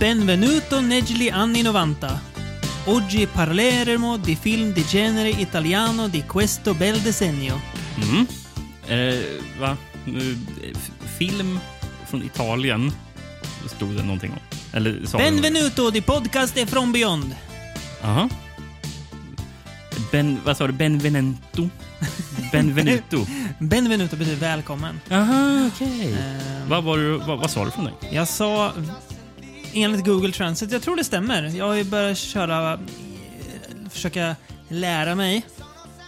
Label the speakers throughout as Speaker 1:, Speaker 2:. Speaker 1: Benvenuto negli anni 90. Oggi parleremo di film di genere italiano di questo bel decennio.
Speaker 2: Mm. Eh, va? Nu, eh, f- film från Italien stod det någonting om. Eller sa
Speaker 1: Benvenuto di podcast e from beyond.
Speaker 2: Aha. Ben, vad sa du? Benvenuto? Benvenuto.
Speaker 1: Benvenuto betyder välkommen.
Speaker 2: Aha, okej.
Speaker 1: Ehm,
Speaker 2: Vad, var du- vad, vad sa du för någonting?
Speaker 1: Jag sa enligt Google Translate, jag tror det stämmer. Jag har ju börjat köra, eh, försöka lära mig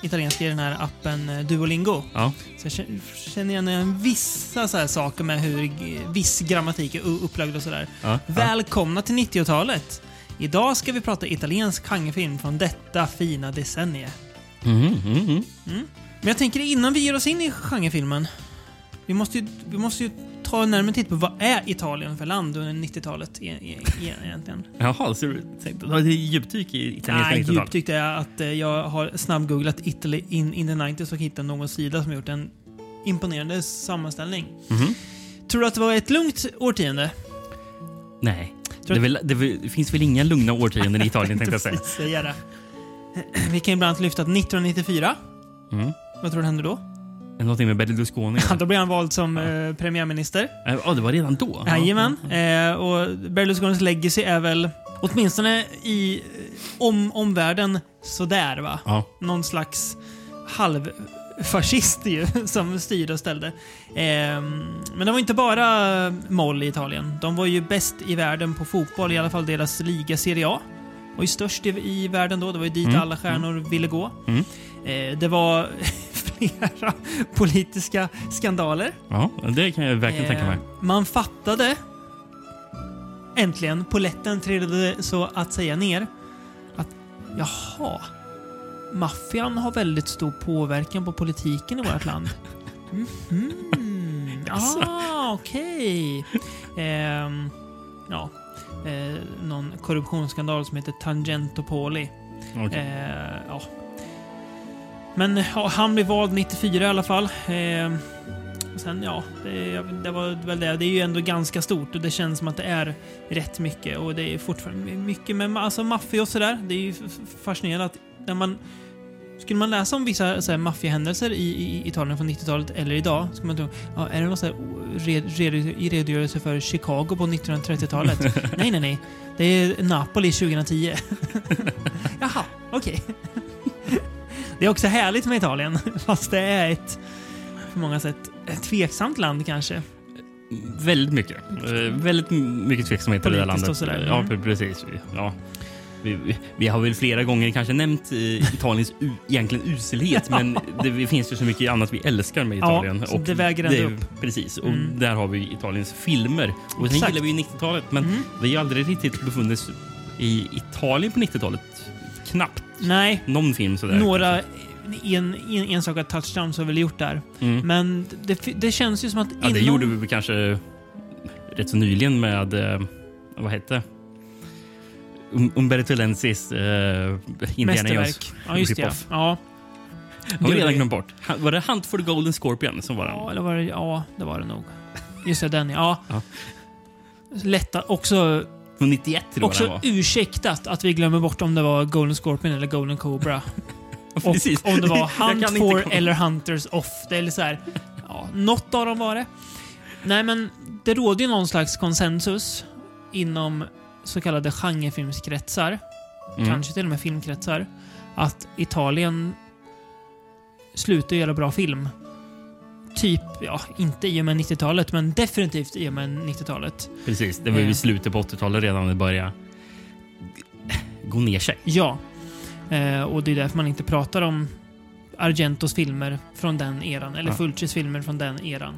Speaker 1: italienska i den här appen eh, Duolingo.
Speaker 2: Ja.
Speaker 1: Så jag känner- känner igen en vissa så här saker med hur g- viss grammatik är u- upplagd och sådär.
Speaker 2: Ja, ja.
Speaker 1: Välkomna till 90-talet! Idag ska vi prata italiensk genrefilm från detta fina decennium.
Speaker 2: Mhm, mhm, mhm.
Speaker 1: Men jag tänker innan vi ger oss in i genrefilmen. Vi måste ju, vi måste ju ta en närmare titt på vad är Italien för land under 90-talet e- e- e- egentligen?
Speaker 2: Jaha, så du tänkte, det är djupdyk i italienska
Speaker 1: Nej,
Speaker 2: 90-tal.
Speaker 1: djupt tyckte jag att eh, jag har snabbgooglat Italy in, in the 90s och hittat någon sida som gjort en imponerande sammanställning.
Speaker 2: Mhm.
Speaker 1: Tror du att det var ett lugnt årtionde?
Speaker 2: Nej. Det,
Speaker 1: Tror-
Speaker 2: är väl, det, är väl- det finns väl inga lugna årtionden i Italien tänkte jag säga.
Speaker 1: Precis, säga det. Vi kan ju bland annat lyfta att 1994,
Speaker 2: Mm.
Speaker 1: vad tror du hände då?
Speaker 2: Är det Någonting med Berlusconi?
Speaker 1: Då blev han vald som eh, premiärminister.
Speaker 2: Eh, Ja, det var redan då? Ja.
Speaker 1: Jajamän. Eh, och Berlusconis legacy är väl, åtminstone i eh, om, omvärlden, sådär va?
Speaker 2: Ja.
Speaker 1: Någon slags halvfascist ju, som styrde och ställde. Ehm, men det var inte bara moll i Italien. De var ju bäst i världen på fotboll, i alla fall deras liga Serie A. Och ju störst i, i världen då, det var ju dit
Speaker 2: Mm.
Speaker 1: alla stjärnor ville gå.
Speaker 2: Mm.
Speaker 1: Eh, det var flera politiska skandaler.
Speaker 2: Ja, det kan jag verkligen tänka mig.
Speaker 1: Eh, Man fattade äntligen, poletten trillade så att säga ner, att jaha, maffian har väldigt stor påverkan på politiken i vårt land. Mhm.
Speaker 2: Alltså.
Speaker 1: Ah, okej. Ehm, ja. Eh, någon korruptionsskandal som heter Tangentopoli.
Speaker 2: Okej.
Speaker 1: Eh, ja. Men ja, han blev vald 94 i alla fall. Eh, och sen ja, det, det var väl det. Det är ju ändå ganska stort och det känns som att det är rätt mycket. Och det är fortfarande mycket med ma- alltså, maffia och sådär. Det är ju f- f- fascinerande att när man skulle man läsa om vissa så här maffiahändelser i, i i Italien från 90-talet eller idag, skulle man tro, ja, är det någon så här o- red- redo- redogörelse för Chicago på 1930-talet? nej, nej, nej. Det är Napoli 2010. Jaha, okej. Det är också härligt med Italien, fast det är ett på många sätt ett tveksamt land kanske.
Speaker 2: Mm. Väldigt mycket. Eh, väldigt m- mycket tveksamhet i det där
Speaker 1: Politiskt
Speaker 2: landet.
Speaker 1: och sådär.
Speaker 2: Ja,
Speaker 1: Mm.
Speaker 2: pre- precis. Ja. Vi, vi- vi har väl flera gånger kanske nämnt eh, Italiens u- egentligen uselhet, men det finns ju så mycket annat vi älskar
Speaker 1: Ja,
Speaker 2: med Italien.
Speaker 1: så det väger ändå
Speaker 2: är ju- Precis, och
Speaker 1: Mm.
Speaker 2: där har vi ju Italiens filmer. Och sen
Speaker 1: Exakt.
Speaker 2: gillar vi ju 90-talet, men
Speaker 1: Mm.
Speaker 2: vi har ju aldrig riktigt befunnit oss i Italien på 90-talet. Knappt
Speaker 1: Nej,
Speaker 2: någon film sådär.
Speaker 1: några en, en, enstaka touchdowns har väl gjort där.
Speaker 2: Mm.
Speaker 1: Men det, det känns ju som att
Speaker 2: Ja, det
Speaker 1: inom-
Speaker 2: gjorde vi väl kanske rätt så nyligen med, eh, vad hette Um- Umberto Lenzis eh, Indiana Jones.
Speaker 1: mästerverk. Ja, just det. Ja.
Speaker 2: rip-off.
Speaker 1: Ja.
Speaker 2: Har vi
Speaker 1: Gjorde
Speaker 2: redan
Speaker 1: vi.
Speaker 2: glömt bort. Han- Var det Hunt for the Golden Scorpion som var
Speaker 1: Ja,
Speaker 2: den?
Speaker 1: det var det, ja, det var det nog. Just det, den ja.
Speaker 2: Ja.
Speaker 1: Lätta, också
Speaker 2: Från 91 tror jag den
Speaker 1: också
Speaker 2: var.
Speaker 1: ursäktat att vi glömmer bort om det var Golden Scorpion eller Golden Cobra. Och
Speaker 2: Precis.
Speaker 1: om det var
Speaker 2: Jag kan
Speaker 1: Hunt
Speaker 2: inte
Speaker 1: for
Speaker 2: komma-
Speaker 1: eller Hunters off. Det är så här, ja, något av dem var det. Nej, men det råder ju någon slags konsensus inom så kallade genrefilmskretsar,
Speaker 2: Mm.
Speaker 1: kanske till och med filmkretsar, att Italien slutar göra bra film. Typ, ja, inte i och med 90-talet, men definitivt i och med 90-talet.
Speaker 2: Precis, det var ju
Speaker 1: Ja.
Speaker 2: i slutet på 80-talet redan det började gå ner sig.
Speaker 1: Ja. Eh, och det är därför man inte pratar om Argentos filmer från den eran, eller
Speaker 2: Ja.
Speaker 1: Fulcis filmer från den eran.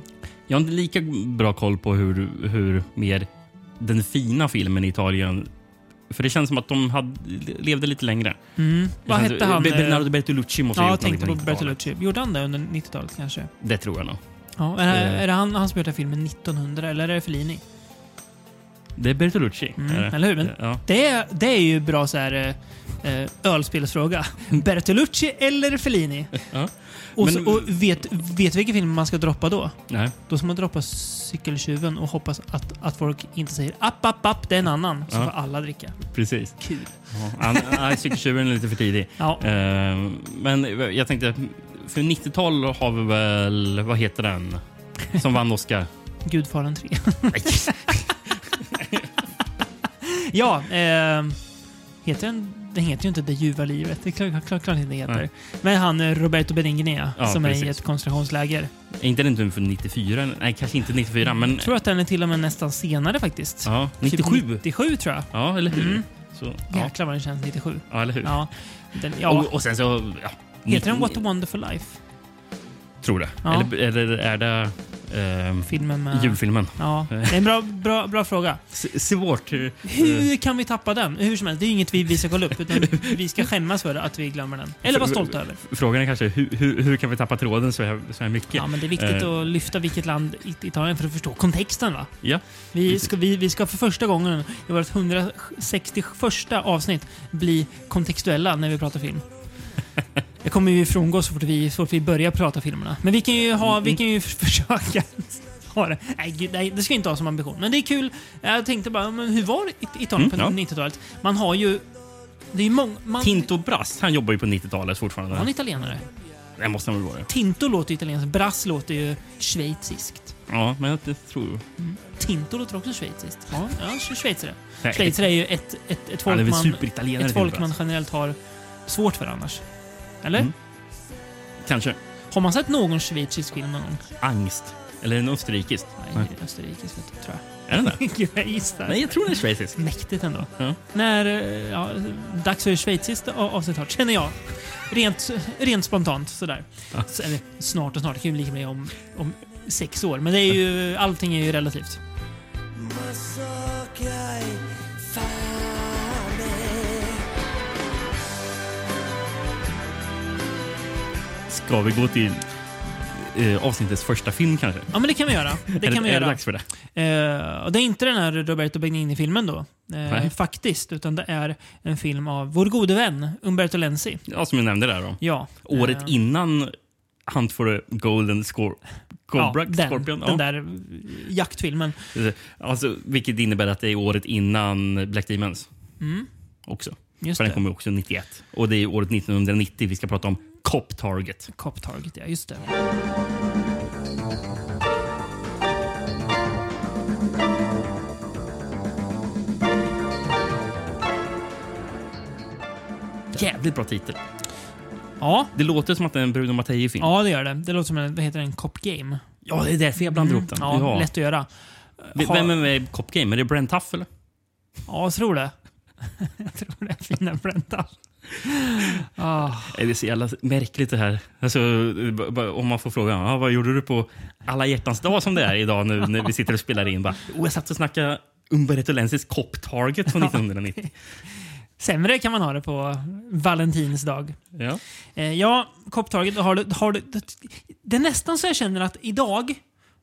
Speaker 2: Jag har inte lika bra koll på hur, hur mer den fina filmen i Italien... För det känns som att de hade, levde lite längre.
Speaker 1: Mm. Vad
Speaker 2: Det känns-
Speaker 1: hette han?
Speaker 2: Liksom, Be- Bernardo Bertolucci måste
Speaker 1: ja,
Speaker 2: ha
Speaker 1: jag
Speaker 2: gjort
Speaker 1: tänkte på
Speaker 2: någonting på 90-talet.
Speaker 1: Bertolucci. Gjorde han det under 90-talet kanske?
Speaker 2: Det tror jag nog.
Speaker 1: Ja, är,
Speaker 2: Eh.
Speaker 1: är det han, han som gjort den här filmen 1900, eller är det Fellini?
Speaker 2: Det är Bertolucci.
Speaker 1: Mm,
Speaker 2: är det.
Speaker 1: eller hur? Men-
Speaker 2: Ja.
Speaker 1: Det, är- det är ju bra så här... eh, eh, ölspelsfråga. Bertolucci eller Fellini?
Speaker 2: Mm. Ja.
Speaker 1: Och,
Speaker 2: Men-
Speaker 1: så, och vet, vet vilken film man ska droppa då?
Speaker 2: Nej.
Speaker 1: Då ska man droppa cykeltjuven och hoppas att, att folk inte säger app, app, app, det är en annan. Så
Speaker 2: Ja.
Speaker 1: får alla dricka.
Speaker 2: Precis.
Speaker 1: Kul.
Speaker 2: Ja, nej, cykeltjuren är lite för tidig.
Speaker 1: Ja.
Speaker 2: Eh, men jag tänkte, för 90-tal har vi väl, vad heter den som vann Oscar?
Speaker 1: Gudfadern 3. ja, eh, heter den... Den heter ju inte Det ljuva livet. Det är klart, klart, klart inte den heter.
Speaker 2: Nej.
Speaker 1: Men han eh, Roberto Benignia
Speaker 2: Ja,
Speaker 1: som är i
Speaker 2: precis.
Speaker 1: ett koncentrationsläger.
Speaker 2: Är inte den typ från 94? Nej, kanske inte 94, men
Speaker 1: Jag tror att den är till och med nästan senare faktiskt.
Speaker 2: ja,
Speaker 1: Typ
Speaker 2: 97.
Speaker 1: 97 tror jag.
Speaker 2: Ja, eller hur?
Speaker 1: Mm.
Speaker 2: Så, ja.
Speaker 1: Jäklar vad den känns, 97.
Speaker 2: ja, eller hur?
Speaker 1: Ja. Den, ja.
Speaker 2: Och, och sen så... Ja,
Speaker 1: heter den What a wonderful life?
Speaker 2: Tror det.
Speaker 1: Ja.
Speaker 2: Eller, eller är det ehm,
Speaker 1: Filmen med...
Speaker 2: julfilmen?
Speaker 1: Ja, det är en bra, bra, bra fråga.
Speaker 2: S- Svårt. eh,
Speaker 1: Hur kan vi tappa den? Hur som helst, det är inget vi, vi ska kolla upp. Utan vi ska skämmas för att vi glömmer den. Eller vara stolta över.
Speaker 2: Frågan är kanske hur, hur, hur kan vi tappa tråden så här, så här mycket?
Speaker 1: Ja, men det är viktigt
Speaker 2: Eh.
Speaker 1: att lyfta vilket land i- Italien för att förstå kontexten. va?
Speaker 2: Ja,
Speaker 1: Vi
Speaker 2: precis.
Speaker 1: ska, vi, vi ska för första gången i vårt 161 avsnitt bli kontextuella när vi pratar film. Det kommer vi frångå så fort vi, så fort vi börjar prata filmerna. Men vi kan ju, ha, vi kan
Speaker 2: Mm.
Speaker 1: ju försöka ha det. Nej, gud, nej, det ska vi inte ha som ambition. Men det är kul. Jag tänkte bara, men hur var It- Italien
Speaker 2: Mm,
Speaker 1: på 90-talet? Man har ju... Det är ju många... Man,
Speaker 2: Tinto Brass, han jobbar ju på 90-talet fortfarande.
Speaker 1: Han är italienare.
Speaker 2: Det måste han väl vara?
Speaker 1: Tinto låter italienskt. Brass låter ju schweiziskt.
Speaker 2: Ja, men jag tror...
Speaker 1: Tinto låter också schweiziskt. Ja, ja schweizare.
Speaker 2: Nej,
Speaker 1: Schweizare är ju ett, ett, ett
Speaker 2: Han är
Speaker 1: folk,
Speaker 2: väl
Speaker 1: man,
Speaker 2: superitalienare?
Speaker 1: ett
Speaker 2: Tinto
Speaker 1: folk man
Speaker 2: Brass.
Speaker 1: generellt har svårt för annars. Eller?
Speaker 2: Mm. Kanske.
Speaker 1: Har man sett någon schweizisk film någon gång?
Speaker 2: Angst. Eller en österrikisk.
Speaker 1: Nej,
Speaker 2: Nej.
Speaker 1: österrikisk vet du, tror
Speaker 2: Är den det?
Speaker 1: jag. Gud, jag gissar.
Speaker 2: Nej, jag tror den är schweizisk.
Speaker 1: Mäktigt ändå.
Speaker 2: Ja.
Speaker 1: När, eh, ja, dags för ett schweiziskt a- avsnitt snart, känner jag. Rent, rent spontant sådär.
Speaker 2: Ja.
Speaker 1: S- Eller snart och snart, det kan ju bli lika med om, om sex år. Men det är ju, allting är ju relativt.
Speaker 3: Ma so che hai fame.
Speaker 2: Ska vi gå till eh, avsnittets första film kanske?
Speaker 1: Ja, men det kan vi göra. Det
Speaker 2: är,
Speaker 1: kan vi
Speaker 2: är
Speaker 1: göra.
Speaker 2: det dags för det?
Speaker 1: Eh, och det är inte den här Roberto Benigni-filmen då. Eh,
Speaker 2: Nej.
Speaker 1: faktiskt, utan det är en film av vår gode vän Umberto Lenzi.
Speaker 2: Ja, som jag nämnde där då.
Speaker 1: Ja.
Speaker 2: Året
Speaker 1: Eh,
Speaker 2: innan Hunt for a Golden Scor- Cobra,
Speaker 1: ja, den,
Speaker 2: Scorpion.
Speaker 1: Den där eh, jaktfilmen.
Speaker 2: Alltså, vilket innebär att det är året innan Black Demons också.
Speaker 1: Mm, Just
Speaker 2: För den
Speaker 1: det.
Speaker 2: kom ju också 91. Och det är året 1990 vi ska prata om Cop Target.
Speaker 1: Cop Target, ja. Just det.
Speaker 2: Jävligt bra titel.
Speaker 1: Ja.
Speaker 2: Det låter som att det är en Bruno Mattei-film.
Speaker 1: ja, det gör det. Det låter som en, vad heter den? Cop Game. Mm,
Speaker 2: Ja, det är därför jag blandar ihop den.
Speaker 1: Ja, lätt att göra.
Speaker 2: V-
Speaker 1: Ha-
Speaker 2: Vem är med i Cop Game? Är det Brent Tuff eller?
Speaker 1: Ja, jag tror det. jag tror det. Fina Brenta. Ah.
Speaker 2: Det är så jävla märkligt det här. Alltså, b- b- om man får frågan, ah, vad gjorde du på alla hjärtans dag som det är idag nu när vi sitter och spelar in? Bara, "Oh, jag satt och snackade Umberto Lenzis Cop Target från 1990.
Speaker 1: Sämre kan man ha det på Valentins dag.
Speaker 2: Ja.
Speaker 1: Eh, ja, kopptaget har du, har du, Det är nästan så jag känner att idag,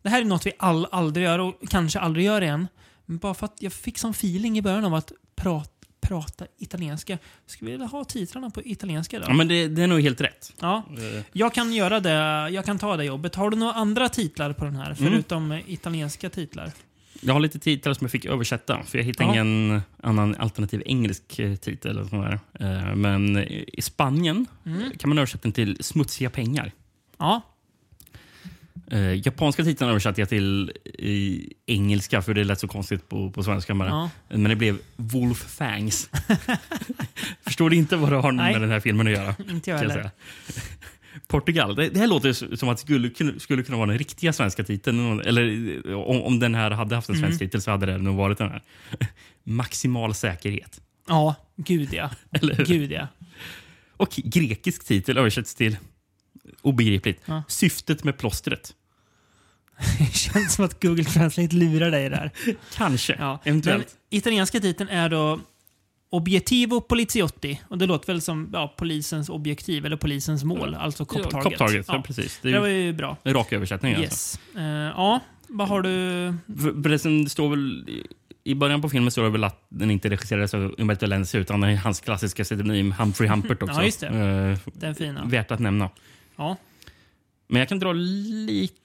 Speaker 1: det här är något vi all, aldrig gör och kanske aldrig gör igen. Men bara för att jag fick sån feeling i början av att prata, prata italienska. Skulle vilja ha titlarna på italienska
Speaker 2: ja,
Speaker 1: idag.
Speaker 2: men det, det är nog helt rätt.
Speaker 1: Ja,
Speaker 2: Eh,
Speaker 1: jag kan göra det. Jag kan ta det jobbet. Har du några andra titlar på den här?
Speaker 2: Mm.
Speaker 1: Förutom eh, italienska titlar?
Speaker 2: Jag har lite titlar som jag fick översätta, för jag hittade
Speaker 1: Ja.
Speaker 2: ingen annan alternativ engelsk eh, titel. Eller sån där. Eh, Men eh, i Spanien eh, kan man översätta den till smutsiga pengar.
Speaker 1: Mm. Ja,
Speaker 2: Eh, japanska titeln översatte jag till i engelska, för det lät så konstigt på, på svenska. Bara.
Speaker 1: Ja.
Speaker 2: Men det blev Wolf Fangs. Förstår inte vad det har
Speaker 1: Nej.
Speaker 2: med den här filmen att göra. kan
Speaker 1: inte jag
Speaker 2: jag
Speaker 1: heller.
Speaker 2: säga. Portugal. Det, det här låter s- som att det skulle, kun- skulle kunna vara den riktiga svenska titeln. Eller eh, om, om den här hade haft en svensk
Speaker 1: Mm.
Speaker 2: titel så hade det nog varit den här. Maximal säkerhet.
Speaker 1: Ja, gud ja.
Speaker 2: Eller hur?
Speaker 1: Gud ja.
Speaker 2: Och grekisk titel översätts till obegripligt.
Speaker 1: Ja.
Speaker 2: Syftet med plåstret.
Speaker 1: Det känns som att Google Translate lurar dig där.
Speaker 2: Kanske.
Speaker 1: Ja.
Speaker 2: Eventuellt.
Speaker 1: Den italienska titeln är då Obiettivo Poliziotti. Och det låter väl som ja, polisens objektiv eller polisens mål. Alltså cop target.
Speaker 2: Cop target. Ja.
Speaker 1: Ja.
Speaker 2: precis. Det
Speaker 1: Det var
Speaker 2: är
Speaker 1: ju bra.
Speaker 2: ju rak översättning. Alltså.
Speaker 1: Yes. Eh, ja, vad har du?
Speaker 2: För- Förresten, det står väl... I början på filmen så är det väl att den inte regisserades av Umberto Lenzi utan hans klassiska pseudonym Humphrey Humpert också.
Speaker 1: Mm. Ja, just det.
Speaker 2: Eh,
Speaker 1: Den fina.
Speaker 2: värt att nämna.
Speaker 1: Ja.
Speaker 2: Men jag kan dra lite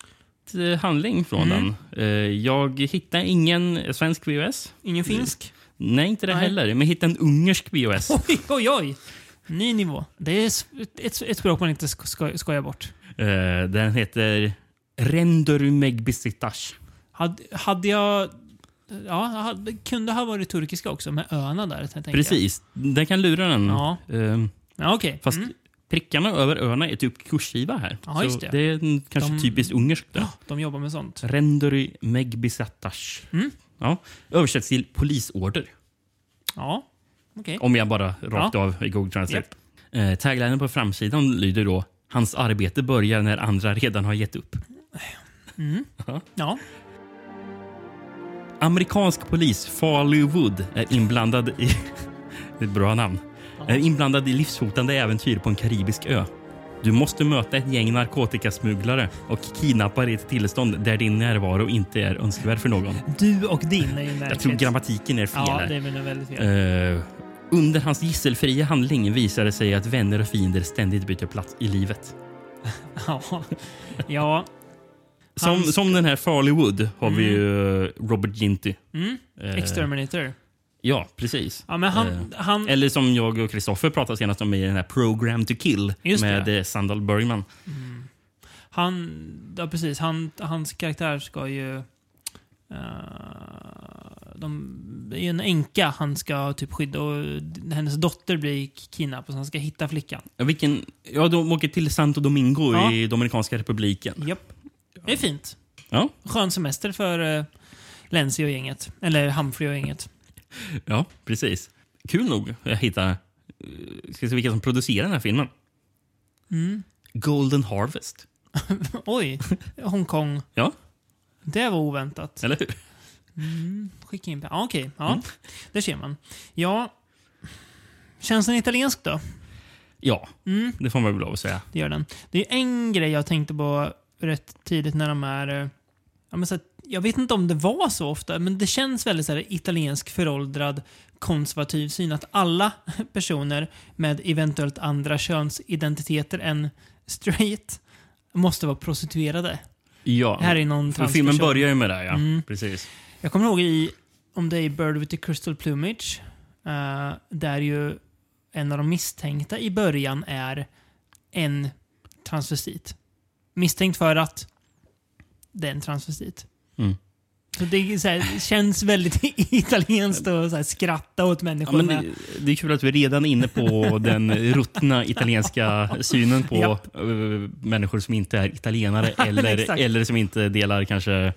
Speaker 2: handling från
Speaker 1: Mm.
Speaker 2: den. Eh, jag hittade ingen svensk VHS.
Speaker 1: Ingen finsk?
Speaker 2: Nej, inte det
Speaker 1: Nej.
Speaker 2: heller. Men jag hittade en ungersk VHS.
Speaker 1: Oj, oj, oj! Ny nivå. Det är s- ett, ett språk man inte ska, ska, skojar bort.
Speaker 2: Eh, den heter Renderu Megbisitage.
Speaker 1: Hade, hade jag... Ja, hade, kunde ha varit turkiska också med öarna där. tänker jag.
Speaker 2: Precis. Den kan lura den.
Speaker 1: Ja.
Speaker 2: Eh,
Speaker 1: Ja, okej.
Speaker 2: fast
Speaker 1: Mm.
Speaker 2: prickarna över öarna är typ kursiva här.
Speaker 1: Ja,
Speaker 2: Så
Speaker 1: just det.
Speaker 2: det är en- kanske
Speaker 1: De-
Speaker 2: typiskt ungerskt. då.
Speaker 1: Ja, de jobbar med sånt.
Speaker 2: Rendery Megbisatash.
Speaker 1: Mm.
Speaker 2: Ja. Översätts till polisorder.
Speaker 1: Ja, okej.
Speaker 2: Om jag bara rakt av i Google Translate. Eh, taglinen på framsidan lyder då Hans arbete börjar när andra redan har gett upp.
Speaker 1: Mm. Ja.
Speaker 2: Amerikansk polis Farley Wood är inblandad i... Det är ett bra namn. Är inblandad i livshotande äventyr på en karibisk ö. Du måste möta ett gäng narkotikasmugglare och kidnappare i ett tillstånd där din närvaro inte är önskvärd för någon.
Speaker 1: Du och din är ju märkligt.
Speaker 2: Jag tror grammatiken är fel
Speaker 1: Ja,
Speaker 2: här.
Speaker 1: det är väl nog väldigt fel.
Speaker 2: Eh, under hans gisselfria handling visar det sig att vänner och fiender ständigt byter plats i livet.
Speaker 1: Ja. ja.
Speaker 2: Som,
Speaker 1: Hans-
Speaker 2: som den här Farley Wood har vi ju eh, Robert Ginty.
Speaker 1: Mm.
Speaker 2: Eh,
Speaker 1: Exterminator.
Speaker 2: Ja, precis.
Speaker 1: Ja, men
Speaker 2: eh,
Speaker 1: han... han
Speaker 2: Eller som jag och Kristoffer pratade senast om i den här Program to kill
Speaker 1: Just
Speaker 2: med
Speaker 1: det.
Speaker 2: eh, Sandal Bergman.
Speaker 1: Mm. Han, ja precis. Han, hans karaktär ska ju... eh, de, det är ju en änka han ska typ skydda och hennes dotter blir kidnappad så han ska hitta flickan.
Speaker 2: Ja, vilken, ja, de åker till Santo Domingo
Speaker 1: Ja.
Speaker 2: i Dominikanska republiken.
Speaker 1: Japp. Det är fint.
Speaker 2: Ja,
Speaker 1: Skön semester för uh, Lenzi och gänget. Eller Humphrey och gänget.
Speaker 2: ja precis. Kul nog att hitta eh, ska se vilka som producerar den här filmen.
Speaker 1: Mm.
Speaker 2: Golden Harvest.
Speaker 1: Oj! Hongkong.
Speaker 2: Ja,
Speaker 1: Det var oväntat. Mm,
Speaker 2: eller hur?
Speaker 1: Skicka in... pe- Ja, okej. Ja,
Speaker 2: Mm.
Speaker 1: det ser man. Ja... Känns den italiensk då? Mm,
Speaker 2: Ja, det får man väl lov att säga.
Speaker 1: Det gör den. Det är en grej jag tänkte på rätt tidigt när de är... eh, Ja, men så att, jag vet inte om det var så ofta, men det känns väldigt så här, italiensk föråldrad konservativ syn att alla personer med eventuellt andra könsidentiteter än straight måste vara prostituerade.
Speaker 2: Ja,
Speaker 1: Här är någon
Speaker 2: för filmen
Speaker 1: transperson.
Speaker 2: börjar ju med det. Ja.
Speaker 1: Mm.
Speaker 2: Precis.
Speaker 1: Jag kommer ihåg i, om det är i Bird with the Crystal Plumage, eh, där ju en av de misstänkta i början är en transvestit. Misstänkt för att det är en transvestit.
Speaker 2: Mm.
Speaker 1: Så det är så här, känns väldigt italienskt att så här, skratta åt
Speaker 2: Ja,
Speaker 1: människor.
Speaker 2: men
Speaker 1: med,
Speaker 2: det, det är kul att vi redan är inne på den ruttna italienska synen på
Speaker 1: Japp.
Speaker 2: eh, människor som inte är italienare eller,
Speaker 1: exakt.
Speaker 2: eller som inte delar kanske...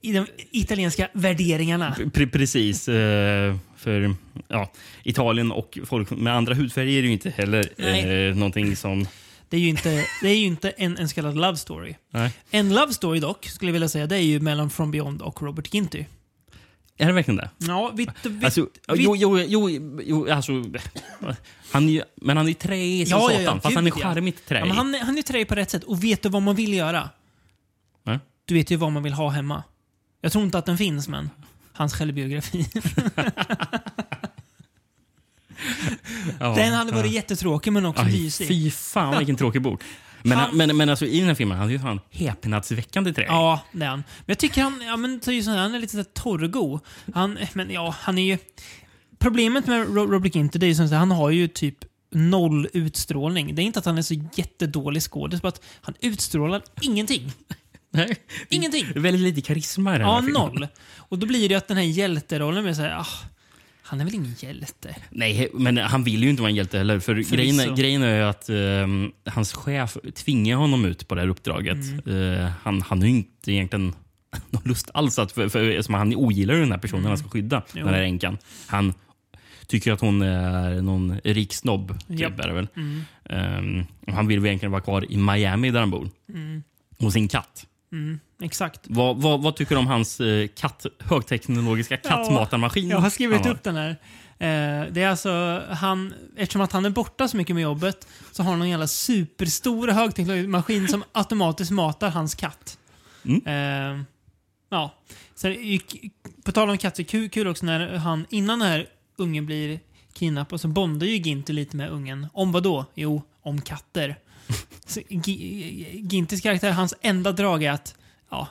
Speaker 1: I de italienska värderingarna.
Speaker 2: Pre precis. eh, För ja, Italien och folk med andra hudfärger är ju inte heller
Speaker 1: Nej.
Speaker 2: eh, någonting som...
Speaker 1: Det är ju inte, det är ju inte en, en så kallad love story.
Speaker 2: Nej.
Speaker 1: En love story dock, skulle jag vilja säga, det är ju mellan From Beyond och Robert Ginty.
Speaker 2: Är det verkligen det?
Speaker 1: Ja, vitt, vitt,
Speaker 2: Alltså,
Speaker 1: vitt-
Speaker 2: jo, jo, jo, jo, alltså... Han är ju, men han är ju träig som
Speaker 1: Ja, ja, ja,
Speaker 2: satan, fast han är
Speaker 1: gud, ja.
Speaker 2: charmigt träig.
Speaker 1: Ja, men han, är- han är träig på rätt sätt. Och vet du vad man vill göra?
Speaker 2: Nej.
Speaker 1: Du vet ju vad man vill ha hemma. Jag tror inte att den finns, men hans självbiografi.
Speaker 2: Ja.
Speaker 1: den hade varit jättetråkig, men också
Speaker 2: Aj,
Speaker 1: mysig.
Speaker 2: Fy fan vilken tråkig bok. Men,
Speaker 1: Han-
Speaker 2: men, men alltså, i den här filmen, han är ju fan häpnadsväckande träig.
Speaker 1: Ja, det är han. Men jag tycker han, ja, men, så är ju sån här, han är lite så här torrgo. Han, men ja, han är ju... Problemet med Ro- Robert Ginter, det är ju som att han har ju typ noll utstrålning. Det är inte att han är så jättedålig skådis, bara att han utstrålar ingenting.
Speaker 2: Nej.
Speaker 1: Ingenting!
Speaker 2: Väldigt lite karisma i den
Speaker 1: Ja,
Speaker 2: här filmen.
Speaker 1: noll. Och då blir det ju att den här hjälterollen blir såhär, ah, han är väl ingen hjälte?
Speaker 2: Nej, men han vill ju inte vara en hjälte heller. För grejen, är- grejen är ju att ehm, hans chef tvingar honom ut på det här uppdraget.
Speaker 1: Mm.
Speaker 2: Eh, han, han har ju inte egentligen någon lust alls att... För, för, eftersom han ogillar ju den här
Speaker 1: Mm.
Speaker 2: personen han ska skydda, den här änkan. Han tycker att hon är någon rik snobb, typ,
Speaker 1: Japp.
Speaker 2: är det väl. Ehm, och han vill väl egentligen vara kvar i Miami där han bor. Hos sin katt.
Speaker 1: Mm, Exakt.
Speaker 2: Vad, vad, vad tycker du om hans eh, katt, högteknologiska kattmatarmaskin?
Speaker 1: Jag har skrivit
Speaker 2: han har?
Speaker 1: upp den här. Eh, det är alltså, han, eftersom att han är borta så mycket med jobbet så har han en jävla superstor högteknologisk maskin som automatiskt matar hans katt. Eh, Ja. Sen, i- k- på tal om katter, kul, kul också när han, innan den här ungen blir kidnappad, så bondar ju Ginter lite med ungen. Om vad då? Jo, om katter. Så, Gi- Ginters karaktär, hans enda drag är att ja,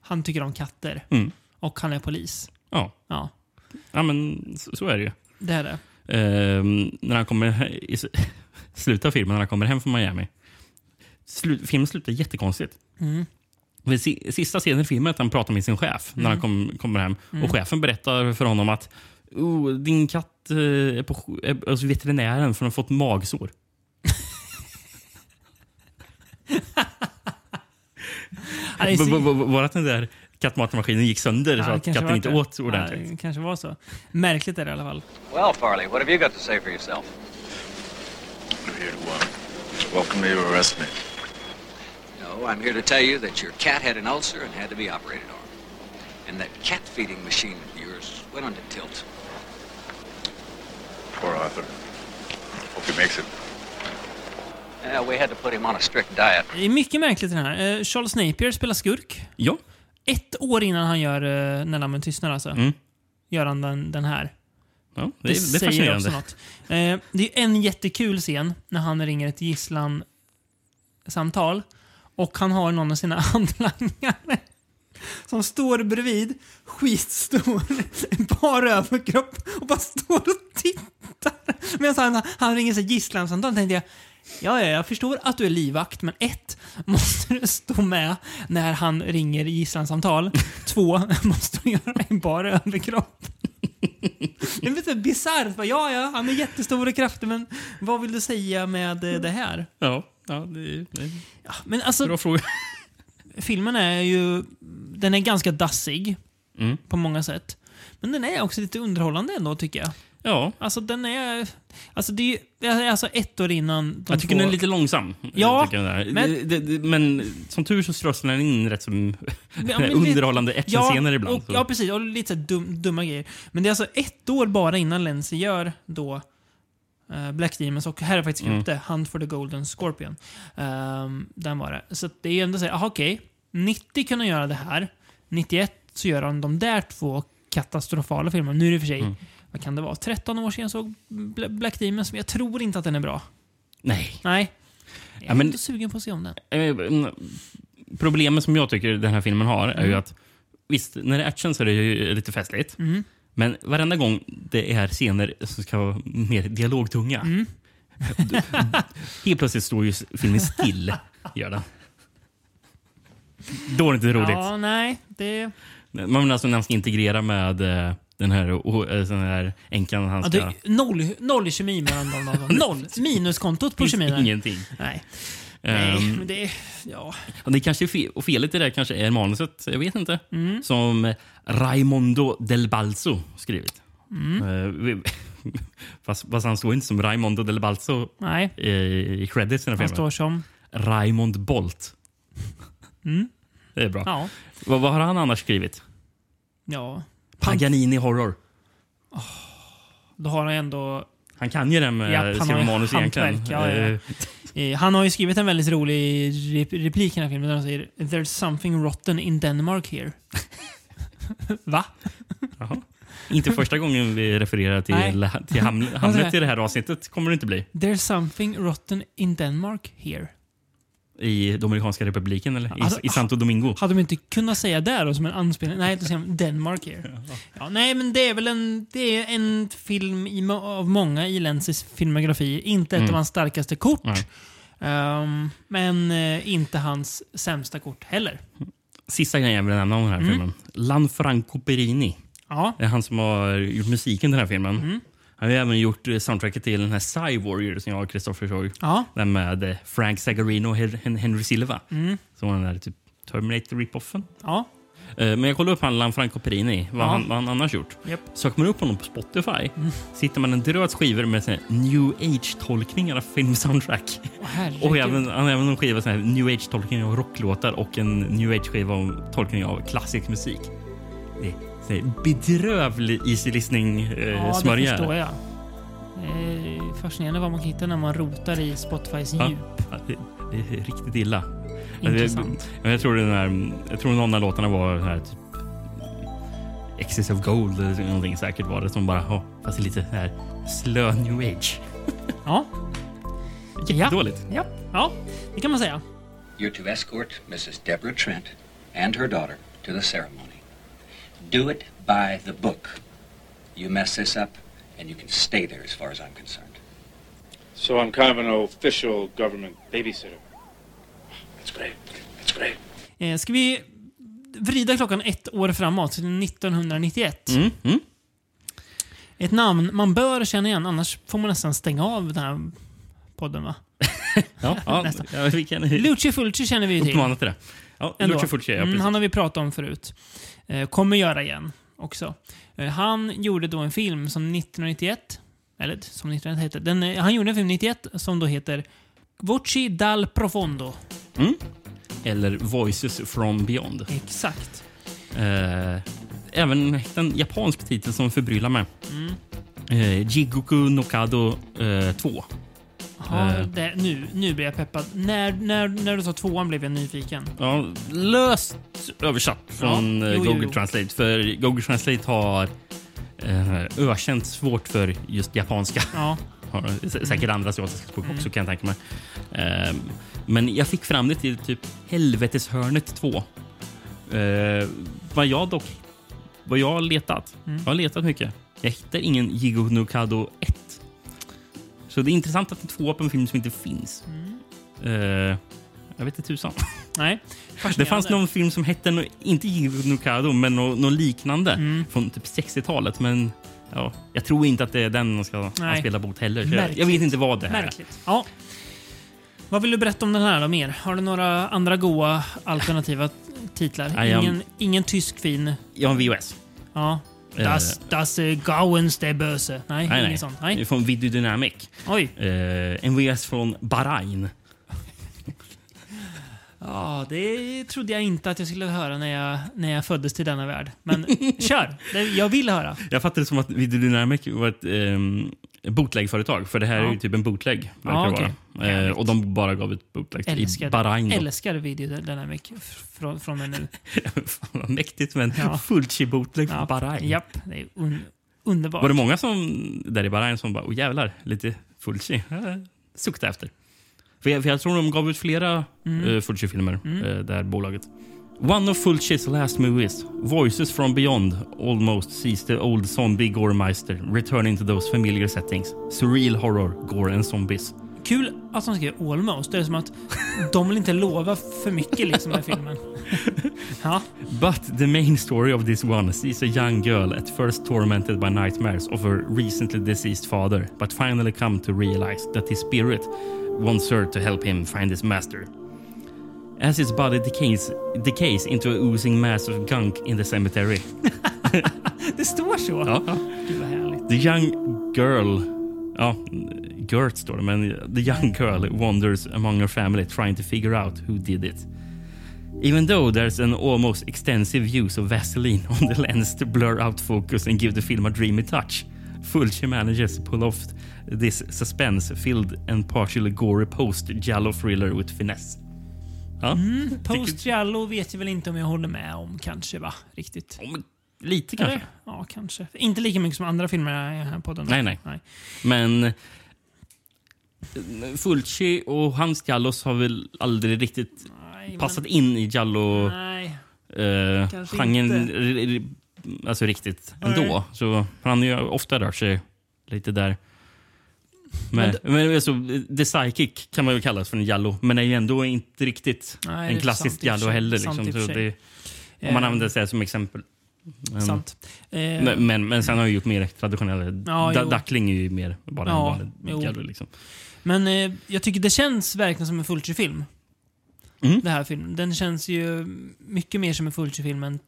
Speaker 1: han tycker om katter.
Speaker 2: Mm.
Speaker 1: Och han är polis.
Speaker 2: Ja,
Speaker 1: Ja,
Speaker 2: ja men så, så är det ju.
Speaker 1: det är det.
Speaker 2: Ehm, när han kommer he- i s- slutet av filmen, när han kommer hem från Miami. Slu, filmen slutar jättekonstigt.
Speaker 1: Mm.
Speaker 2: Vid si- Sista scenen i filmen är att han pratar med sin chef när
Speaker 1: Mm.
Speaker 2: han kom, kommer hem. Och Chefen berättar för honom att oh, din katt eh, är på sj- är hos veterinären för den har fått magsår.
Speaker 1: Ja, det är så-
Speaker 2: V- v- v- Var att den där kattmatarmaskinen gick sönder
Speaker 1: Ja,
Speaker 2: så
Speaker 1: det
Speaker 2: att
Speaker 1: kanske
Speaker 2: katten
Speaker 1: var
Speaker 2: inte
Speaker 1: det.
Speaker 2: åt ordentligt?
Speaker 1: Ja, det kanske var så. Märkligt är det i alla fall.
Speaker 4: Well, Farley, what have you got to say for yourself?
Speaker 5: I'm here to uh, welcome you to arrest me.
Speaker 4: No, I'm here to tell you that your cat had an ulcer and had to be operated on. And that cat feeding machine of yours went on to tilt.
Speaker 5: Poor Arthur. Hope he makes it.
Speaker 4: Uh, we had to put him on a strict diet.
Speaker 1: Det är mycket märkligt i den här. Eh, Charles Napier spelar skurk.
Speaker 2: Ja.
Speaker 1: Ett år innan han gör eh, När lammen tystnar alltså.
Speaker 2: Mm.
Speaker 1: Gör han den, den här.
Speaker 2: ja, det,
Speaker 1: Det,
Speaker 2: är- det är
Speaker 1: säger
Speaker 2: fascinerande.
Speaker 1: också något. Eh, det är en jättekul scen när han ringer ett gisslan-samtal och han har någon av sina hantlangare som står bredvid, skitstor, bara överkropp och bara står och tittar. Medan han, han ringer sig gisslan-samtal tänkte jag Ja, ja, jag förstår att du är livvakt, men ett, måste du stå med när han ringer gisslansamtal. Två, måste du göra en bara överkropp. Det är lite bisarrt. Bara, Ja, ja, han är jättestor och kraftig, men vad vill du säga med eh, det här?
Speaker 2: Ja, ja, det är det är en
Speaker 1: Ja, men alltså,
Speaker 2: bra fråga.
Speaker 1: filmen är ju... Den är ganska dassig
Speaker 2: Mm.
Speaker 1: på många sätt. Men den är också lite underhållande ändå, tycker jag.
Speaker 2: Ja,
Speaker 1: Alltså, den är... Alltså, det är, ju- det är alltså ett år innan de
Speaker 2: jag tycker
Speaker 1: två...
Speaker 2: den är lite långsam.
Speaker 1: Ja,
Speaker 2: tycker jag den
Speaker 1: men-
Speaker 2: men, det, det, men som tur så strösslar den in rätt som
Speaker 1: men det-
Speaker 2: underhållande actionscener ibland.
Speaker 1: Och,
Speaker 2: så.
Speaker 1: ja, precis. Och lite så här dum, dumma grejer. Men det är alltså ett år bara innan Lenzi gör då eh, Black Demons och här är faktiskt mm. det, Hunt for the Golden Scorpion. Um, den var det. Så att det är ändå så här, aha, okej. 90 kunde göra det här. 91 så gör han de där två katastrofala filmerna. Nu är det i och för
Speaker 2: Mm.
Speaker 1: sig, vad kan det vara, 13 år sedan jag såg Bla- Black Demons, men jag tror inte att den är bra.
Speaker 2: Nej.
Speaker 1: Nej. Jag är
Speaker 2: Ja, men-
Speaker 1: inte sugen på att se om den.
Speaker 2: Eh, mm, Problemet som jag tycker den här filmen har är ju
Speaker 1: Mm.
Speaker 2: att visst, när det är action så är det ju lite festligt.
Speaker 1: Mm.
Speaker 2: Men varenda gång det är scener som ska vara mer dialogtunga.
Speaker 1: Mm.
Speaker 2: Helt plötsligt står ju filmen still. Gör den. Då är det inte roligt.
Speaker 1: Ja, nej. Det...
Speaker 2: Man vill alltså nästan integrera med eh, den här, oh, eh, den här änkan han
Speaker 1: Ja,
Speaker 2: ska...
Speaker 1: det, noll, noll i kemi mellan dem. någon gång. Noll! Minuskontot på
Speaker 2: finns
Speaker 1: kemin. här.
Speaker 2: ingenting.
Speaker 1: Nej. Nej,
Speaker 2: Ehm,
Speaker 1: men det... Ja.
Speaker 2: och det kanske är fe- och felet i det här kanske är manuset, jag vet inte.
Speaker 1: Mm.
Speaker 2: Som Raimondo del Balzo skrivit. Mm. fast, fast han står inte som Raimondo del Balzo
Speaker 1: Nej.
Speaker 2: i, i credits i den här
Speaker 1: Han står
Speaker 2: filmen.
Speaker 1: som...
Speaker 2: Raimond Bolt. Det är bra.
Speaker 1: Mm. Ja.
Speaker 2: Vad, vad har han annars skrivit?
Speaker 1: Ja.
Speaker 2: Paganini Horror.
Speaker 1: Då har han ändå...
Speaker 2: Han kan ju det här
Speaker 1: Japp,
Speaker 2: med
Speaker 1: han
Speaker 2: ja,
Speaker 1: har
Speaker 2: sina
Speaker 1: ju
Speaker 2: manus egentligen.
Speaker 1: hantverk, ja, ja.
Speaker 2: Eh,
Speaker 1: Eh, han har ju skrivit en väldigt rolig rep- replik i den här filmen där han säger “There's something rotten in Denmark here”. Va?
Speaker 2: Jaha. Inte första gången vi refererar
Speaker 1: Nej.
Speaker 2: till, till Ham- Hamlet i det här avsnittet kommer det inte bli.
Speaker 1: “There's something rotten in Denmark here”.
Speaker 2: I Dominikanska republiken eller i,
Speaker 1: Alltså,
Speaker 2: i Santo Domingo.
Speaker 1: Hade de inte kunnat säga det då som en anspelning? Nej, då säger de “Denmark here”. Ja, nej, men det är väl en, det är en film i, må- av många i Lenzis filmografi. Inte ett av hans starkaste kort.
Speaker 2: Mm. Nej.
Speaker 1: Ehm, men eh, inte hans sämsta kort heller.
Speaker 2: Sista grejen jag vill nämna om den här filmen. Lanfranco Perini.
Speaker 1: Ja,
Speaker 2: Det är han som har gjort musiken till den här filmen. Han har ju även gjort eh, soundtracket till den här Psy Warrior som jag och Kristoffer såg.
Speaker 1: ja.
Speaker 2: Den med eh, Frank Zagarino och Hen- Hen- Henry Silva. Som var den där typ Terminator rip-offen.
Speaker 1: ja.
Speaker 2: Eh, Men jag kollade upp han Lanfranco Perini, vad, han, vad han annars gjort.
Speaker 1: Japp.
Speaker 2: Söker man upp honom på Spotify sitter man en drös skivor med såna här new age-tolkningar av filmsoundtrack.
Speaker 1: Åh, herregud.
Speaker 2: Och även, eh, han har även en skiva sån här new age-tolkning av rocklåtar och en new age-skiva om tolkning av klassisk musik. Det är sån här bedrövlig eh, easy
Speaker 1: ja, det
Speaker 2: listening-smörja.
Speaker 1: förstår jag. Det är fascinerande vad man kan hitta när man rotar i Spotifys djup.
Speaker 2: det, det är riktigt illa.
Speaker 1: Intressant.
Speaker 2: Jag, jag, tror den här, jag tror någon av låtarna var den här typ Excess of Gold eller någonting säkert var det som bara, ja, fast det är lite här slö new age.
Speaker 1: Ja.
Speaker 2: Jättedåligt.
Speaker 1: Ja. ja, det kan man säga.
Speaker 4: You're to escort Mrs. Deborah Trent and her daughter to the ceremony. Do it by the book. You mess this up, and you can stay there as far as I'm concerned.
Speaker 6: So I'm kind of an official government babysitter. That's great. That's great.
Speaker 1: Eh, ska vi vrida klockan ett år framåt, till 1991?
Speaker 2: Mm, mm.
Speaker 1: Ett namn man bör känna igen, annars får man nästan stänga av den här podden va?
Speaker 2: Ja, ja,
Speaker 1: Nästan.
Speaker 2: ja, vi kan
Speaker 1: Lucio Fulci känner vi ju till.
Speaker 2: uppmana till det. Ja,
Speaker 1: Ändå.
Speaker 2: Lucio Fulci, ja,
Speaker 1: Mm,
Speaker 2: precis.
Speaker 1: han har vi pratat om förut. Eh, kommer göra igen också. Eh, han gjorde då en film som 1991, eller som 1991 hette, den, eh, han gjorde en film 91 som då heter Voci dal profondo.
Speaker 2: Eller Voices from Beyond.
Speaker 1: Exakt.
Speaker 2: Eh, även en japansk titel som förbryllar mig.
Speaker 1: Mm.
Speaker 2: Eh, Jigoku no Kado eh, 2.
Speaker 1: Jaha,
Speaker 2: Eh.
Speaker 1: det, nu, nu blir jag peppad. När, när, när du sa tvåan blev jag nyfiken.
Speaker 2: Ja, löst översatt från
Speaker 1: Ja,
Speaker 2: eh,
Speaker 1: jo, jo,
Speaker 2: Google
Speaker 1: jo.
Speaker 2: Translate. För Google Translate har eh, ökänt svårt för just japanska.
Speaker 1: Ja,
Speaker 2: Har s- Säkert andra asiatiska språk också kan jag tänka mig. Ehm, men jag fick fram det till typ Helveteshörnet 2. Eh, vad jag dock... Vad jag har letat. Jag har letat mycket. Jag hittar ingen Jigo no Kado 1. Så det är intressant att det är två på en film som inte finns. Eh, jag vet inte tusan.
Speaker 1: nej.
Speaker 2: Det fanns någon film som hette, nå- inte Jigo no Kado, men nå- något liknande
Speaker 1: Mm.
Speaker 2: från typ 60-talet. Men ja, jag tror inte att det är den man ska
Speaker 1: Nej.
Speaker 2: spela mot heller. Så jag,
Speaker 1: Märkligt.
Speaker 2: jag vet inte vad det här är.
Speaker 1: Märkligt. Ja. Vad vill du berätta om den här då mer? Har du några andra goa alternativa titlar?
Speaker 2: I am-
Speaker 1: Ingen, ingen tysk fin?
Speaker 2: Jag har en VHS.
Speaker 1: Ja.
Speaker 2: Eh.
Speaker 1: Das, das eh, Gauens der Böse. Nej,
Speaker 2: Nej,
Speaker 1: ingen
Speaker 2: nej.
Speaker 1: sån.
Speaker 2: Det är
Speaker 1: Nej.
Speaker 2: Från Video Dynamic.
Speaker 1: Oj.
Speaker 2: Eh, en VHS från Bahrain.
Speaker 1: Ja, det trodde jag inte att jag skulle höra när jag, när jag föddes till denna värld. Men kör! Det, jag vill höra.
Speaker 2: Jag fattar det som att Video Dynamic var ett ehm, bootlegföretag. För det här är ju typ en bootleg. verkar
Speaker 1: Ja,
Speaker 2: det
Speaker 1: okej.
Speaker 2: vara. Eh, och de bara gav ut bootlegs i
Speaker 1: Älskar,
Speaker 2: Bahrain. då.
Speaker 1: älskar video dynamic f- från, från och med nu.
Speaker 2: Fan vad mäktigt men
Speaker 1: Ja.
Speaker 2: fullt i bootleg från
Speaker 1: Ja.
Speaker 2: Bahrain.
Speaker 1: Japp, det är un, underbart.
Speaker 2: Var det många som där i Bahrain som bara oh, jävlar, lite Fulci. Eh, Sukta efter. För jag, för jag tror de gav ut flera eh, Fulci-filmer, eh, det här bolaget. One of Fulcis last movies, Voices from beyond, almost sees the old zombie goremeister returning to those familiar settings. Surreal horror, gore and zombies.
Speaker 1: Kul att de skrev almost. Det är som att de vill inte lova för mycket liksom med filmen. Ja,
Speaker 2: But the main story of this one sees a young girl at first tormented by nightmares of her recently deceased father, but finally come to realize that his spirit wants her to help him find his master. As his body decays, decays into a oozing mass of gunk in the cemetery,
Speaker 1: det står så. Gud vad härligt.
Speaker 2: the young girl, ja, Gert står det, men the young girl wanders among her family trying to figure out who did it. Even though there's an almost extensive use of Vaseline on the lens to blur out focus and give the film a dreamy touch, Fulci manages to pull off this suspense-filled and partially gory post-giallo thriller with finesse. Ja,
Speaker 1: Post Giallo vet jag väl inte om jag håller med om kanske va? Riktigt.
Speaker 2: lite kanske.
Speaker 1: Eller? Ja, kanske. Inte lika mycket som andra filmer i den här podden.
Speaker 2: Nej, nej.
Speaker 1: nej.
Speaker 2: Men Fulci och hans Jallos har väl aldrig riktigt
Speaker 1: Nej, men-
Speaker 2: passat in i eh, Jallo-genren
Speaker 1: Nej. kanske inte.
Speaker 2: alltså riktigt ändå. Så han har ju ofta rört sig lite där. Men, men, alltså, The Psychic kan man ju kalla det för en Jallo, men är ju ändå inte riktigt
Speaker 1: Nej, det är
Speaker 2: en klassisk
Speaker 1: sant i och för
Speaker 2: Jallo
Speaker 1: sig.
Speaker 2: heller.
Speaker 1: Sant i
Speaker 2: Liksom.
Speaker 1: och för
Speaker 2: Så
Speaker 1: sig.
Speaker 2: det, om man
Speaker 1: Eh,
Speaker 2: använder sig som exempel. Men-
Speaker 1: Sant. Eh,
Speaker 2: men, men, men sen har jag gjort mer traditionella...
Speaker 1: Ja,
Speaker 2: da,
Speaker 1: jo.
Speaker 2: Duckling är ju mer bara
Speaker 1: Ja,
Speaker 2: en
Speaker 1: jo.
Speaker 2: vanlig gallo. Liksom.
Speaker 1: Men eh, jag tycker det känns verkligen som en Fulci-film.
Speaker 2: Mm.
Speaker 1: Den här filmen. Den känns ju mycket mer som en Fulci-film än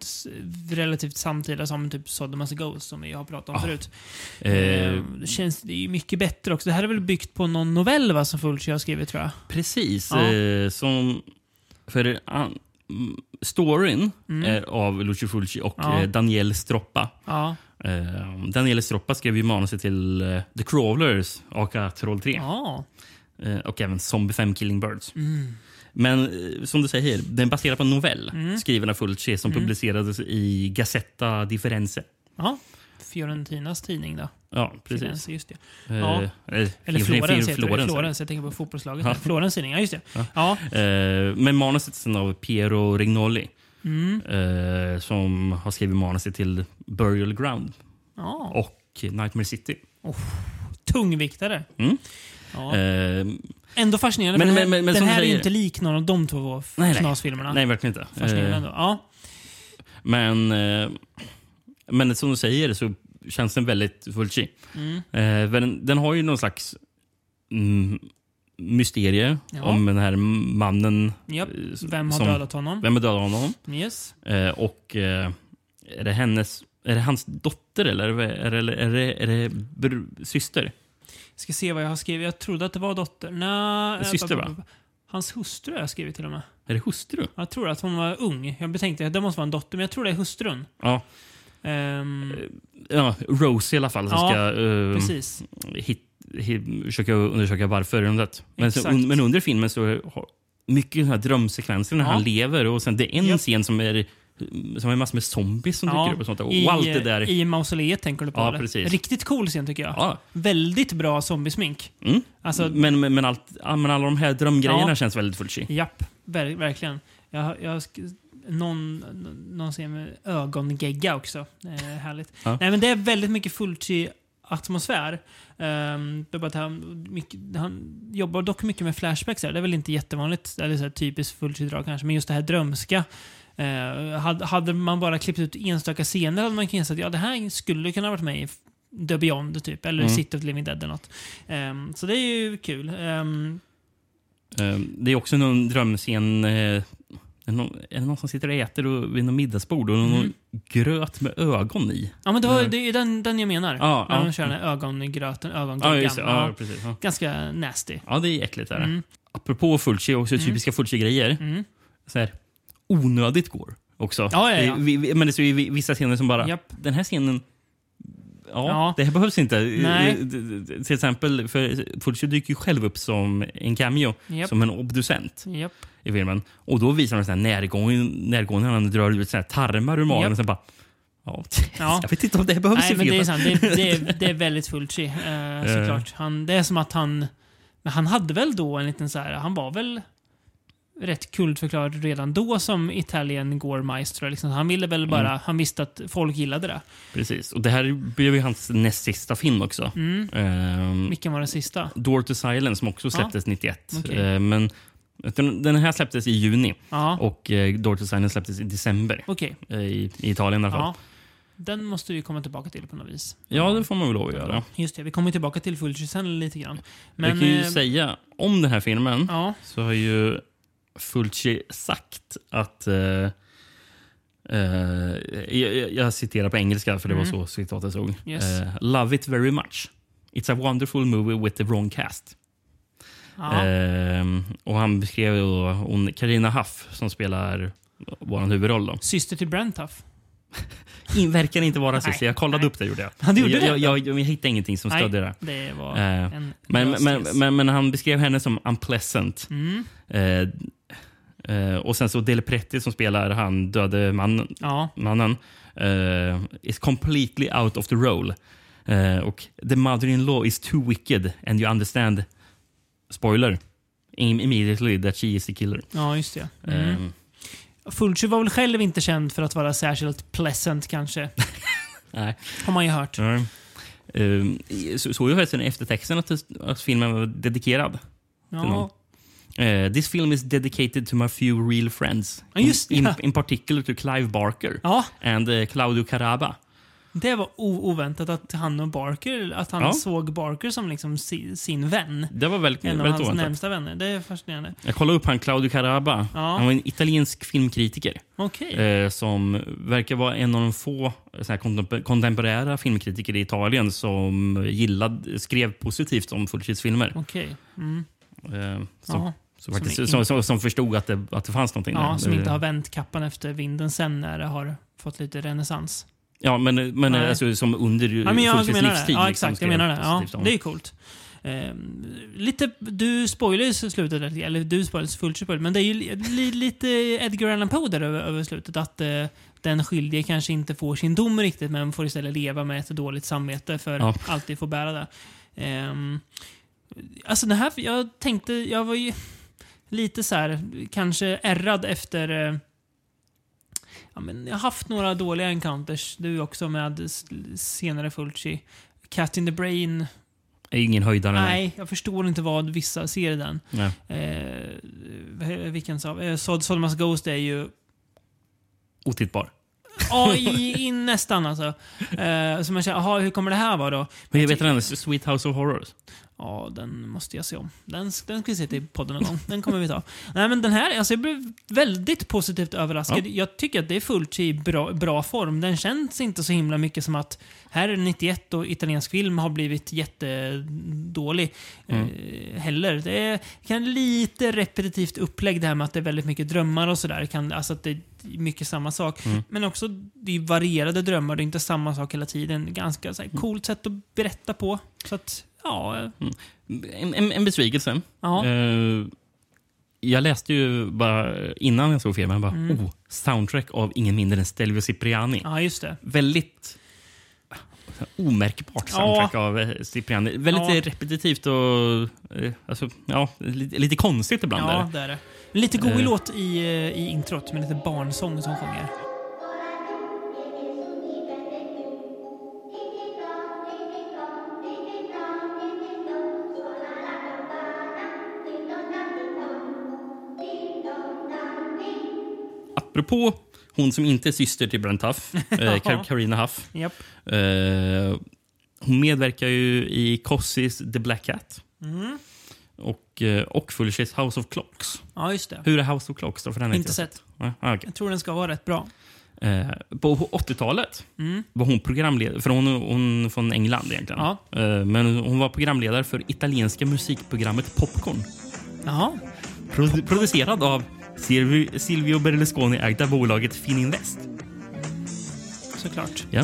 Speaker 1: s- relativt samtida som typ Sodom as a Ghost som vi har pratat om förut.
Speaker 2: Eh,
Speaker 1: Eh, det känns det är ju mycket bättre också. Det här är väl byggt på någon novell va, som Fulci har skrivit tror jag.
Speaker 2: precis.
Speaker 1: Ja.
Speaker 2: Eh, som för an, mm, storyn är av Lucio Fulci och
Speaker 1: Mm. Ja.
Speaker 2: eh, Daniel Stroppa.
Speaker 1: Ja.
Speaker 2: Eh, Daniel Stroppa skrev ju manuset till eh, The Crawlers, aka Troll 3.
Speaker 1: Ja. Mm.
Speaker 2: Eh, och även Zombie 5 Killing Birds. Men eh, som du säger, den är baserad på en novell
Speaker 1: Mm.
Speaker 2: skriven av Fulci som publicerades i Gazzetta Differenze.
Speaker 1: Ja, Fiorentinas tidning då.
Speaker 2: Ja, precis.
Speaker 1: Firenze, Just det.
Speaker 2: Eh,
Speaker 1: Ja.
Speaker 2: eh,
Speaker 1: Eller
Speaker 2: Fir- Fir-
Speaker 1: Florens heter det.
Speaker 2: Florens.
Speaker 1: Florens, jag tänker på fotbollslaget. Florens tidning, ja just det. Ja,
Speaker 2: Eh, Men manuset är sen av Piero Rignoli
Speaker 1: Mm.
Speaker 2: eh, som har skrivit manuset till Burial Ground
Speaker 1: ja.
Speaker 2: och Nightmare City.
Speaker 1: tungviktare.
Speaker 2: Mm.
Speaker 1: Ja.
Speaker 2: Eh,
Speaker 1: Ändå fascinerande.
Speaker 2: Men-
Speaker 1: Men,
Speaker 2: men- men- men
Speaker 1: den
Speaker 2: som
Speaker 1: här
Speaker 2: du
Speaker 1: är ju
Speaker 2: säger-
Speaker 1: inte lik någon av de två f-
Speaker 2: Nej, nej.
Speaker 1: knasfilmerna.
Speaker 2: nej, verkligen inte.
Speaker 1: Fascinerande
Speaker 2: Eh,
Speaker 1: ändå. Ja.
Speaker 2: Men, eh, men som du säger så känns den väldigt Fulci.
Speaker 1: Mm.
Speaker 2: Eh, men den, den har ju någon slags mm, mysterie
Speaker 1: Ja.
Speaker 2: om den här mannen.
Speaker 1: Japp.
Speaker 2: eh, s-
Speaker 1: Vem har
Speaker 2: som-
Speaker 1: dödat honom?
Speaker 2: Vem har dödat honom?
Speaker 1: Yes.
Speaker 2: Eh, och eh, är det hennes... Är det hans dotter eller är det, är det, är det, är det br- syster?
Speaker 1: Ska se vad jag har skrivit. Jag trodde att det var dotter. Nej,
Speaker 2: Syster, va?
Speaker 1: Hans hustru har jag skrivit till och med.
Speaker 2: Är det hustru?
Speaker 1: Jag tror att hon var ung. Jag betänkte att det måste vara en dotter, men jag tror det är hustrun.
Speaker 2: Ja. Eh,
Speaker 1: Ehm,
Speaker 2: ja Rose i alla fall som
Speaker 1: Ja,
Speaker 2: ska eh,
Speaker 1: Precis.
Speaker 2: hit, hit, försöka undersöka varför. hon dött. Men, så,
Speaker 1: Exakt.
Speaker 2: un, men under filmen så har mycket såna här drömsekvenser när
Speaker 1: Ja.
Speaker 2: han lever. Och sen det är en
Speaker 1: Japp.
Speaker 2: scen som är, som är massor med zombies som dyker upp och sånt. där. Och
Speaker 1: i, eh,
Speaker 2: allt det där.
Speaker 1: I mausoleet tänker du på
Speaker 2: Ja,
Speaker 1: eller?
Speaker 2: precis.
Speaker 1: Riktigt cool scen tycker jag.
Speaker 2: Ja.
Speaker 1: Väldigt bra zombiesmink.
Speaker 2: Mm.
Speaker 1: Alltså,
Speaker 2: men, men, men, allt, ja, men alla de här drömgrejerna
Speaker 1: Ja.
Speaker 2: känns väldigt Fulci.
Speaker 1: Japp, ver verkligen. Jag, jag sk- någon, någon ser med ögongegga också. Eh, härligt.
Speaker 2: Ja.
Speaker 1: Nej, men det är väldigt mycket Fulci-atmosfär. Ehm, det är bara att han, mycket, han jobbar dock mycket med flashbacks. Här. Det är väl inte jättevanligt, eller så här typiskt Fulci-drag kanske, men just det här drömska. Eh, hade, hade man bara klippt ut enstaka scener hade man kunnat säga att ja, det här skulle kunna ha varit med i The Beyond, typ, eller
Speaker 2: Mm.
Speaker 1: City of the Living Dead eller något. Ehm, så det är ju kul. Ehm,
Speaker 2: Eh, Det är också någon drömscen. eh, Är det någon, är det någon som sitter och äter och, vid någon middagsbord och
Speaker 1: Mm.
Speaker 2: någon gröt med ögon i?
Speaker 1: Ja, men det, var, det är den, den jag menar.
Speaker 2: Ja,
Speaker 1: När
Speaker 2: ja.
Speaker 1: de kör den här ögongröten,
Speaker 2: Ja,
Speaker 1: ögongeggan.
Speaker 2: just det. Ja, precis. Ja.
Speaker 1: Ganska nasty.
Speaker 2: Ja, det är äckligt. Där.
Speaker 1: Mm.
Speaker 2: Apropå Fulci, också typiska Fulci-grejer.
Speaker 1: Mm.
Speaker 2: Så här, onödigt går också.
Speaker 1: ja, ja.
Speaker 2: Det- vi- vi- Men det är ju vi- vissa scener som bara...
Speaker 1: Japp.
Speaker 2: Den här scenen... Ja,
Speaker 1: Ja.
Speaker 2: det här behövs inte.
Speaker 1: Nej.
Speaker 2: D- d- d- Till exempel, för Fulci dyker ju själv upp som en cameo,
Speaker 1: Japp.
Speaker 2: som en obducent
Speaker 1: Japp.
Speaker 2: i filmen. Och då visar de så här närgången, närgången när han drar ut så här tarmar ur magen
Speaker 1: Japp.
Speaker 2: och sen bara... Ja,
Speaker 1: Ja.
Speaker 2: jag vet inte om det här behövs
Speaker 1: Nej,
Speaker 2: i
Speaker 1: men det är, sant.
Speaker 2: filmen.
Speaker 1: Det, är- det, är- det är väldigt Fulci, eh, såklart. Han, det är som att han... Men han hade väl då en liten så här... Han var väl rätt kultförklarad redan då som Italien Gore Maestro. Liksom. Han ville väl bara...
Speaker 2: Mm.
Speaker 1: Han visste att folk gillade det.
Speaker 2: Precis. Och det här blev ju hans näst sista film också.
Speaker 1: Mm.
Speaker 2: Ehm,
Speaker 1: Vilken var den sista?
Speaker 2: Door to Silence som också släpptes 91.
Speaker 1: Okej.
Speaker 2: Eh, Men den, den här släpptes i juni
Speaker 1: Ja.
Speaker 2: och eh, Door to Silence släpptes i december.
Speaker 1: Okej.
Speaker 2: eh, I, I Italien i alla fall.
Speaker 1: Ja. Den måste vi komma tillbaka till på något vis.
Speaker 2: Ja, det får man väl lov att göra.
Speaker 1: Just det, vi kommer tillbaka till Fulci sen lite grann. Men,
Speaker 2: Jag kan ju
Speaker 1: eh,
Speaker 2: säga om den här filmen
Speaker 1: Ja.
Speaker 2: så har ju Fulci sagt att... Eh, eh, jag, jag citerar på engelska för det var så citatet såg.
Speaker 1: Mm.
Speaker 2: Eh,
Speaker 1: Yes.
Speaker 2: Love it very much. It's a wonderful movie with the wrong cast.
Speaker 1: ja.
Speaker 2: Ehm, och han beskrev ju då hon Carina Huff som spelar vår huvudroll. Då.
Speaker 1: Syster till Brentuff.
Speaker 2: In, verkar inte vara rasist.
Speaker 1: Nej,
Speaker 2: Jag kollade
Speaker 1: nej.
Speaker 2: upp det. gjorde jag.
Speaker 1: Ja, du gjorde
Speaker 2: jag,
Speaker 1: det?
Speaker 2: jag, jag, jag, hittade ingenting som stödde det.
Speaker 1: det var
Speaker 2: Eh,
Speaker 1: en
Speaker 2: Men,
Speaker 1: lös
Speaker 2: men,
Speaker 1: tes.
Speaker 2: men, men han beskrev henne som unpleasant. Eh, eh, och sen så Del Pretti som spelar han döde mannen,
Speaker 1: Ja,
Speaker 2: mannen eh, is completely out of the role. Eh, och the mother-in-law is too wicked and you understand, spoiler, im- immediately that she is the killer.
Speaker 1: ja, just det. Mm.
Speaker 2: Eh,
Speaker 1: Fulci var väl själv inte känd för att vara särskilt pleasant kanske.
Speaker 2: Nej.
Speaker 1: Har man ju hört.
Speaker 2: Mm. Ehm, så- Såg ju förresten i eftertexten att, att filmen var dedikerad.
Speaker 1: Ja.
Speaker 2: någon. Eh, this film is dedicated to my few real friends.
Speaker 1: Ja, just det.
Speaker 2: in, in, in particular to Clive Barker
Speaker 1: ja,
Speaker 2: and eh, Claudio Caraba.
Speaker 1: det var o- oväntat att han och Barker, att han
Speaker 2: Ja.
Speaker 1: såg Barker som liksom si, sin vän.
Speaker 2: Det var väldigt,
Speaker 1: En av
Speaker 2: väldigt
Speaker 1: hans
Speaker 2: oväntat.
Speaker 1: närmsta vänner. Det är fascinerande.
Speaker 2: Jag kollade upp han Claudio Caraba.
Speaker 1: Ja.
Speaker 2: Han var en italiensk filmkritiker
Speaker 1: Okej.
Speaker 2: eh, som verkar vara en av de få eh, så här, kontempor- kontemporära filmkritiker i Italien som gillad, skrev positivt om Fulcis filmer.
Speaker 1: Okej. Mm.
Speaker 2: Eh, som,
Speaker 1: Jaha.
Speaker 2: som, faktiskt,
Speaker 1: Som
Speaker 2: som,
Speaker 1: i-
Speaker 2: som, som, förstod att det, att det fanns någonting
Speaker 1: Ja,
Speaker 2: där.
Speaker 1: som inte
Speaker 2: Eh,
Speaker 1: har vänt kappan efter vinden sen när det har fått lite renässans.
Speaker 2: Ja, men, men
Speaker 1: Nej.
Speaker 2: alltså, som under
Speaker 1: Ja, men jag
Speaker 2: Fulcis
Speaker 1: menar
Speaker 2: livstid.
Speaker 1: det. Ja,
Speaker 2: liksom,
Speaker 1: exakt.
Speaker 2: skrev
Speaker 1: Jag menar det. Ja,
Speaker 2: positivt om.
Speaker 1: det är coolt. Eh, lite, du spoilar ju slutet, där, eller du spoilar fullt spoiler, men det är ju li, li, lite Edgar Allan Poe där över, över slutet. Att eh, den skyldige kanske inte får sin dom riktigt, men får istället leva med ett dåligt samvete för
Speaker 2: Ja.
Speaker 1: allt det får bära det. Ehm, alltså den här, jag tänkte, jag var ju lite så här, kanske ärrad efter eh, Ja, men jag har haft några dåliga encounters, du också med s- senare Fulci. Cat in the Brain.
Speaker 2: Är ingen höjdare.
Speaker 1: Nej, jag förstår inte vad vissa ser i den.
Speaker 2: Nej.
Speaker 1: Eh, vad- vilken sa vi? eh, Sod Sodomas Ghost är ju
Speaker 2: Otittbar.
Speaker 1: ja, i, i, nästan alltså. Eh, så man känner, jaha, hur kommer det här vara då?
Speaker 2: Men jag vet den andra, Sweet House of Horrors.
Speaker 1: Ja, den måste jag se om. Den, s- den ska vi se till podden någon gång. Den kommer vi ta. Nej, men den här, alltså jag blev väldigt positivt överraskad. Jag tycker att det är fullt i bra, bra form. Den känns inte så himla mycket som att här är 91 och italiensk film har blivit jättedålig. Eh, heller. Det är kan lite repetitivt upplägg det här med att det är väldigt mycket drömmar och sådär. Kan- Alltså att det är mycket samma sak. Men också det är varierade drömmar, det är inte samma sak hela tiden. Ganska så här, coolt sätt att berätta på. Så att, ja. eh,
Speaker 2: En, en, en besvikelse.
Speaker 1: Ja.
Speaker 2: Eh, jag läste ju bara innan jag såg filmen, bara, oh, soundtrack av ingen mindre än Stelvio Cipriani.
Speaker 1: Mm. Ja, just det.
Speaker 2: Väldigt ah, omärkbart soundtrack av eh, Cipriani. Väldigt
Speaker 1: Ja.
Speaker 2: eh, repetitivt och eh, alltså, ja, lite, lite konstigt ibland.
Speaker 1: Ja,
Speaker 2: där.
Speaker 1: det är det. Men Lite god
Speaker 2: Eh.
Speaker 1: låt i, eh, i introt med lite barnsång som sjunger.
Speaker 2: Apropå hon som inte är syster till Brent Huff, eh, Kar- Carina Huff.
Speaker 1: Japp.
Speaker 2: Eh, hon medverkar ju i Cossis The Black Cat.
Speaker 1: Mm.
Speaker 2: Och, eh, och Fulchers House of Clocks.
Speaker 1: Ja, just det.
Speaker 2: Hur är House of Clocks då? För den har
Speaker 1: Inte
Speaker 2: jag
Speaker 1: sett.
Speaker 2: Nej, ah, okej.
Speaker 1: Jag tror den ska vara rätt bra.
Speaker 2: Eh, på 80-talet var hon programledare, för hon hon är från England egentligen.
Speaker 1: Mm. Ja.
Speaker 2: Eh, men hon var programledare för italienska musikprogrammet Popcorn.
Speaker 1: Jaha.
Speaker 2: Produ- producerad av Silvi- Silvio Berlusconi ägt av bolaget Fininvest.
Speaker 1: Såklart.
Speaker 2: Ja.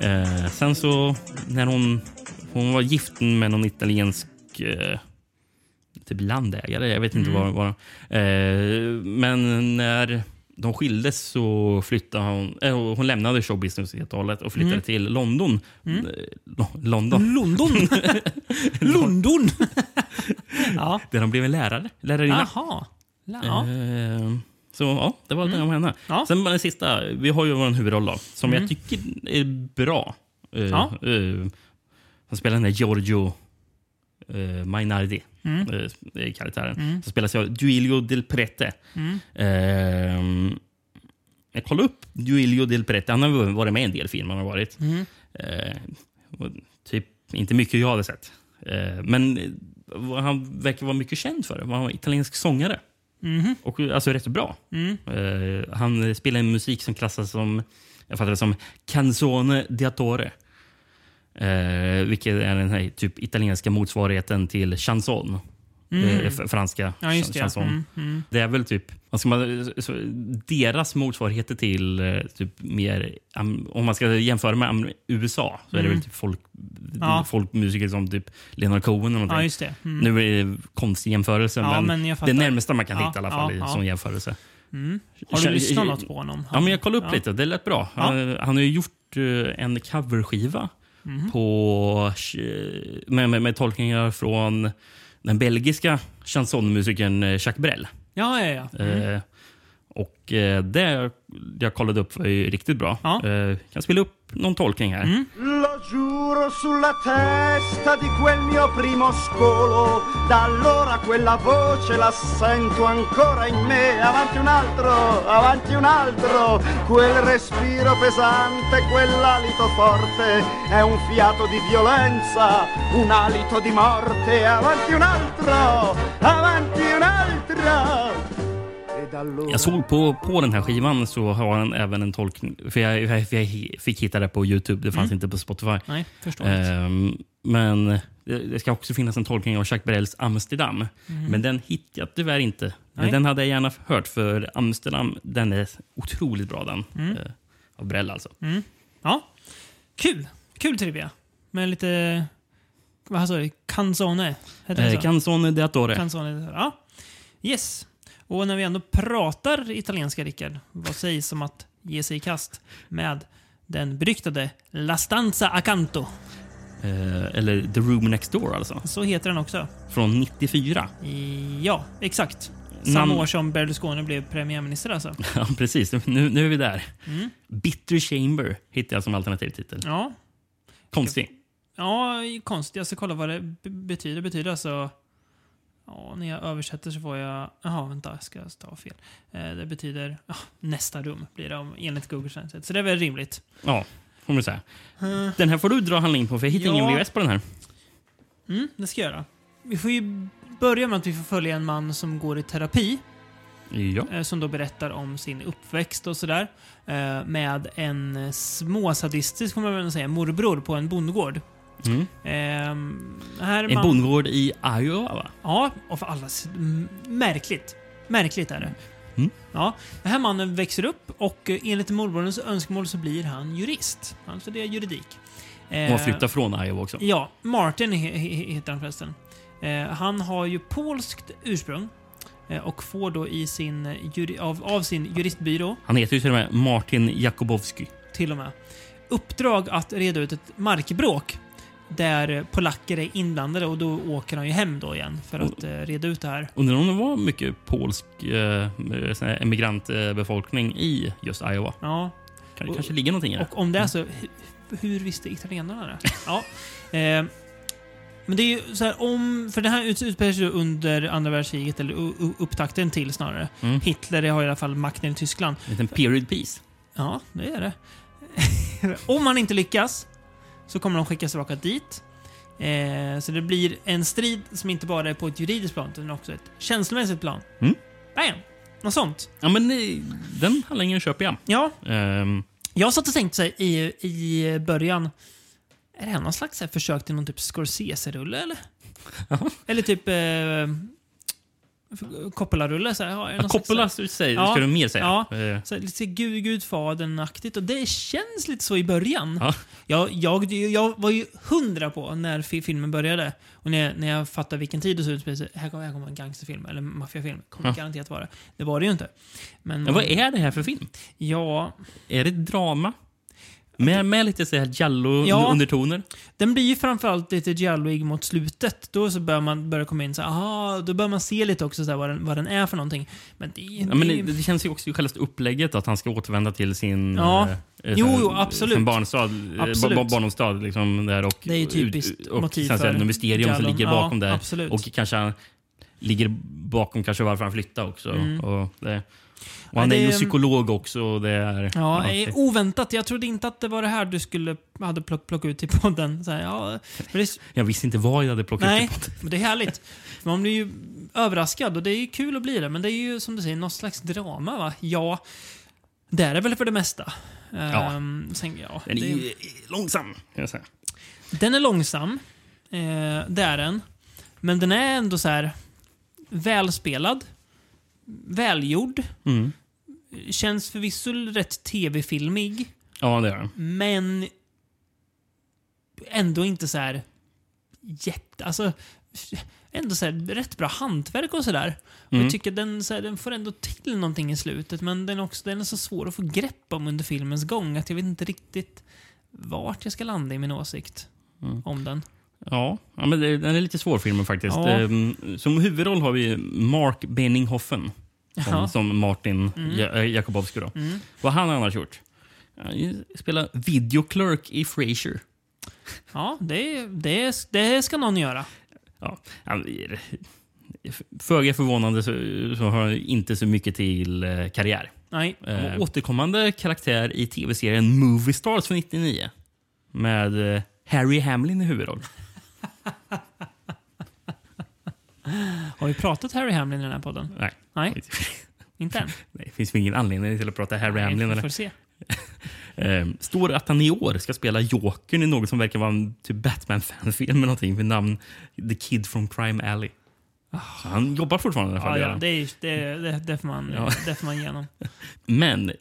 Speaker 2: Eh, sen så när hon, hon var gift med någon italiensk eh, typ landägare, jag vet inte vad vad eh, Men när de skildes så flyttade hon, eh, hon lämnade showbusiness helt och hållet och flyttade till London. Eh, Lo- London.
Speaker 1: London! London! ja.
Speaker 2: Där hon blev en lärare, lärarinna.
Speaker 1: Jaha. La- Ja. Mm.
Speaker 2: Eh, Så ja, det var det om henne.
Speaker 1: Ja. Mm.
Speaker 2: Sen bara den sista. Vi har ju vår huvudroll då, som jag tycker är bra. Eh,
Speaker 1: Ja.
Speaker 2: eh, han spelar den där Giorgio eh, Mainardi.
Speaker 1: Mm.
Speaker 2: eh, det är karaktären. Som spelas av Duilio Del Prete.
Speaker 1: Mm.
Speaker 2: Eh, jag kollade upp Duilio Del Prete. Han har varit med i en del filmer. Han har varit.
Speaker 1: Mm.
Speaker 2: Eh, och typ inte mycket jag hade sett. Eh, men eh, vad han verkar vara mycket känd för. det. Han var italiensk sångare.
Speaker 1: Mhm.
Speaker 2: Och alltså rätt bra.
Speaker 1: Mm.
Speaker 2: Eh, han spelar en musik som klassas som, jag fattar det som, canzone diattore. Eh, vilket är den här typ italienska motsvarigheten till chanson. Eh, f- franska
Speaker 1: Mm. Ja, just det, ja.
Speaker 2: chanson.
Speaker 1: Mm,
Speaker 2: Det är väl typ, vad ska man, så, deras motsvarigheter till eh, typ mer, am- om man ska jämföra med am- USA, så är det väl typ folk,
Speaker 1: Mm. Ja.
Speaker 2: folkmusiker som typ Leonard Cohen och någonting.
Speaker 1: Ja, just det. Mm.
Speaker 2: Nu är det konstig jämförelse,
Speaker 1: Ja,
Speaker 2: men,
Speaker 1: men jag
Speaker 2: det
Speaker 1: fattar.
Speaker 2: närmsta man kan
Speaker 1: Ja,
Speaker 2: hitta i alla fall
Speaker 1: ja,
Speaker 2: i
Speaker 1: ja.
Speaker 2: sån jämförelse.
Speaker 1: Har du
Speaker 2: Kör-
Speaker 1: lyssnat något på honom?
Speaker 2: Eh, Ja, men jag kollade upp
Speaker 1: Ja.
Speaker 2: lite. Det lät bra.
Speaker 1: Ja.
Speaker 2: Han, han har ju gjort eh, en coverskiva
Speaker 1: Mm.
Speaker 2: på, eh, med, med, med tolkningar från den belgiska chansonmusikern eh, Jacques Brel.
Speaker 1: Ja, ja, ja.
Speaker 2: Eh, och eh, det jag kollade upp var ju riktigt bra.
Speaker 1: Ja. Mm.
Speaker 2: Eh, kan spela upp någon tolkning här.
Speaker 7: Lo giuro sulla testa di quel mio primo scolo, da allora quella voce la sento ancora in me, avanti un altro, avanti un altro, quel respiro pesante, quell'alito forte, è un fiato di violenza, un alito di morte, avanti un altro, avanti un altro. Ed allora...
Speaker 2: Jag såg på, på den här skivan så har han även en tolkning. För jag, jag, jag fick hitta det på Youtube, det fanns inte på Spotify.
Speaker 1: Mm. Nej, förstår inte.
Speaker 2: Ehm, men det, det ska också finnas en tolkning av Jacques Brels Amsterdam. Men den hittade jag tyvärr inte.
Speaker 1: Mm. Nej.
Speaker 2: Men den hade jag gärna hört för Amsterdam, den är otroligt bra den.
Speaker 1: Mm.
Speaker 2: Eh, av Brell alltså.
Speaker 1: Ja. Kul. Kul trivia. Med lite vad sa du? Canzone? Heter det
Speaker 2: Eh,
Speaker 1: så?
Speaker 2: Canzone di Attore.
Speaker 1: Canzone. Ja. Yes. Och när vi ändå pratar italienska, Rickard, vad sägs om att ge sig i kast med den beryktade La Stanza Accanto?
Speaker 2: Eh, eller The Room Next Door alltså.
Speaker 1: Så heter den också.
Speaker 2: Från 94.
Speaker 1: Ja, exakt. Samma
Speaker 2: Namn-
Speaker 1: år som Berlusconi blev premiärminister alltså.
Speaker 2: Ja, precis. Nu, nu är vi där. Bitter Chamber hittar jag som alternativ titel.
Speaker 1: Mm. Ja,
Speaker 2: Konstig.
Speaker 1: ja konstigt. Jag ska kolla vad det b- betyder. betyder alltså... Ja, när jag översätter så får jag... Jaha, vänta. Jag ska ta fel. Eh, det betyder... ja, nästa rum blir det om, enligt Google Translate. Så det är väl rimligt.
Speaker 2: Ja, får man säga. Den här får du dra handling på, för jag hittar ingen
Speaker 1: Ja.
Speaker 2: VHS på den här.
Speaker 1: Mm, det ska jag göra. Vi får ju börja med att vi får följa en man som går i terapi.
Speaker 2: Ja.
Speaker 1: eh, som då berättar om sin uppväxt och sådär. eh, Med en eh, småsadistisk, får man väl säga, morbror på en bondgård.
Speaker 2: Mm.
Speaker 1: Ehm, här
Speaker 2: En
Speaker 1: man-
Speaker 2: bondgård i Iowa, va?
Speaker 1: Ja, och för alla... s- m- Märkligt. Märkligt är det.
Speaker 2: Mm.
Speaker 1: Ja, den här mannen växer upp och eh, enligt morbrorens önskemål så blir han jurist. Han studerar juridik.
Speaker 2: Och har
Speaker 1: Eh,
Speaker 2: flyttat från Iowa också.
Speaker 1: Ja, Martin he- he- heter han förresten. Eh, han har ju polskt ursprung eh, och får då i sin, juri- av, av sin juristbyrå,
Speaker 2: Han heter ju till och med Martin Jakubowski.
Speaker 1: till och med, uppdrag att reda ut ett markbråk där polacker är inblandade och då åker han ju hem då igen för att eh, reda ut det här.
Speaker 2: Undrar om det var mycket polsk eh, sån här emigrantbefolkning i just Iowa.
Speaker 1: Ja,
Speaker 2: Kan,
Speaker 1: Och-
Speaker 2: kanske ligger någonting i det.
Speaker 1: Och om det är så, hur, hur visste italienarna det? Ja. Eh, men det är ju så här om... För det här ut- utspelar sig ju under andra världskriget, eller u- u- upptakten till snarare.
Speaker 2: Mm.
Speaker 1: Hitler har i alla fall makten i Tyskland.
Speaker 2: En liten period piece.
Speaker 1: Ja, det är det. om man inte lyckas så kommer de skickas tillbaka dit. Eh, så det blir en strid som inte bara är på ett juridiskt plan utan också ett känslomässigt plan.
Speaker 2: Mm.
Speaker 1: Bam! Något sånt.
Speaker 2: Ja, men eh, den handlingen köper jag.
Speaker 1: Ja,
Speaker 2: Ehm,
Speaker 1: Jag satt och tänkte så här, i, i början, är det här någon slags så här, försök till någon typ Scorsese-rulle eller? eller typ eh, Coppola-rulle? Så här, ja, är det
Speaker 2: Ja,
Speaker 1: någon slags
Speaker 2: Coppola
Speaker 1: så
Speaker 2: säger,
Speaker 1: Ja.
Speaker 2: ska du mer säga.
Speaker 1: Ja.
Speaker 2: Eh,
Speaker 1: här- så här, lite gud, gudfadern-aktigt och det känns lite så i början.
Speaker 2: Ja.
Speaker 1: Jag, jag, jag var ju hundra på när fi- filmen började och när, jag- när jag fattade vilken tid det såg ut så här, här kommer här kommer en gangsterfilm eller maffiafilm. Kommer
Speaker 2: Ja.
Speaker 1: garanterat vara. Det var det ju inte. Men,
Speaker 2: Men vad är det här för film?
Speaker 1: Ja,
Speaker 2: Är det drama? Med, med lite så här
Speaker 1: Ja.
Speaker 2: giallo-undertoner?
Speaker 1: Den blir ju framförallt lite gialloig mot slutet. Då så börjar man börjar komma in så här, aha, då börjar man se lite också så här, vad, den, vad den är för någonting. Men det,
Speaker 2: Ja, men det, det känns ju också i själva upplägget att han ska återvända till sin...
Speaker 1: Ja.
Speaker 2: eh,
Speaker 1: Jo,
Speaker 2: sin-
Speaker 1: jo, absolut.
Speaker 2: Sin barnstad, eh,
Speaker 1: Absolut.
Speaker 2: ba- ba- barndomsstad liksom där och...
Speaker 1: Det är ju typiskt
Speaker 2: ut- och,
Speaker 1: motiv
Speaker 2: sen så är
Speaker 1: för
Speaker 2: det något mysterium som
Speaker 1: giallon.
Speaker 2: ligger
Speaker 1: Ja,
Speaker 2: bakom där.
Speaker 1: absolut.
Speaker 2: Och kanske han ligger bakom kanske varför han flyttade också. Och, det, och han
Speaker 1: Men
Speaker 2: är ju
Speaker 1: Mm. det-
Speaker 2: psykolog också. Och det är,
Speaker 1: Ja, eh,
Speaker 2: det-
Speaker 1: oväntat. Jag trodde inte att det var det här du skulle hade plock, plocka ut till podden. Så här, ja, för det, är-
Speaker 2: jag visste inte vad jag hade plockat
Speaker 1: nej,
Speaker 2: upp.
Speaker 1: men det är härligt. För Man blir ju överraskad och det är ju kul att bli det. Men det är ju som du säger, något slags drama va? Ja, det är det väl för det mesta.
Speaker 2: Ja.
Speaker 1: Ehm, sen, ja,
Speaker 2: Den är
Speaker 1: det-
Speaker 2: ju långsam, kan jag säga.
Speaker 1: Den är långsam. Eh, det är den. Men den är ändå så här välspelad. Välgjord.
Speaker 2: Mm.
Speaker 1: Känns förvisso rätt tv-filmig.
Speaker 2: Ja, det gör den.
Speaker 1: Men ändå inte så här jätte... Alltså, ändå så här rätt bra hantverk och sådär. Och
Speaker 2: Mm.
Speaker 1: Jag tycker den, så här, den får ändå till någonting i slutet men den är, också, den är så svår att få grepp om under filmens gång att jag vet inte riktigt vart jag ska landa i min åsikt
Speaker 2: Mm.
Speaker 1: om den.
Speaker 2: Ja, ja men det, den är lite svår filmen faktiskt.
Speaker 1: Ja.
Speaker 2: Ehm, som huvudroll har vi Mark Benninghoffen. Som,
Speaker 1: Ja.
Speaker 2: som Martin
Speaker 1: Mm.
Speaker 2: ja, Jakobowski då. Vad han annars gjort? Han spelar videoclerk i Frasier.
Speaker 1: Ja, det, det, det ska någon göra.
Speaker 2: Ja, han- Föga förvånande så, så har han inte så mycket till eh, karriär.
Speaker 1: Nej.
Speaker 2: Eh, återkommande karaktär i tv-serien Movie Stars från 99. Med eh, Harry Hamlin i huvudroll.
Speaker 1: Har vi pratat Harry Hamlin i den här podden?
Speaker 2: Nej.
Speaker 1: Nej, inte än.
Speaker 2: Nej, det finns ju ingen anledning till att prata Harry
Speaker 1: Nej,
Speaker 2: Hamlin.
Speaker 1: vi
Speaker 2: Eller?
Speaker 1: får se.
Speaker 2: Eh, står att han i år ska spela Jokern i något som verkar vara en typ Batman-fanfilm eller någonting med namn The Kid from Crime Alley. Så han jobbar fortfarande i alla
Speaker 1: Ah. Ja,
Speaker 2: fall. gör
Speaker 1: ja,
Speaker 2: han.
Speaker 1: det, är- det, det, det, får man,
Speaker 2: Ja.
Speaker 1: det får man igenom.
Speaker 2: Men eh,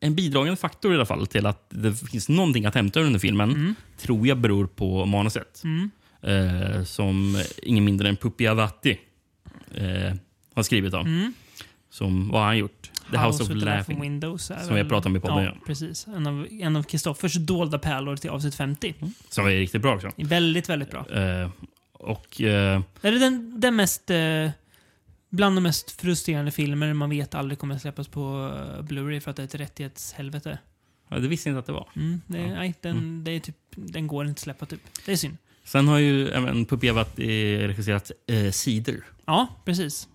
Speaker 2: en bidragande faktor i alla
Speaker 1: Mm.
Speaker 2: fall till att det finns någonting att hämta ur den här filmen tror jag beror på manuset. eh, som ingen mindre än Pupi Avati eh, har skrivit. Då.
Speaker 1: Mm.
Speaker 2: Som, vad har han gjort? The House, of
Speaker 1: Utan
Speaker 2: Laughing.
Speaker 1: från Windows är
Speaker 2: Som
Speaker 1: väl-
Speaker 2: jag pratade om i podden,
Speaker 1: Ja,
Speaker 2: ja.
Speaker 1: precis. En av- En av Kristoffers dolda pärlor till avsnitt 50.
Speaker 2: Som är riktigt bra också.
Speaker 1: Väldigt, väldigt bra.
Speaker 2: Eh, och eh,
Speaker 1: Det är den, den mest... Eh, bland de mest frustrerande filmer man vet aldrig kommer att släppas på eh, Blu-ray för att det är ett rättighetshelvete.
Speaker 2: ja, det visste jag inte att det var.
Speaker 1: Mm, det, nej, den, det är typ, den går inte att släppa typ. Det är synd.
Speaker 2: Sen har ju även Pupi Avati regisserat eh, Cider.
Speaker 1: Ja, precis.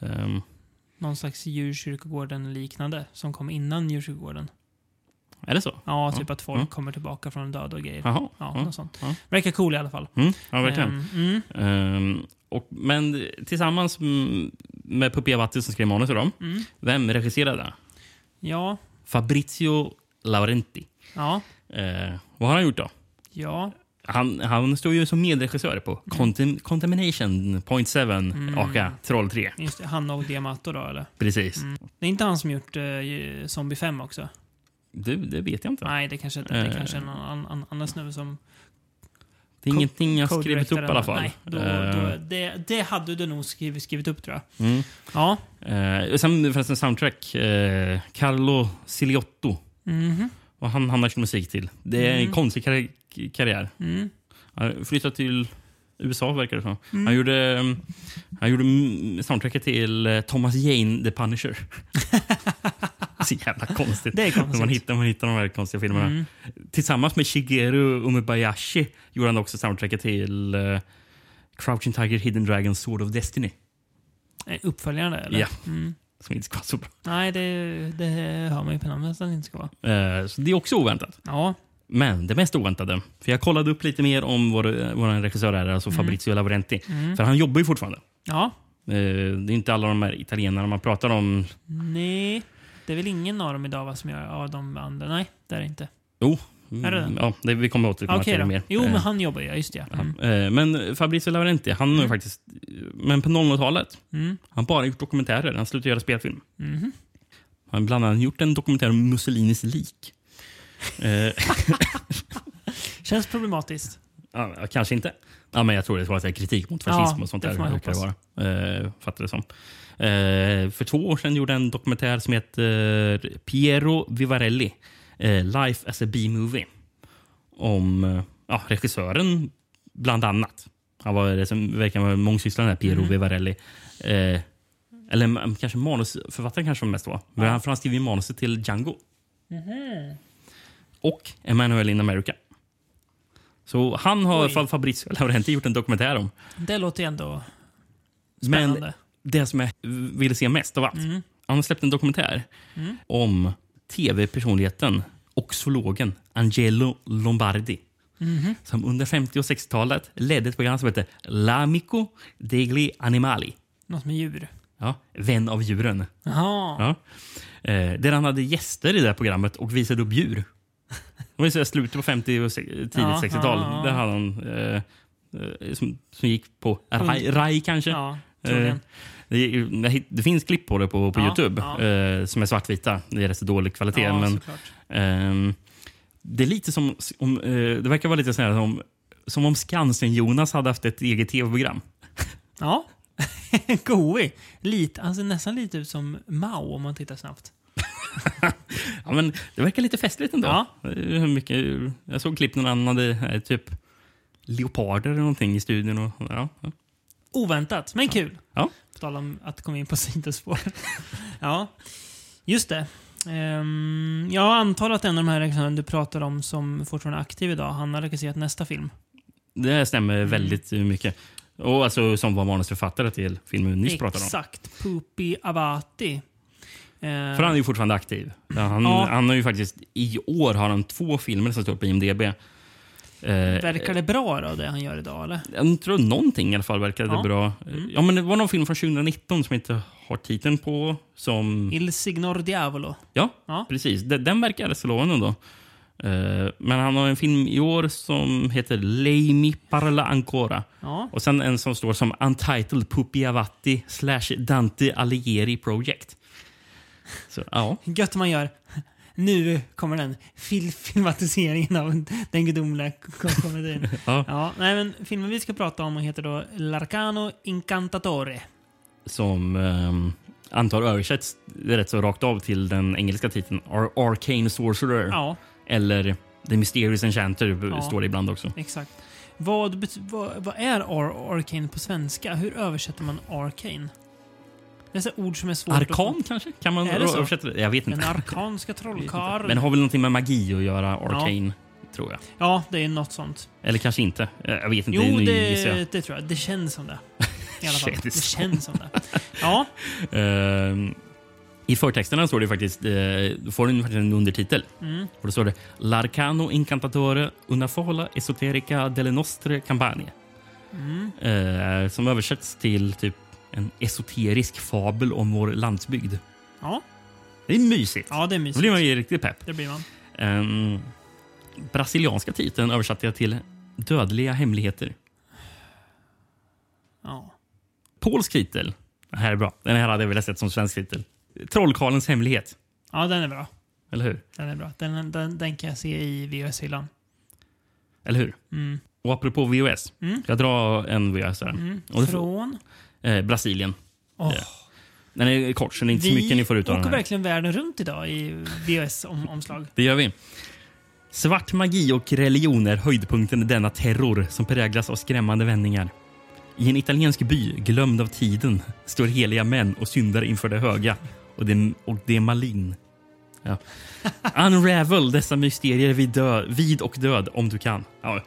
Speaker 2: Ehm,
Speaker 1: Någon slags djurkyrkogården liknande som kom innan djurkyrkogården.
Speaker 2: är det så?
Speaker 1: Ja, typ att folk
Speaker 2: Mm.
Speaker 1: kommer tillbaka från de döda och grejer.
Speaker 2: Jaha.
Speaker 1: Ja,
Speaker 2: Mm.
Speaker 1: något sånt.
Speaker 2: Ja.
Speaker 1: Verkar cool i alla fall.
Speaker 2: Mm, ja, verkligen.
Speaker 1: Ehm, mm.
Speaker 2: Ehm, och, men tillsammans mm, med Pupi Avati som skrev manus till dem, vem regisserade?
Speaker 1: Ja,
Speaker 2: Fabrizio Laurenti.
Speaker 1: ja,
Speaker 2: Eh, vad har han gjort då?
Speaker 1: ja.
Speaker 2: Han, han står ju som medregissör på Contem- Contamination Point 7, aka Troll 3.
Speaker 1: Just det, han och Diamato då eller?
Speaker 2: Precis.
Speaker 1: Det är inte han som gjort eh, Zombie 5 också?
Speaker 2: Du, det vet jag inte.
Speaker 1: Nej, det kanske inte. Det är
Speaker 2: Eh.
Speaker 1: kanske en annan, annan, annan snubbe som...
Speaker 2: det är ingenting jag
Speaker 1: co-directar
Speaker 2: skrivit upp i
Speaker 1: den.
Speaker 2: alla fall.
Speaker 1: Nej, då,
Speaker 2: Eh, Mm.
Speaker 1: då, det, det hade du nog skrivit, skrivit upp tror jag. Ja,
Speaker 2: eh, och sen förresten soundtrack. Eh, Carlo Ciliotto.
Speaker 1: Mhm.
Speaker 2: Vad han hamnar sin musik till. Det är en
Speaker 1: Mm.
Speaker 2: konstig kar karriär. Han flyttade till USA verkar det som. Han gjorde, mm, han gjorde mm, soundtracket till eh, Thomas Jane the Punisher. Så jävla konstigt.
Speaker 1: Det är konstigt. Mm.
Speaker 2: Man hittar, man hittar de här konstiga filmerna. Tillsammans med Shigeru Umebayashi gjorde han också soundtracket till eh, Crouching Tiger, Hidden Dragon, Sword of Destiny.
Speaker 1: Eh, uppföljande eller? Mm.
Speaker 2: Ja. Som inte ska vara så bra.
Speaker 1: Nej, det, det hör man ju på namnet att det inte ska vara.
Speaker 2: Eh, så det är också oväntat.
Speaker 1: Ja,
Speaker 2: Men det mest oväntade, för jag kollade upp lite mer om vår, vår regissör är,
Speaker 1: Mm.
Speaker 2: alltså Fabrizio Laurenti. För han jobbar ju fortfarande.
Speaker 1: ja,
Speaker 2: Eh, Det är inte alla de här italienarna man pratar om.
Speaker 1: nej. Det är väl ingen av dem idag va, som gör av de andra? Nej, det är det inte.
Speaker 2: Jo, mm,
Speaker 1: Är det det?
Speaker 2: ja, det, vi kommer återkomma
Speaker 1: Okej
Speaker 2: till det
Speaker 1: då.
Speaker 2: mer.
Speaker 1: Jo,
Speaker 2: Eh,
Speaker 1: men han jobbar ju. ja, Just det. ja. Mm.
Speaker 2: Eh, Men Fabrizio Laurenti, han har ju faktiskt... Men på 00-talet,
Speaker 1: Mm.
Speaker 2: han bara gjort dokumentärer. Han slutade göra spelfilm.
Speaker 1: Mhm.
Speaker 2: Han har bland annat gjort en dokumentär om Mussolinis lik. Eh,
Speaker 1: Känns problematiskt.
Speaker 2: ja, kanske inte. Ja, men jag tror det var så här kritik mot fascism
Speaker 1: Ja,
Speaker 2: och sånt
Speaker 1: det
Speaker 2: där.
Speaker 1: får man
Speaker 2: verkar det vara. Eh, fattar det som. Eh, för två år sedan gjorde jag en dokumentär som heter eh, Piero Vivarelli. Eh, Life as a B-movie. Om eh, ja, regissören, bland annat. Han var det som verkar vara mångsysslaren, här,
Speaker 1: Mm.
Speaker 2: Piero Vivarelli. Eh, eller mm, kanske manusförfattaren kanske mest var. Men han, för han skrev ju manuset till Django.
Speaker 1: Mhm.
Speaker 2: Och Emmanuel in America. Så han har i alla fall Fabrizio Laurenti gjort en dokumentär om.
Speaker 1: Det låter ju ändå
Speaker 2: Men
Speaker 1: spännande.
Speaker 2: det som jag ville se mest av allt. Han har släppt en dokumentär om tv-personligheten och zoologen Angelo Lombardi. Som under 50 och 60-talet ledde ett program som hette L'amico degli animali.
Speaker 1: Något med djur.
Speaker 2: Ja, vän av djuren.
Speaker 1: Jaha.
Speaker 2: Ja. Eh, där han hade gäster i det här programmet och visade upp djur. Det var ju så här slutet på 50 och se- tidigt
Speaker 1: Ja,
Speaker 2: 60-tal.
Speaker 1: ja, ja.
Speaker 2: Där hade han eh, eh, som, som gick på RAI, RAI kanske.
Speaker 1: Ja,
Speaker 2: Eh,
Speaker 1: troligen.
Speaker 2: det, jag hitt- det finns klipp på det på, på
Speaker 1: Ja,
Speaker 2: Youtube
Speaker 1: ja.
Speaker 2: eh, som är svartvita. Det är rätt så dålig kvalitet.
Speaker 1: Ja,
Speaker 2: men,
Speaker 1: såklart.
Speaker 2: ehm, det är lite som... Om, eh, det verkar vara lite sådär, som, som om Skansen-Jonas hade haft ett eget tv-program.
Speaker 1: Ja. Goe. Lite, han ser nästan lite ut som Mao om man tittar snabbt.
Speaker 2: Ja, men det verkar lite festligt ändå.
Speaker 1: Ja.
Speaker 2: Eh, Mycket, jag såg klipp när han hade eh, typ leoparder eller någonting i studion. Och, ja, ja.
Speaker 1: Oväntat, men kul.
Speaker 2: Ja.
Speaker 1: På tal om att komma in på sidospår. ja, just det. Ehm, jag antar att en av de här regissörerna du pratar om som fortfarande är aktiv idag, han har regisserat nästa film.
Speaker 2: Det här stämmer
Speaker 1: Mm.
Speaker 2: väldigt mycket. Och alltså, som var manusförfattare till filmen vi nyss pratade om.
Speaker 1: Exakt. Pupi Avati. Ehm,
Speaker 2: För han är ju fortfarande aktiv. Han,
Speaker 1: Ja.
Speaker 2: han har ju faktiskt, I år har han två filmer som står på IMDB. Eh,
Speaker 1: Verkar det bra då, det han gör idag? Eller?
Speaker 2: jag tror någonting i alla fall verkade
Speaker 1: Ja. Mm.
Speaker 2: bra. Ja, men det var någon film från 2019 som jag inte har titeln på. Som,
Speaker 1: Il Signor Diavolo.
Speaker 2: ja,
Speaker 1: Ja.
Speaker 2: precis. Den, den verkar rätt så lovande då. Eh, men han har en film i år som heter Lei mi parla ancora.
Speaker 1: Ja.
Speaker 2: Och sen en som står som Untitled Pupi Avati slash Dante Alighieri Project. Så, ja.
Speaker 1: Gött man gör. nu kommer den. Fil filmatiseringen av den gudomliga k- komedin.
Speaker 2: Ja.
Speaker 1: ja, nej, men filmen vi ska prata om heter då L'Arcano Incantatore.
Speaker 2: Som ehm, antar översätts rätt så rakt av till den engelska titeln Ar- Arcane Sorcerer.
Speaker 1: Ja,
Speaker 2: Eller The Mysterious Enchanter b-
Speaker 1: Ja.
Speaker 2: står det ibland också.
Speaker 1: exakt. Vad, bet- vad, vad är Ar- Arcane på svenska? Hur översätter man Arcane? Det är så ord som är svårt att...
Speaker 2: Arkan kanske? Kan man
Speaker 1: Är det så?
Speaker 2: översätta det? Jag vet
Speaker 1: Den
Speaker 2: inte.
Speaker 1: arkanska trollkarlen.
Speaker 2: Men har väl någonting med magi att göra, Arcane, tror jag.
Speaker 1: Ja, det är något sånt.
Speaker 2: Eller kanske inte. Eh, Jag vet inte.
Speaker 1: Jo,
Speaker 2: nu
Speaker 1: det,
Speaker 2: gissar jag.
Speaker 1: det tror jag. Det känns som det. I alla fall.
Speaker 2: Känns
Speaker 1: Det
Speaker 2: som.
Speaker 1: känns som det. Ja,
Speaker 2: Ehm, I förtexterna står det faktiskt, eh, då får den faktiskt en undertitel.
Speaker 1: Mm.
Speaker 2: Och då står det L'Arcano Incantatore Una Fola Esoterica delle Nostre Campanie.
Speaker 1: Mm.
Speaker 2: Eh, som översätts till typ en esoterisk fabel om vår landsbygd.
Speaker 1: ja,
Speaker 2: Det är mysigt.
Speaker 1: ja det är mysigt.
Speaker 2: Då blir man ju riktigt pepp.
Speaker 1: Det blir man.
Speaker 2: Ehm, brasilianska titeln översatte jag till Dödliga hemligheter.
Speaker 1: Ja.
Speaker 2: Polsk titel. Den här är bra. Den här hade jag velat sett som svensk titel. Trollkarlens hemlighet.
Speaker 1: ja, den är bra.
Speaker 2: Eller hur?
Speaker 1: Den är bra. Den, den, den kan jag se i VHS-hyllan.
Speaker 2: Eller hur? Och apropå VOS. Jag drar en VOS här. Och det-
Speaker 1: Från...
Speaker 2: eh, Brasilien.
Speaker 1: Åh,
Speaker 2: Den är kort, så det är inte så mycket ni får ut av
Speaker 1: åker
Speaker 2: den här.
Speaker 1: verkligen världen runt idag i VHS-omslag.
Speaker 2: Det gör vi. Svart magi och religion är höjdpunkten i denna terror som präglas av skrämmande vändningar. I en italiensk by, glömd av tiden, står heliga män och syndar inför det höga. Och det, och det är malin. Ja. Unravel dessa mysterier vid, dö, vid och död om du kan. Ja,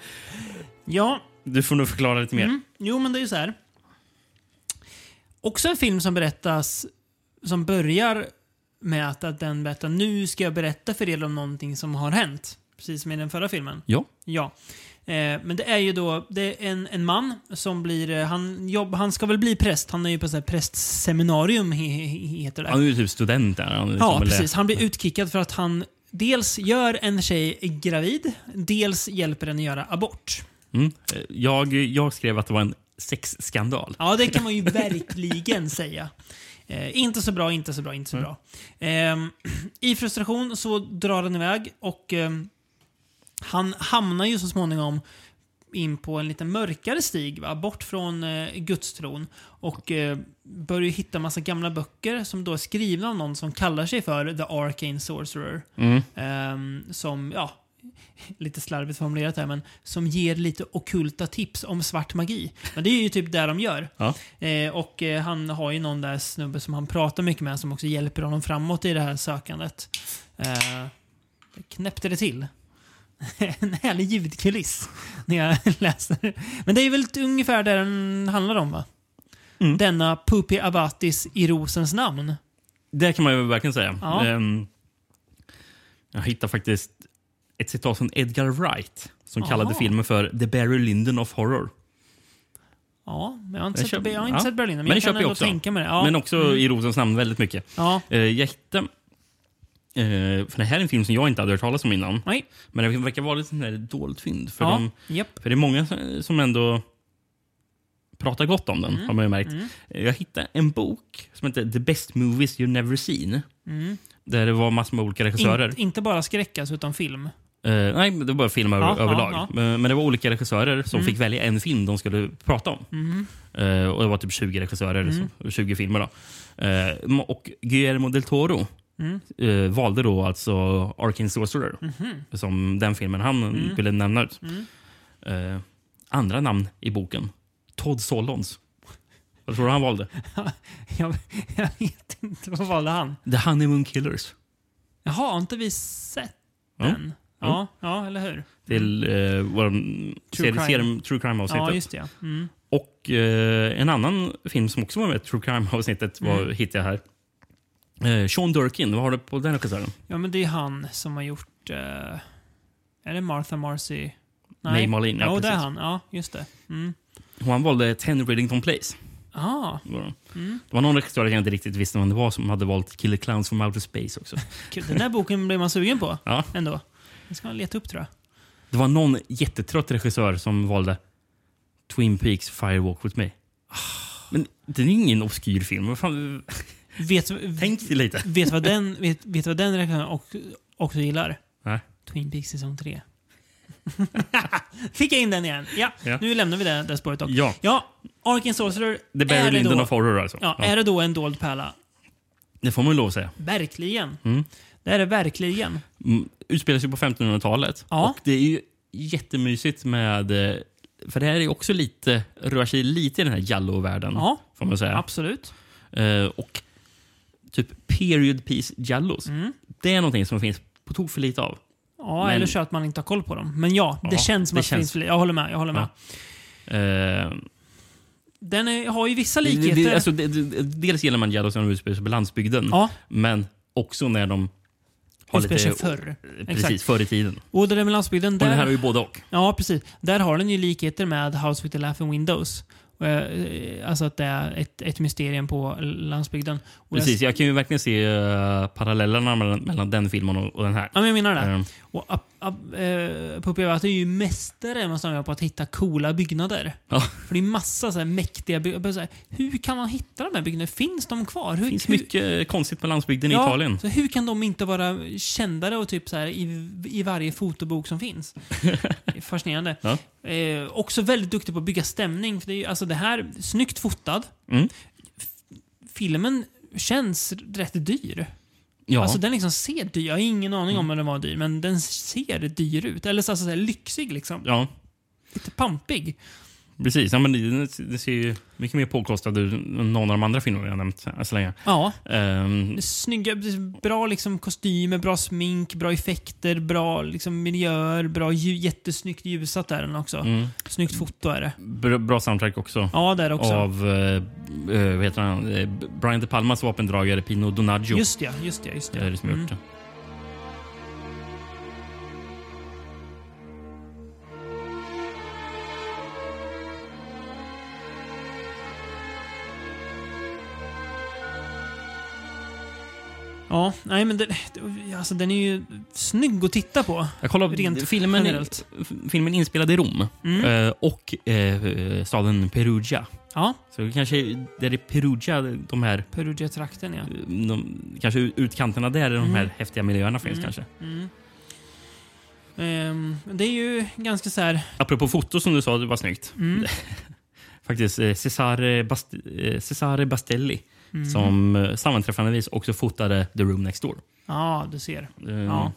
Speaker 1: Ja, mm.
Speaker 2: du får nog förklara lite mer.
Speaker 1: Jo, men det är ju så här. Också en film som berättas, som börjar med att, att den berättar nu ska jag berätta för er om någonting som har hänt. Precis som i den förra filmen.
Speaker 2: Ja.
Speaker 1: Ja. Eh, men det är ju då det är en, en man som blir, eh, han, jobb, han ska väl bli präst, han är ju på så här prästseminarium he, he, heter det.
Speaker 2: Han är ju typ student där. Han är liksom-
Speaker 1: Ja,
Speaker 2: som väl-
Speaker 1: precis. Han blir utkickad för att han dels gör en tjej gravid, dels hjälper henne göra abort.
Speaker 2: Mm. Eh, Jag, jag skrev att det var en sexskandal.
Speaker 1: Ja, det kan man ju verkligen säga. Eh, inte så bra, inte så bra, inte så bra. Ehm, I frustration så drar den iväg och ehm, han hamnar ju så småningom in på en lite mörkare stig, va? bort från eh, gudstron. Och eh, börjar ju hitta massa gamla böcker som då är skrivna av någon som kallar sig för The Arcane Sorcerer. Ehm, som, ja, lite slarvigt formulerat här, men som ger lite okulta tips om svart magi. Men det är ju typ det de gör.
Speaker 2: Ja.
Speaker 1: Eh, och eh, han har ju någon där snubbe som han pratar mycket med som också hjälper honom framåt i det här sökandet. Eh, knäppte det till. en härlig ljudkuliss när jag läser. Men det är väl t- ungefär det den handlar om va?
Speaker 2: Mm.
Speaker 1: Denna Pupi Avatis i rosens namn.
Speaker 2: Det kan man ju verkligen säga.
Speaker 1: Ja.
Speaker 2: Ehm, jag hittade faktiskt ett citat från Edgar Wright som kallade
Speaker 1: Aha.
Speaker 2: filmen för The Barry Lyndon of Horror.
Speaker 1: Ja, men jag har inte,
Speaker 2: Den
Speaker 1: sett,
Speaker 2: köper-
Speaker 1: jag har inte
Speaker 2: ja.
Speaker 1: sett Berlin, men,
Speaker 2: den
Speaker 1: jag kan
Speaker 2: köper
Speaker 1: ändå tänka mig det. Ja. Mm.
Speaker 2: Men också i Rosens namn väldigt mycket.
Speaker 1: ja.
Speaker 2: Eh, jag hittade, eh, för det här är en film som jag inte hade hört talas om innan.
Speaker 1: Nej.
Speaker 2: Men det verkar vara lite sån där dolt fynd. För,
Speaker 1: Ja.
Speaker 2: de,
Speaker 1: Japp.
Speaker 2: för det är många som- som ändå pratar gott om den,
Speaker 1: Mm.
Speaker 2: har man ju märkt. Eh, Jag hittade en bok som heter The Best Movies You Never Seen. Där det var massor med olika regissörer.
Speaker 1: Mm. Inte- inte bara skräck alltså, utan film.
Speaker 2: Eh, nej, men det var bara film över,
Speaker 1: Ja, ja,
Speaker 2: överlag. Eh,
Speaker 1: ja. Mm.
Speaker 2: Men, men det var olika regissörer som fick välja en film de skulle prata om. Eh, och Det var typ 20 regissörer,
Speaker 1: Mm.
Speaker 2: så, 20 filmer. Då. Eh, ma- och Guillermo del Toro
Speaker 1: Mm.
Speaker 2: eh, valde då alltså Arcane Sorcerer
Speaker 1: Mhm.
Speaker 2: som den filmen han
Speaker 1: Mm.
Speaker 2: ville nämna ut. Eh, andra namn i boken. Todd Solons. Vad tror du han valde?
Speaker 1: Jag, jag vet inte. Vad valde han?
Speaker 2: The Honeymoon Killers.
Speaker 1: Jaha, har inte vi sett
Speaker 2: Mm.
Speaker 1: den? Ja, ja, eller hur?
Speaker 2: Till eh, vår
Speaker 1: Mm. True
Speaker 2: true
Speaker 1: crime.
Speaker 2: crime, true crime avsnittet.
Speaker 1: Ja, just det. ja. Mm.
Speaker 2: Och eh, en annan film som också var med i true crime-avsnittet
Speaker 1: Mm.
Speaker 2: var hittade jag här. Eh, Sean Durkin, vad har du på den regissören?
Speaker 1: Ja, men det är han som har gjort... eh, är det Martha Marcy? Nej,
Speaker 2: Nej, Marlene, ja,
Speaker 1: Ja, det är
Speaker 2: precis.
Speaker 1: han. Ja, just det. Mm.
Speaker 2: Och han valde Ten Riddington Place.
Speaker 1: Ah,
Speaker 2: Var det. det var någon regissör jag inte riktigt visste vem det var som hade valt Killer Clowns from Outer Space också.
Speaker 1: kul. Den där boken blev man sugen på
Speaker 2: Ja.
Speaker 1: ändå. Den ska man leta upp tror jag.
Speaker 2: Det var någon jättetrött regissör som valde Twin Peaks Firewalk with me. Men det är ju ingen obskyr film. Vad fan?
Speaker 1: Vet,
Speaker 2: Tänk dig lite.
Speaker 1: vet vad den, vet, vet vad den regissören och också gillar?
Speaker 2: Nej.
Speaker 1: Twin Peaks säsong 3. Fick jag in den igen? Ja,
Speaker 2: Ja.
Speaker 1: nu lämnar vi det där spåret. dock.
Speaker 2: Ja.
Speaker 1: ja Arkin Sorcerer
Speaker 2: The
Speaker 1: är
Speaker 2: Barry
Speaker 1: det
Speaker 2: Lyndon
Speaker 1: då-
Speaker 2: of Horror alltså.
Speaker 1: Ja, är det då en dold pärla?
Speaker 2: Det får man ju lov att säga.
Speaker 1: Verkligen. Det är det verkligen.
Speaker 2: Mm, Utspelar sig på 1500-talet.
Speaker 1: Ja.
Speaker 2: Och det är ju jättemysigt med... eh, För det här är ju också lite, rör sig lite i den här Jallo-världen.
Speaker 1: Ja.
Speaker 2: Får man säga.
Speaker 1: Absolut.
Speaker 2: Eh, och typ period piece Jallos.
Speaker 1: Mm.
Speaker 2: Det är någonting som finns på tok för lite av.
Speaker 1: Ja,
Speaker 2: Men-
Speaker 1: eller så att man inte har koll på dem. Men ja, det
Speaker 2: Ja,
Speaker 1: känns som
Speaker 2: det
Speaker 1: att det
Speaker 2: känns-
Speaker 1: finns fler. Jag håller med. Jag håller med.
Speaker 2: Ja. Eh,
Speaker 1: Den är, har ju vissa
Speaker 2: det-
Speaker 1: likheter.
Speaker 2: Det, alltså, det, det, dels gillar man Jallos när de utspelar sig på landsbygden.
Speaker 1: Ja.
Speaker 2: Men också när de har
Speaker 1: Utspelar sig
Speaker 2: lite...
Speaker 1: förr.
Speaker 2: Precis,
Speaker 1: Exakt.
Speaker 2: förr i tiden. Och
Speaker 1: och det där med landsbygden,
Speaker 2: den
Speaker 1: där,
Speaker 2: här är ju både och.
Speaker 1: ja, precis. där har den ju likheter med House with the Laughing Windows. Eh, Alltså att det är ett, ett mysterium på landsbygden. Och
Speaker 2: Precis,
Speaker 1: Jag,
Speaker 2: jag kan ju verkligen se eh, parallellerna mellan, mellan den filmen och, och den här.
Speaker 1: ja, men jag menar det.
Speaker 2: Ehm,
Speaker 1: Och Ap- Ap- eh, Pupiavato är ju mästare måste man säga, på att hitta coola byggnader.
Speaker 2: Ja.
Speaker 1: För det är massa så här mäktiga byggnader. Hur kan man hitta de här byggnaderna? Finns de kvar? Hur,
Speaker 2: Det finns
Speaker 1: hur,
Speaker 2: mycket eh, konstigt på landsbygden i
Speaker 1: Ja,
Speaker 2: Italien.
Speaker 1: Så hur kan de inte vara kändare och typ så här i, i varje fotobok som finns? Det är Fascinerande.
Speaker 2: Ja.
Speaker 1: Eh, också väldigt duktig på att bygga stämning. För det, är, ju- alltså det här, snyggt fotad.
Speaker 2: Mm.
Speaker 1: F- Filmen känns rätt dyr.
Speaker 2: Ja, Mm.
Speaker 1: Alltså den liksom ser dyr Jag har ingen aning om om den var dyr, men den ser dyr ut. Eller så, alltså, så här, lyxig liksom.
Speaker 2: ja
Speaker 1: Lite pampig.
Speaker 2: precis. Ja, men det, det ser ju mycket mer påkostad ut än någon av de andra filmerna jag nämnt än så länge.
Speaker 1: Ja.
Speaker 2: Ehm,
Speaker 1: Snygga, bra liksom kostymer, bra smink, bra effekter, bra liksom miljöer, bra ljus, jättesnyggt ljusat är den också. Snyggt foto är det.
Speaker 2: bra, bra soundtrack också.
Speaker 1: Ja, där också.
Speaker 2: Av eh, eh, vad heter han? Eh, Brian De Palmas vapendragare Pino Donaggio.
Speaker 1: Just ja, just ja, just
Speaker 2: det
Speaker 1: ja.
Speaker 2: är det som har
Speaker 1: Mm.
Speaker 2: gjort det.
Speaker 1: Ja, nej men den, alltså, den är ju snygg att titta på.
Speaker 2: Jag kollar
Speaker 1: Rent
Speaker 2: filmen,
Speaker 1: generellt. Mm.
Speaker 2: f- filmen är inspelad i Rom eh, och eh, staden Perugia.
Speaker 1: Ja,
Speaker 2: Så kanske där i Perugia, de här
Speaker 1: Perugia-trakten ja.
Speaker 2: Eh. de, kanske utkanterna där de här
Speaker 1: Mm.
Speaker 2: häftiga miljöerna finns kanske.
Speaker 1: Ehm, det är ju ganska så här...
Speaker 2: Apropå foto som du sa, det var snyggt.
Speaker 1: Mm.
Speaker 2: Faktiskt eh, Cesare, Bast eh, Cesare Bastelli
Speaker 1: Mm.
Speaker 2: som eh, sammanträffandevis också fotade The Room Next Door.
Speaker 1: Ja, du ser.
Speaker 2: Eh,
Speaker 1: Ja.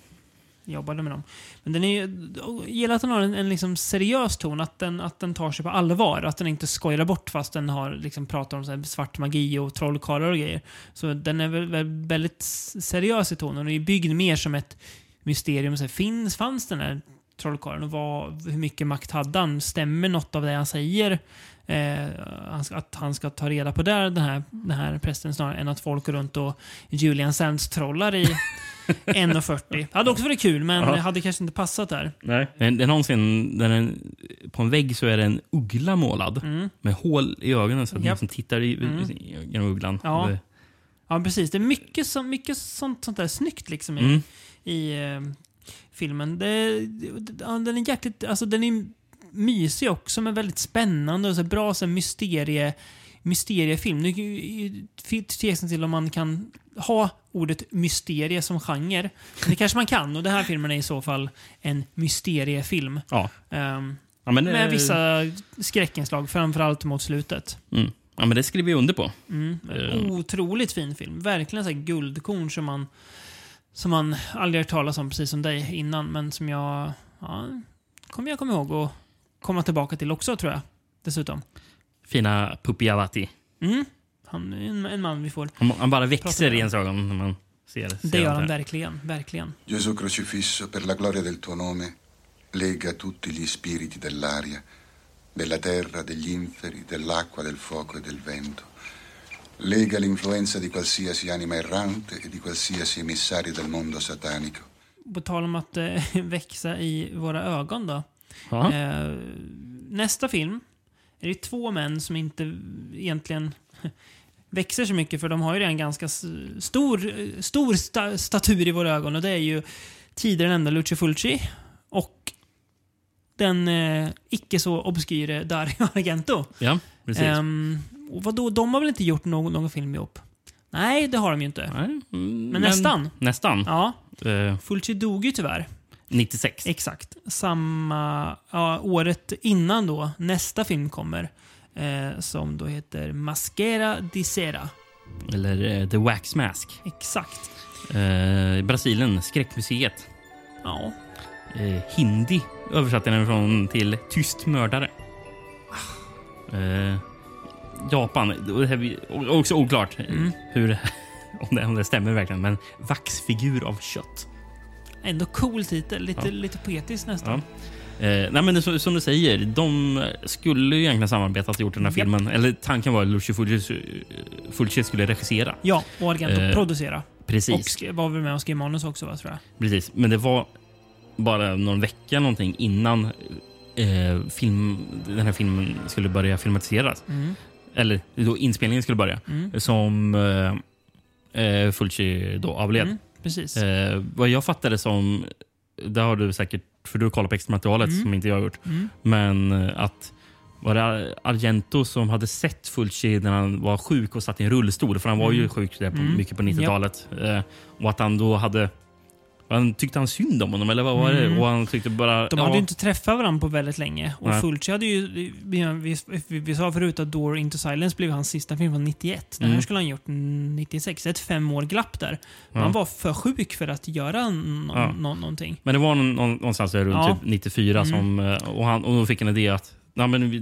Speaker 1: Jobbade med dem. Men den är ju... jag gillar att den har en, en liksom seriös ton. Att den, att den tar sig på allvar. Att den inte skojar bort fast den har liksom pratar om så här svart magi och trollkarlar och grejer. Så den är väl, väl väldigt s- seriös i tonen. Och är byggd mer som ett mysterium. Så här, finns, fanns den här trollkarlen och vad, hur mycket makt hade han? Stämmer något av det han säger? Eh, han ska- att han ska ta reda på det, den här, den här prästen snarare än att folk går runt och Julian Sands trollar i 1.40. Hade också varit kul, men
Speaker 2: Ja.
Speaker 1: det hade kanske inte passat där.
Speaker 2: Nej. Men det är någonsin, där en, på en vägg så är det en uggla målad med hål i ögonen så att
Speaker 1: Mm.
Speaker 2: man
Speaker 1: Japp. Mm.
Speaker 2: liksom tittar i, i- genom ugglan. Mm.
Speaker 1: Ja.
Speaker 2: Det-
Speaker 1: Ja, precis. Det är mycket, så, mycket sånt, sånt där snyggt liksom i,
Speaker 2: Mm.
Speaker 1: i eh, filmen. Det, det, ja, den är jäkligt... Alltså, den är mysig också, men väldigt spännande och så bra så här, mysterie, mysteriefilm. Nu finns tveksam till om man kan ha ordet mysterie som genre. Men det kanske man kan och den här filmen är i så fall en mysteriefilm.
Speaker 2: ja.
Speaker 1: Ehm,
Speaker 2: Ja, men,
Speaker 1: med
Speaker 2: eh,
Speaker 1: vissa skräckinslag, framförallt mot slutet.
Speaker 2: Mm. Ja, men det skriver jag under på. Eh.
Speaker 1: Otroligt fin film. Verkligen så här guldkorn som man, som man aldrig hört talas om, precis som dig innan, men som jag ja, kommer jag komma ihåg och komma tillbaka till också, tror jag. Dessutom.
Speaker 2: Fina Pupiavati.
Speaker 1: Han är en, en man vi får.
Speaker 2: Han, han bara växer
Speaker 1: Pratar
Speaker 2: i ens ögon när man ser ser
Speaker 1: Det gör
Speaker 2: allt
Speaker 1: han
Speaker 2: här.
Speaker 1: verkligen. Verkligen.
Speaker 8: Gesù crocifisso, per la gloria del tuo nome, lega tutti gli spiriti dell'aria, della terra, degli inferi, dell'acqua, del fuoco e del vento. Lega l'influenza di qualsiasi anima errante e di qualsiasi emissario del mondo satanico.
Speaker 1: På tal om att eh, växa i våra ögon då.
Speaker 2: Ja.
Speaker 1: Eh, nästa film är det två män som inte egentligen växer så mycket för de har ju redan ganska s- stor, eh, stor sta statur i våra ögon och det är ju tidigare nämnda Lucio Fulci och den eh, icke så obskyre Dario Argento.
Speaker 2: ja, precis.
Speaker 1: Ehm, och vadå, de har väl inte gjort någon, någon film ihop? Nej, det har de ju inte.
Speaker 2: Nej, mm, men,
Speaker 1: nästan.
Speaker 2: Nästan.
Speaker 1: Ja,
Speaker 2: Eh,
Speaker 1: Fulci dog ju tyvärr.
Speaker 2: 96.
Speaker 1: Exakt. Samma ja, året innan då nästa film kommer. Eh, som då heter Masquera di Sera.
Speaker 2: Eller eh, The Wax Mask.
Speaker 1: Exakt.
Speaker 2: Eh, Brasilien, Skräckmuseet.
Speaker 1: Ja.
Speaker 2: Eh, hindi översatte den från till Tyst mördare. Eh, Japan. Det här är också oklart eh,
Speaker 1: Mm.
Speaker 2: hur, om, det, om det stämmer verkligen. Men Vaxfigur av kött.
Speaker 1: Ändå cool titel. Lite,
Speaker 2: Ja.
Speaker 1: lite poetisk
Speaker 2: Ja.
Speaker 1: nästan.
Speaker 2: Eh, nej, men det, som- som du säger, de skulle ju egentligen samarbetat och gjort den här
Speaker 1: Japp.
Speaker 2: filmen. Eller tanken var att Lucio Fulci, Fulci skulle regissera.
Speaker 1: Ja, och originalet
Speaker 2: Eh,
Speaker 1: att producera. Och
Speaker 2: Precis,
Speaker 1: sk- var väl med och skrev manus också, va, tror jag.
Speaker 2: precis. Men det var bara någon vecka någonting innan eh, film, den här filmen skulle börja filmatiseras. Eller då inspelningen skulle börja. Som eh, eh, Fulci då avled.
Speaker 1: Mm, precis.
Speaker 2: Eh, vad jag fattade som, det har du säkert, för du har kollat på extra materialet
Speaker 1: Mm.
Speaker 2: som inte jag har gjort. Men eh, att var det Ar- Argento som hade sett Fulci när han var sjuk och satt i en rullstol? För han var
Speaker 1: Mm.
Speaker 2: ju sjuk där på, mycket på 90-talet. Eh, och att han då hade... Han tyckte han synd om honom eller vad var det? Och han tyckte bara...
Speaker 1: Mm. De
Speaker 2: ja,
Speaker 1: hade ju inte träffat varandra på väldigt länge. Och
Speaker 2: Nej.
Speaker 1: Fulci hade ju... Vi, vi, vi, vi sa förut att Door Into Silence blev hans sista film från 91. Den här
Speaker 2: Mm.
Speaker 1: skulle han gjort 96. Det är ett fem år glapp där.
Speaker 2: Ja.
Speaker 1: Han var för sjuk för att göra no
Speaker 2: Ja.
Speaker 1: no någonting.
Speaker 2: Men det var någon, någon, någonstans där runt
Speaker 1: Ja. Mm.
Speaker 2: typ 94 som, eh, och, han, och då fick en idé att Nej, men vi,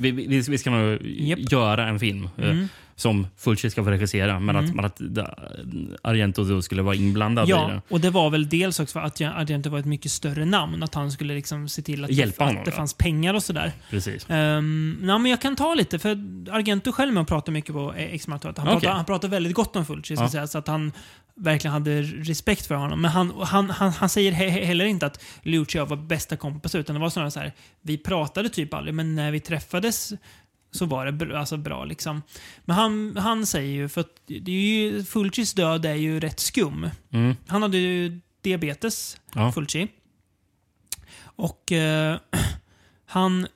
Speaker 2: vi, vi, vi ska nog
Speaker 1: Japp. Mm.
Speaker 2: göra en film eh, som Fulci ska få regissera. Men att, men att da- Argento då skulle vara inblandad i
Speaker 1: Ja,
Speaker 2: det.
Speaker 1: och det var väl dels också för att jag, att jag inte var ett mycket större namn. Att han skulle liksom se till att,
Speaker 2: Hjälpa
Speaker 1: att
Speaker 2: honom,
Speaker 1: det
Speaker 2: ja.
Speaker 1: fanns pengar och sådär.
Speaker 2: Precis.
Speaker 1: Um, nej, men jag kan ta lite, för Argento själv med och pratar mycket på eh, X-Manatoret. Han,
Speaker 2: Okej.
Speaker 1: pratar, han pratar väldigt gott om Fulci, ska
Speaker 2: Ja.
Speaker 1: säga, så att han verkligen hade respekt för honom. Men han, han, han, han säger he he- heller inte att Lucci och jag var bästa kompisar, utan det var snarare så här, vi pratade typ aldrig, men när vi träffades så var det br alltså bra. Liksom. Men han, han säger ju, för att det är ju, Fulcis död är ju rätt skum.
Speaker 2: Mm.
Speaker 1: Han hade ju diabetes,
Speaker 2: Ja.
Speaker 1: Fulci. Och eh, han,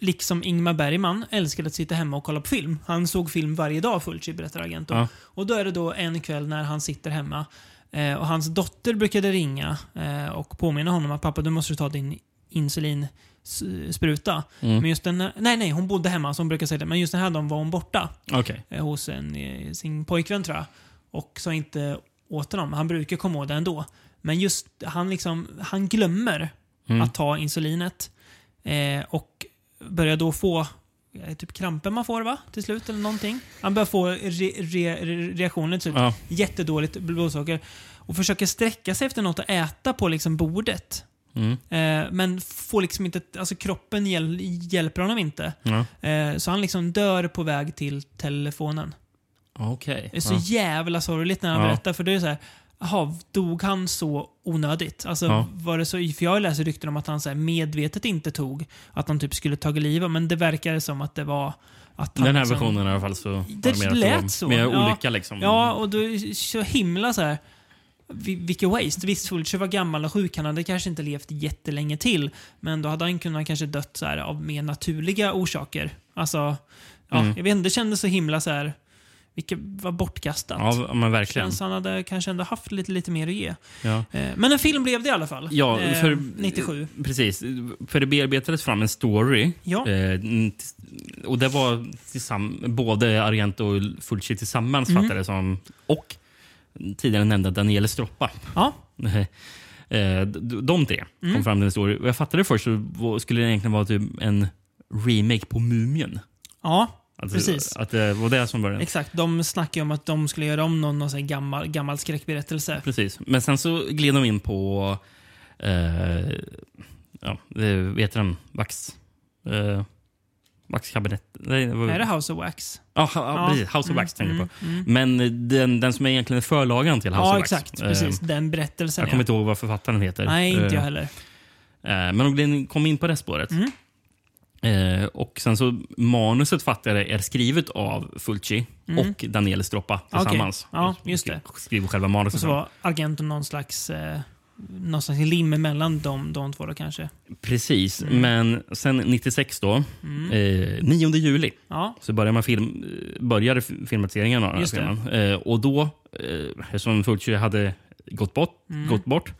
Speaker 1: liksom Ingmar Bergman, älskade att sitta hemma och kolla på film. Han såg film varje dag, Fulci, berättar Argento.
Speaker 2: Ja.
Speaker 1: Och då är det då en kväll när han sitter hemma eh, och hans dotter brukade ringa eh, och påminna honom att pappa, du måste ta din insulinspruta. Men just den, här- nej, nej, hon bodde hemma, som brukar säga det, men just den här dagen var hon borta
Speaker 2: Okej.
Speaker 1: eh, hos en, eh, sin pojkvän tror jag. Och sa inte åt honom. Han brukar komma åt det ändå. Men just han, liksom, han glömmer att ta insulinet. Eh, och börjar då få eh, typ kramper man får va? Till slut eller någonting. Han börjar få re, re, re, reaktioner till slut.
Speaker 2: Ja.
Speaker 1: Jättedåligt blodsocker. Och försöker sträcka sig efter något att äta på liksom bordet. Eh, men får liksom inte, alltså kroppen hjäl, hjälper honom inte.
Speaker 2: Ja.
Speaker 1: Eh, Så han liksom dör på väg till telefonen.
Speaker 2: Okej.
Speaker 1: Det är så
Speaker 2: Ja.
Speaker 1: jävla sorgligt när han
Speaker 2: Ja.
Speaker 1: berättar för det är så här, jaha, dog han så onödigt? Alltså,
Speaker 2: Ja.
Speaker 1: var det så, för jag läser rykten om att han så här medvetet inte tog, att han typ skulle tagit livet, men det verkar som att det var att han
Speaker 2: Den här
Speaker 1: liksom,
Speaker 2: versionen i alla fall så var
Speaker 1: det
Speaker 2: mer att var
Speaker 1: lät så.
Speaker 2: Mer
Speaker 1: Ja.
Speaker 2: olycka liksom.
Speaker 1: Ja, och då är det så himla så här. vi- Vilket waste. Visst, Fulcher var gammal och sjuk. Han hade kanske inte levt jättelänge till. Men då hade han kunnat kanske dött så här av mer naturliga orsaker. Alltså, ja,
Speaker 2: Mm.
Speaker 1: jag vet inte. Det kändes så himla så här. Vilket var bortkastat.
Speaker 2: ja men verkligen.
Speaker 1: Känns han hade kanske ändå haft lite, lite mer att ge.
Speaker 2: Ja.
Speaker 1: Eh, Men en film blev det i alla fall.
Speaker 2: Ja,
Speaker 1: Eh,
Speaker 2: för,
Speaker 1: 97.
Speaker 2: Precis. För det bearbetades fram en story.
Speaker 1: Ja.
Speaker 2: Eh, n- t- och det var tillsamm- både Argento och Fulci tillsammans,
Speaker 1: Mhm.
Speaker 2: fattade det som. Och tidigare nämnda Daniele Stroppa.
Speaker 1: Ja,
Speaker 2: Eh, d- De tre kom
Speaker 1: Mm.
Speaker 2: fram till en story. Och jag fattade först så var- skulle det egentligen vara typ en remake på Mumien.
Speaker 1: ja.
Speaker 2: Att,
Speaker 1: Precis.
Speaker 2: Att det var det som var den.
Speaker 1: Exakt. De snackade ju om att de skulle göra om någon, någon sån här gammal, gammal skräckberättelse.
Speaker 2: Precis. Men sen så gled de in på... Eh, ja, det- vad heter den? Vax... Eh, Vaxkabinett? Nej, vad-
Speaker 1: Är det House of Wax?
Speaker 2: Ja, ha, ha,
Speaker 1: Ja.
Speaker 2: precis. House of Wax tänkte jag på.
Speaker 1: mm.
Speaker 2: Men den, den som är egentligen förlagan till House
Speaker 1: ja,
Speaker 2: of Wax.
Speaker 1: exakt.
Speaker 2: eh,
Speaker 1: Precis. Den berättelsen.
Speaker 2: Jag kommer inte ihåg vad författaren heter.
Speaker 1: Nej, inte
Speaker 2: Eh,
Speaker 1: jag heller. Mm.
Speaker 2: Eh, Men de gled- kom in på det spåret. Eh, och sen så manuset fattade jag är skrivet av Fulci och Daniele Stroppa tillsammans.
Speaker 1: Okej. Mm. Ja, just det.
Speaker 2: Skriver själva manuset.
Speaker 1: Och så var agenten någon slags eh, någon slags lim mellan de, de två då kanske.
Speaker 2: Precis,
Speaker 1: Mm.
Speaker 2: men sen 96 då, eh, 9 juli,
Speaker 1: Ja,
Speaker 2: så börjar man film, eh, började f- filmatiseringen av den här
Speaker 1: Just det.
Speaker 2: filmen. Eh, och då, eh, eftersom Fulci hade gått bort,
Speaker 1: Mm.
Speaker 2: gått bort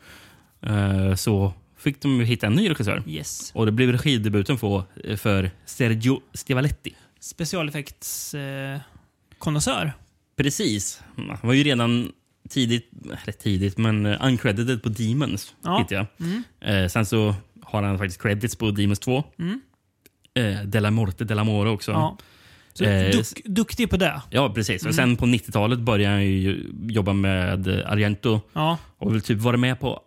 Speaker 2: eh, så fick de ju hitta en ny regissör.
Speaker 1: yes.
Speaker 2: Och det blev regidebuten för, för Sergio Stivaletti.
Speaker 1: Specialeffekts... Eh, konnässör.
Speaker 2: Precis. Han var ju redan tidigt, eller tidigt, men eh, uncredited på Demons.
Speaker 1: Ja. Mm.
Speaker 2: Hittade jag. Eh, sen så har han faktiskt credits på Demons 2. Eh, Della Morte, Della Mora också.
Speaker 1: Mm. Ja. Mm. Så
Speaker 2: Eh,
Speaker 1: duk, duktig på det.
Speaker 2: Ja, precis. Och sen på 90-talet började han ju jobba med eh, Argento
Speaker 1: Ja,
Speaker 2: och väl typ varit med på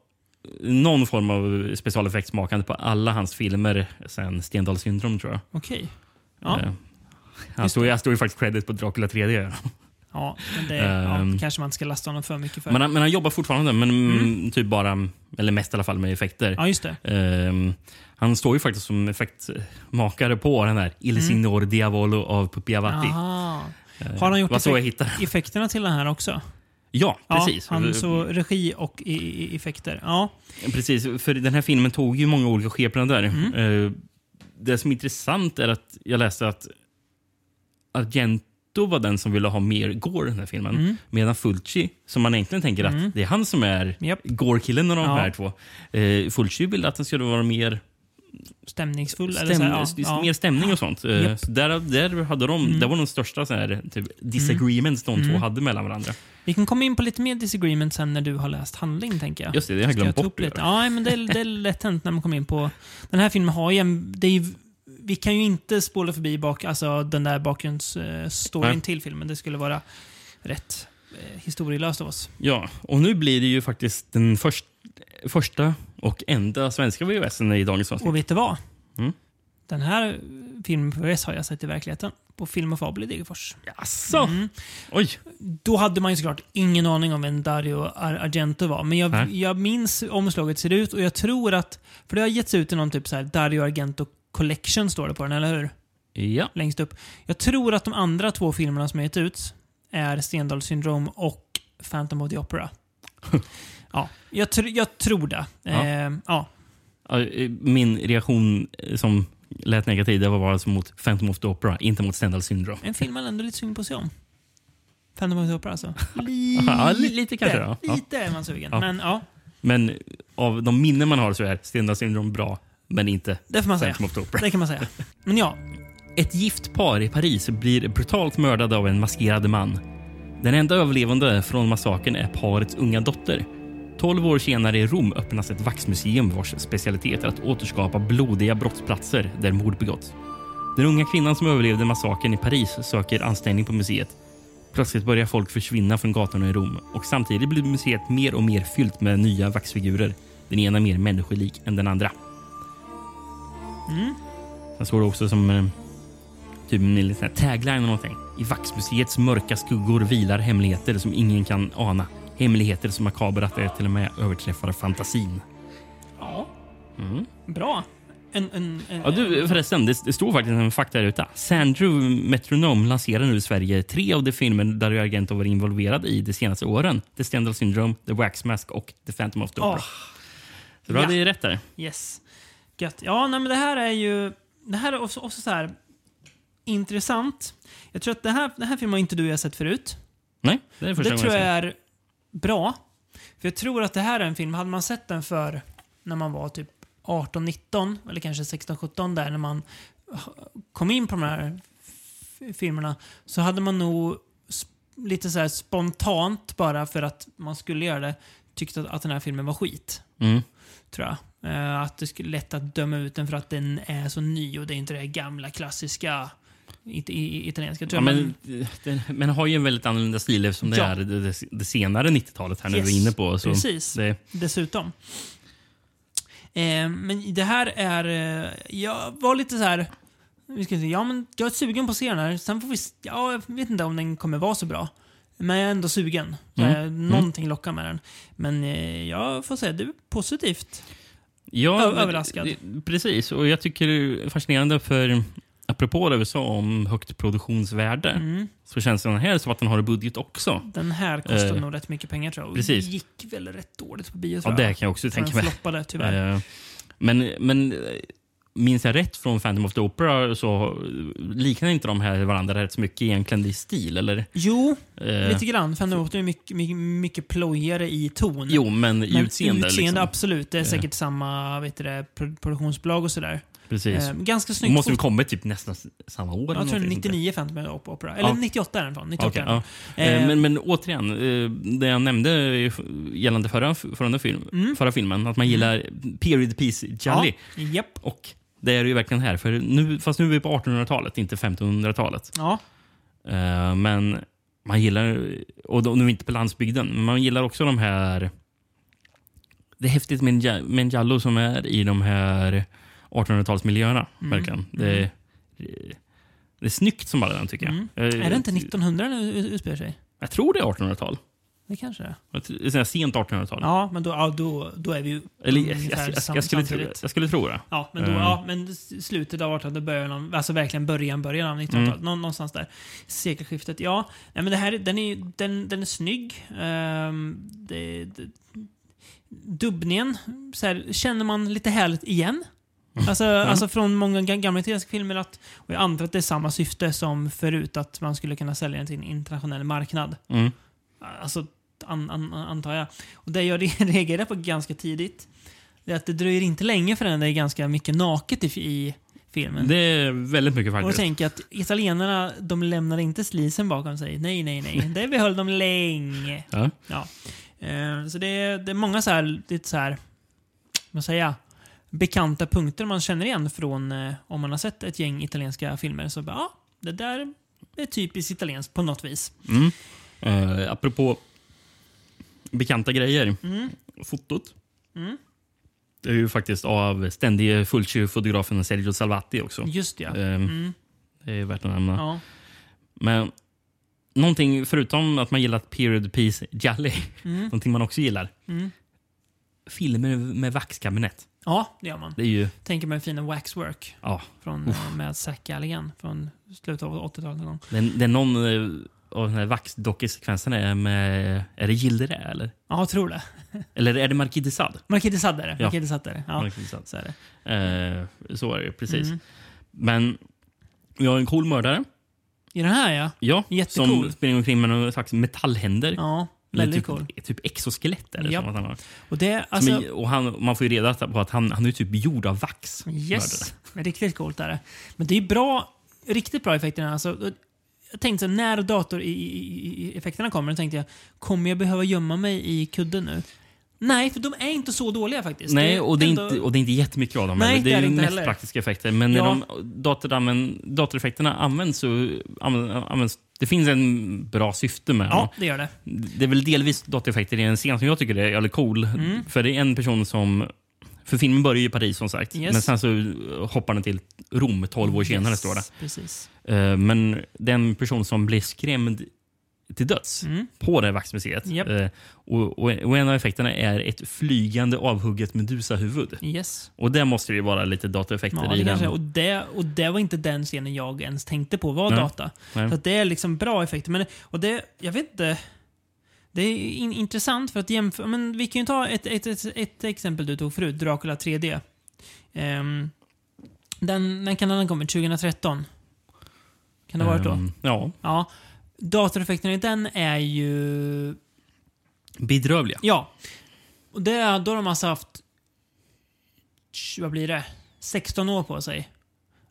Speaker 2: eh, någon form av specialeffektsmakande på alla hans filmer sen Stendhals syndrom, tror jag.
Speaker 1: okej. Ja.
Speaker 2: Eh, Han står ju han står ju faktiskt credit på Dracula 3D.
Speaker 1: Ja, men det ja,
Speaker 2: Ehm.
Speaker 1: kanske man inte ska lasta honom för mycket för.
Speaker 2: Men han, men han jobbar fortfarande, men mm, typ bara, eller mest i alla fall, med effekter.
Speaker 1: ja, just det.
Speaker 2: Ehm, han står ju faktiskt som effektmakare på den här Il
Speaker 1: Mm.
Speaker 2: Signor Diavolo av Pupiavatti.
Speaker 1: Aha. Har han gjort
Speaker 2: Eh, Vad så jag
Speaker 1: effek-
Speaker 2: hittar.
Speaker 1: effekterna till den här också?
Speaker 2: Ja, precis.
Speaker 1: Ja, han, så regi och i, i, effekter. Ja,
Speaker 2: Precis, för den här filmen tog ju många olika skepnader.
Speaker 1: Mm.
Speaker 2: Eh, det som är intressant är att jag läste att Argento var den som ville ha mer gore i den här filmen.
Speaker 1: Mm.
Speaker 2: Medan Fulci, som man egentligen tänker att det är han som är
Speaker 1: Japp.
Speaker 2: gore-killen av de
Speaker 1: Ja.
Speaker 2: här två. Eh, Fulci ville att den skulle vara mer,
Speaker 1: stämningsfull. eller
Speaker 2: stäm
Speaker 1: så här, ja, ja.
Speaker 2: mer stämning och sånt. Eh,
Speaker 1: Japp. Mm.
Speaker 2: så där, där hade de, Det var de största så här, typ, disagreements de två hade mellan varandra.
Speaker 1: Vi kan komma in på lite mer disagreement sen när du har läst handling, tänker jag.
Speaker 2: Just det, det har jag
Speaker 1: Ska
Speaker 2: glömt
Speaker 1: ta
Speaker 2: bort.
Speaker 1: upp lite? Ja, men det, är- det är lätt hänt när man kommer in på... Den här filmen har ju en... Det är ju, vi kan ju inte spola förbi bak, alltså, den där bakgrundsstoryn
Speaker 2: Nej.
Speaker 1: till filmen. Det skulle vara rätt eh, historielöst av oss.
Speaker 2: Ja, och nu blir det ju faktiskt den först, första och enda svenska VHSen i dagens avsnitt.
Speaker 1: Och vet du vad?
Speaker 2: Mm.
Speaker 1: Den här eh, filmen på VHS har jag sett i verkligheten. På Film och Fabel i Degerfors.
Speaker 2: Jaså?
Speaker 1: Mm.
Speaker 2: Oj.
Speaker 1: Då hade man ju såklart ingen aning om vem Dario Ar- Argento var. Men jag,
Speaker 2: Nej.
Speaker 1: jag minns hur omslaget ser ut och jag tror att... För det har getts ut i någon typ så här Dario Argento Collection står det på den, eller hur?
Speaker 2: Ja.
Speaker 1: Längst upp. Jag tror att de andra två filmerna som har getts ut är Stendhals syndrom och Phantom of the Opera. ja, jag, tr jag tror det.
Speaker 2: Ja.
Speaker 1: Eh, ja.
Speaker 2: Ja, eh, Min reaktion eh, som lät negativ det var bara som mot Phantom of the Opera, inte mot Stendhal syndrom.
Speaker 1: En film man ändå är lite sugen på att se om. Phantom of the Opera alltså.
Speaker 2: Ja, li- lite kanske. Ja. Ja.
Speaker 1: Lite är man sugen.
Speaker 2: Ja.
Speaker 1: Men ja,
Speaker 2: Men av de minnen man har så är Stendhal syndrom bra, men inte
Speaker 1: det får man säga.
Speaker 2: Phantom of the Opera.
Speaker 1: Det kan man säga. Men ja,
Speaker 2: Ett gift par i Paris blir brutalt mördade av en maskerad man. Den enda överlevande från massakern är parets unga dotter. Tolv år senare i Rom öppnas ett vaxmuseum vars specialitet är att återskapa blodiga brottsplatser där mord begåtts. Den unga kvinnan som överlevde massakern i Paris söker anställning på museet. Plötsligt börjar folk försvinna från gatorna i Rom och samtidigt blir museet mer och mer fyllt med nya vaxfigurer. Den ena mer människolik än den andra. Sen står det också som eh, typ en liten sån här tagline eller någonting. I Vaxmuseets mörka skuggor vilar hemligheter som ingen kan ana. Hemligheter som makabra att det till och med överträffar fantasin.
Speaker 1: Ja. Bra. En, en, en,
Speaker 2: Ja, du, förresten, det, det står faktiskt en fakta där ute. Sandrew Metronome lanserar nu i Sverige tre av de filmer där Argento var involverad i de senaste åren. The Stendhal Syndrome, The Wax Mask och The Phantom of the Opera.
Speaker 1: Ah,
Speaker 2: Så du hade
Speaker 1: ja.
Speaker 2: ju rätt där.
Speaker 1: yes. Gött. Ja, nej, men det här är ju... Det här är också, också så här intressant. Jag tror att det här, den här filmen har inte du och jag sett förut.
Speaker 2: Nej, det är första
Speaker 1: det
Speaker 2: gången
Speaker 1: tror jag
Speaker 2: ser
Speaker 1: är bra. För jag tror att det här är en film, hade man sett den för när man var typ 18-19 eller kanske 16-17 där när man kom in på de här f- filmerna så hade man nog sp- lite så här spontant bara för att man skulle göra det tyckt att, att den här filmen var skit.
Speaker 2: den. Mm.
Speaker 1: Tror jag. Eh, att det skulle lätt att döma ut den för att den är så ny och det är inte det här gamla klassiska it, i, italienska. Tror
Speaker 2: Ja,
Speaker 1: jag.
Speaker 2: men, den, men har ju en väldigt annorlunda stil eftersom det
Speaker 1: Ja.
Speaker 2: är det, det senare 90-talet här nu
Speaker 1: Yes,
Speaker 2: vi är inne på. Så
Speaker 1: precis.
Speaker 2: Det,
Speaker 1: dessutom. Eh, men det här är... Eh, jag var lite så här... Vi ska se, ja, men jag är sugen på att se den här. Sen får vi... s- Ja, jag vet inte om den kommer vara så bra. Men jag är ändå sugen. Så
Speaker 2: Mm.
Speaker 1: jag, någonting lockar med den. Men eh, jag får säga, det är positivt.
Speaker 2: Ja,
Speaker 1: Ö-
Speaker 2: men-
Speaker 1: överraskad.
Speaker 2: det- Precis, och jag tycker det är fascinerande för apropå det vi sa om högt produktionsvärde,
Speaker 1: Mm.
Speaker 2: så känns den här som att den har en budget också.
Speaker 1: Den här kostade
Speaker 2: Eh,
Speaker 1: nog rätt mycket pengar tror jag. Och
Speaker 2: precis.
Speaker 1: gick väl rätt dåligt på bio
Speaker 2: Ja,
Speaker 1: tror jag.
Speaker 2: det kan jag också
Speaker 1: Så den
Speaker 2: tänka mig.
Speaker 1: floppade tyvärr.
Speaker 2: Eh, Men, men eh, minns jag rätt från Phantom of the Opera så eh, liknar inte de här varandra rätt så mycket egentligen i stil, eller?
Speaker 1: Jo,
Speaker 2: Eh,
Speaker 1: lite grann. För Norton är mycket, mycket, mycket plojigare i ton.
Speaker 2: Jo, men i
Speaker 1: Men
Speaker 2: utseende. liksom.
Speaker 1: absolut. Det är säkert samma vet du, det, pro- produktionsbolag och sådär.
Speaker 2: Precis.
Speaker 1: Eh, ganska
Speaker 2: Hon
Speaker 1: snyggt.
Speaker 2: måste väl
Speaker 1: fot-
Speaker 2: komma typ nästan s- samma år? eller
Speaker 1: jag tror det är
Speaker 2: någonting sånt där.
Speaker 1: 99 Phantom of the Opera. Eller
Speaker 2: Ja.
Speaker 1: 98 är den från. 98
Speaker 2: Okej,
Speaker 1: är den
Speaker 2: ja.
Speaker 1: från.
Speaker 2: Eh,
Speaker 1: Eh,
Speaker 2: men, men återigen, eh, det jag nämnde i f- gällande förra, förra, film, förra filmen, att man gillar period piece jelly.
Speaker 1: Mm. Ja, japp.
Speaker 2: Och det är det ju verkligen här, för nu, fast nu är vi på 1800-talet, inte 1500-talet.
Speaker 1: Ja,
Speaker 2: Eh, men man gillar, och då, nu är vi inte på landsbygden, men man gillar också de här... Det är häftigt med en ja- med en Jallo som är i de här 1800-talsmiljöerna.
Speaker 1: Mm.
Speaker 2: Verkligen. Det, är- det är snyggt som bara den tycker jag. Eh,
Speaker 1: Mm. är det inte 1900 den ut- utspelar sig?
Speaker 2: Jag tror det är 1800-tal.
Speaker 1: Det kanske det är.
Speaker 2: Jag tror- sån här Sent 1800-tal.
Speaker 1: Ja, men då, ja, då, då är vi ju
Speaker 2: Eller, jag,
Speaker 1: ungefär
Speaker 2: jag, jag,
Speaker 1: sam-
Speaker 2: jag, skulle tro,
Speaker 1: samtidigt.
Speaker 2: jag skulle tro det.
Speaker 1: Ja, men, då,
Speaker 2: Eh.
Speaker 1: ja, men s- slutet av 1800-talet, början av, alltså verkligen början, början av 1900-talet. Nå, någonstans där. Sekelskiftet. Ja, nej, men det här, den, är, ju- den, den är snygg. Ehm, det, det, dubbningen, så här, känner man lite härligt igen. Alltså, alltså från många ga- gamla italienska filmer. Att, och jag antar att det är samma syfte som förut, att man skulle kunna sälja den till en internationell marknad.
Speaker 2: Mm.
Speaker 1: Alltså, an, an, antar jag. Och det jag re- reagerade på ganska tidigt, det är att det dröjer inte länge förrän det är ganska mycket naket i, i filmen.
Speaker 2: Det är väldigt mycket
Speaker 1: och då
Speaker 2: faktiskt.
Speaker 1: tänker jag att italienarna, de lämnade inte slisen bakom sig. Nej, nej, nej. Det behöll de länge.
Speaker 2: Ja.
Speaker 1: Ja. Eh, Så det är, det är många så här, lite så här, vad ska man säga, bekanta punkter man känner igen från eh, om man har sett ett gäng italienska filmer. Så bara, ja, det där är typiskt italienskt på något vis.
Speaker 2: Eh, apropå bekanta grejer.
Speaker 1: Mm.
Speaker 2: Fotot. Det är ju faktiskt av ständige Fulci-fotografen Sergio Salvati också.
Speaker 1: Just det, ja. Mm.
Speaker 2: Eh, Det är värt att nämna.
Speaker 1: ja.
Speaker 2: Men någonting förutom att man gillar period piece jolly,
Speaker 1: Mm.
Speaker 2: någonting man också gillar. Filmer med vaxkabinett.
Speaker 1: Ja, det gör man.
Speaker 2: Det är ju...
Speaker 1: Tänker mig fina Waxwork
Speaker 2: Ja,
Speaker 1: från, eh, med Zac Galligan från slutet av 80-talet. någon gång.
Speaker 2: det, är- det är någon eh, av den här vaxdockeysekvenserna är med... Är det Gilderä eller?
Speaker 1: Ja, jag tror det.
Speaker 2: Eller är det Marquis de Sade?
Speaker 1: Marquis de Sade är det.
Speaker 2: Ja.
Speaker 1: Marquis de Sade är det. Ja. Mm.
Speaker 2: Marquis de Sade.
Speaker 1: Så är det.
Speaker 2: Eh, så är det precis. Men vi har en cool mördare.
Speaker 1: I den här ja.
Speaker 2: Ja,
Speaker 1: Jättecool.
Speaker 2: som springer omkring med någon slags metallhänder.
Speaker 1: Ja,
Speaker 2: Eller
Speaker 1: väldigt
Speaker 2: typ,
Speaker 1: cool.
Speaker 2: typ exoskelett är det
Speaker 1: Japp.
Speaker 2: som att han har.
Speaker 1: Och det,
Speaker 2: Som
Speaker 1: alltså,
Speaker 2: är, och han, man får ju reda på att han, han är typ gjord av vax. mördaren.
Speaker 1: Yes, men riktigt coolt är det. Men det är bra, riktigt bra effekterna. Alltså, jag tänkte så här, när datoreffekterna kommer, då tänkte jag, kommer jag behöva gömma mig i kudden nu? Nej, för de är inte så dåliga faktiskt.
Speaker 2: Nej, och det, är
Speaker 1: ändå-
Speaker 2: inte, och det är inte jättemycket av dem.
Speaker 1: Nej,
Speaker 2: heller.
Speaker 1: det
Speaker 2: det
Speaker 1: är
Speaker 2: är
Speaker 1: det
Speaker 2: ju
Speaker 1: inte
Speaker 2: mest
Speaker 1: heller.
Speaker 2: praktiska effekter. Men när
Speaker 1: Ja.
Speaker 2: de datoranvänd, datoreffekterna används så används, används det finns en bra syfte med dem.
Speaker 1: Ja, det gör det.
Speaker 2: Det är väl delvis datoreffekter i en scen som jag tycker är jävligt cool.
Speaker 1: Mm.
Speaker 2: För det är en person som... För filmen börjar ju i Paris som sagt.
Speaker 1: Yes.
Speaker 2: Men sen så hoppar den till Rom 12 år senare står det.
Speaker 1: Precis.
Speaker 2: Eh, Men den person som blir skrämd till döds på det här vaxmuseet.
Speaker 1: Mm. Japp.
Speaker 2: Eh, Och, och, och en av effekterna är ett flygande avhugget medusahuvud.
Speaker 1: Yes.
Speaker 2: Och det måste ju vara lite dataeffekter
Speaker 1: Ja,
Speaker 2: i
Speaker 1: det
Speaker 2: den.
Speaker 1: kanske, och, det, och det var inte den scenen jag ens tänkte på var
Speaker 2: Nej.
Speaker 1: data.
Speaker 2: Nej.
Speaker 1: Så att det är liksom bra effekter. Men, och det, jag vet inte. Det är in, intressant för att jämföra. Men vi kan ju ta ett, ett, ett, ett exempel du tog förut, Dracula 3D. Ehm, den, den kan ha kommit 2013. Kan det ha varit då?
Speaker 2: Ehm, Ja,
Speaker 1: Ja. Datoreffekterna i den är ju
Speaker 2: bedrövliga.
Speaker 1: Ja. Och det, då har de alltså haft, tj- vad blir det, 16 år på sig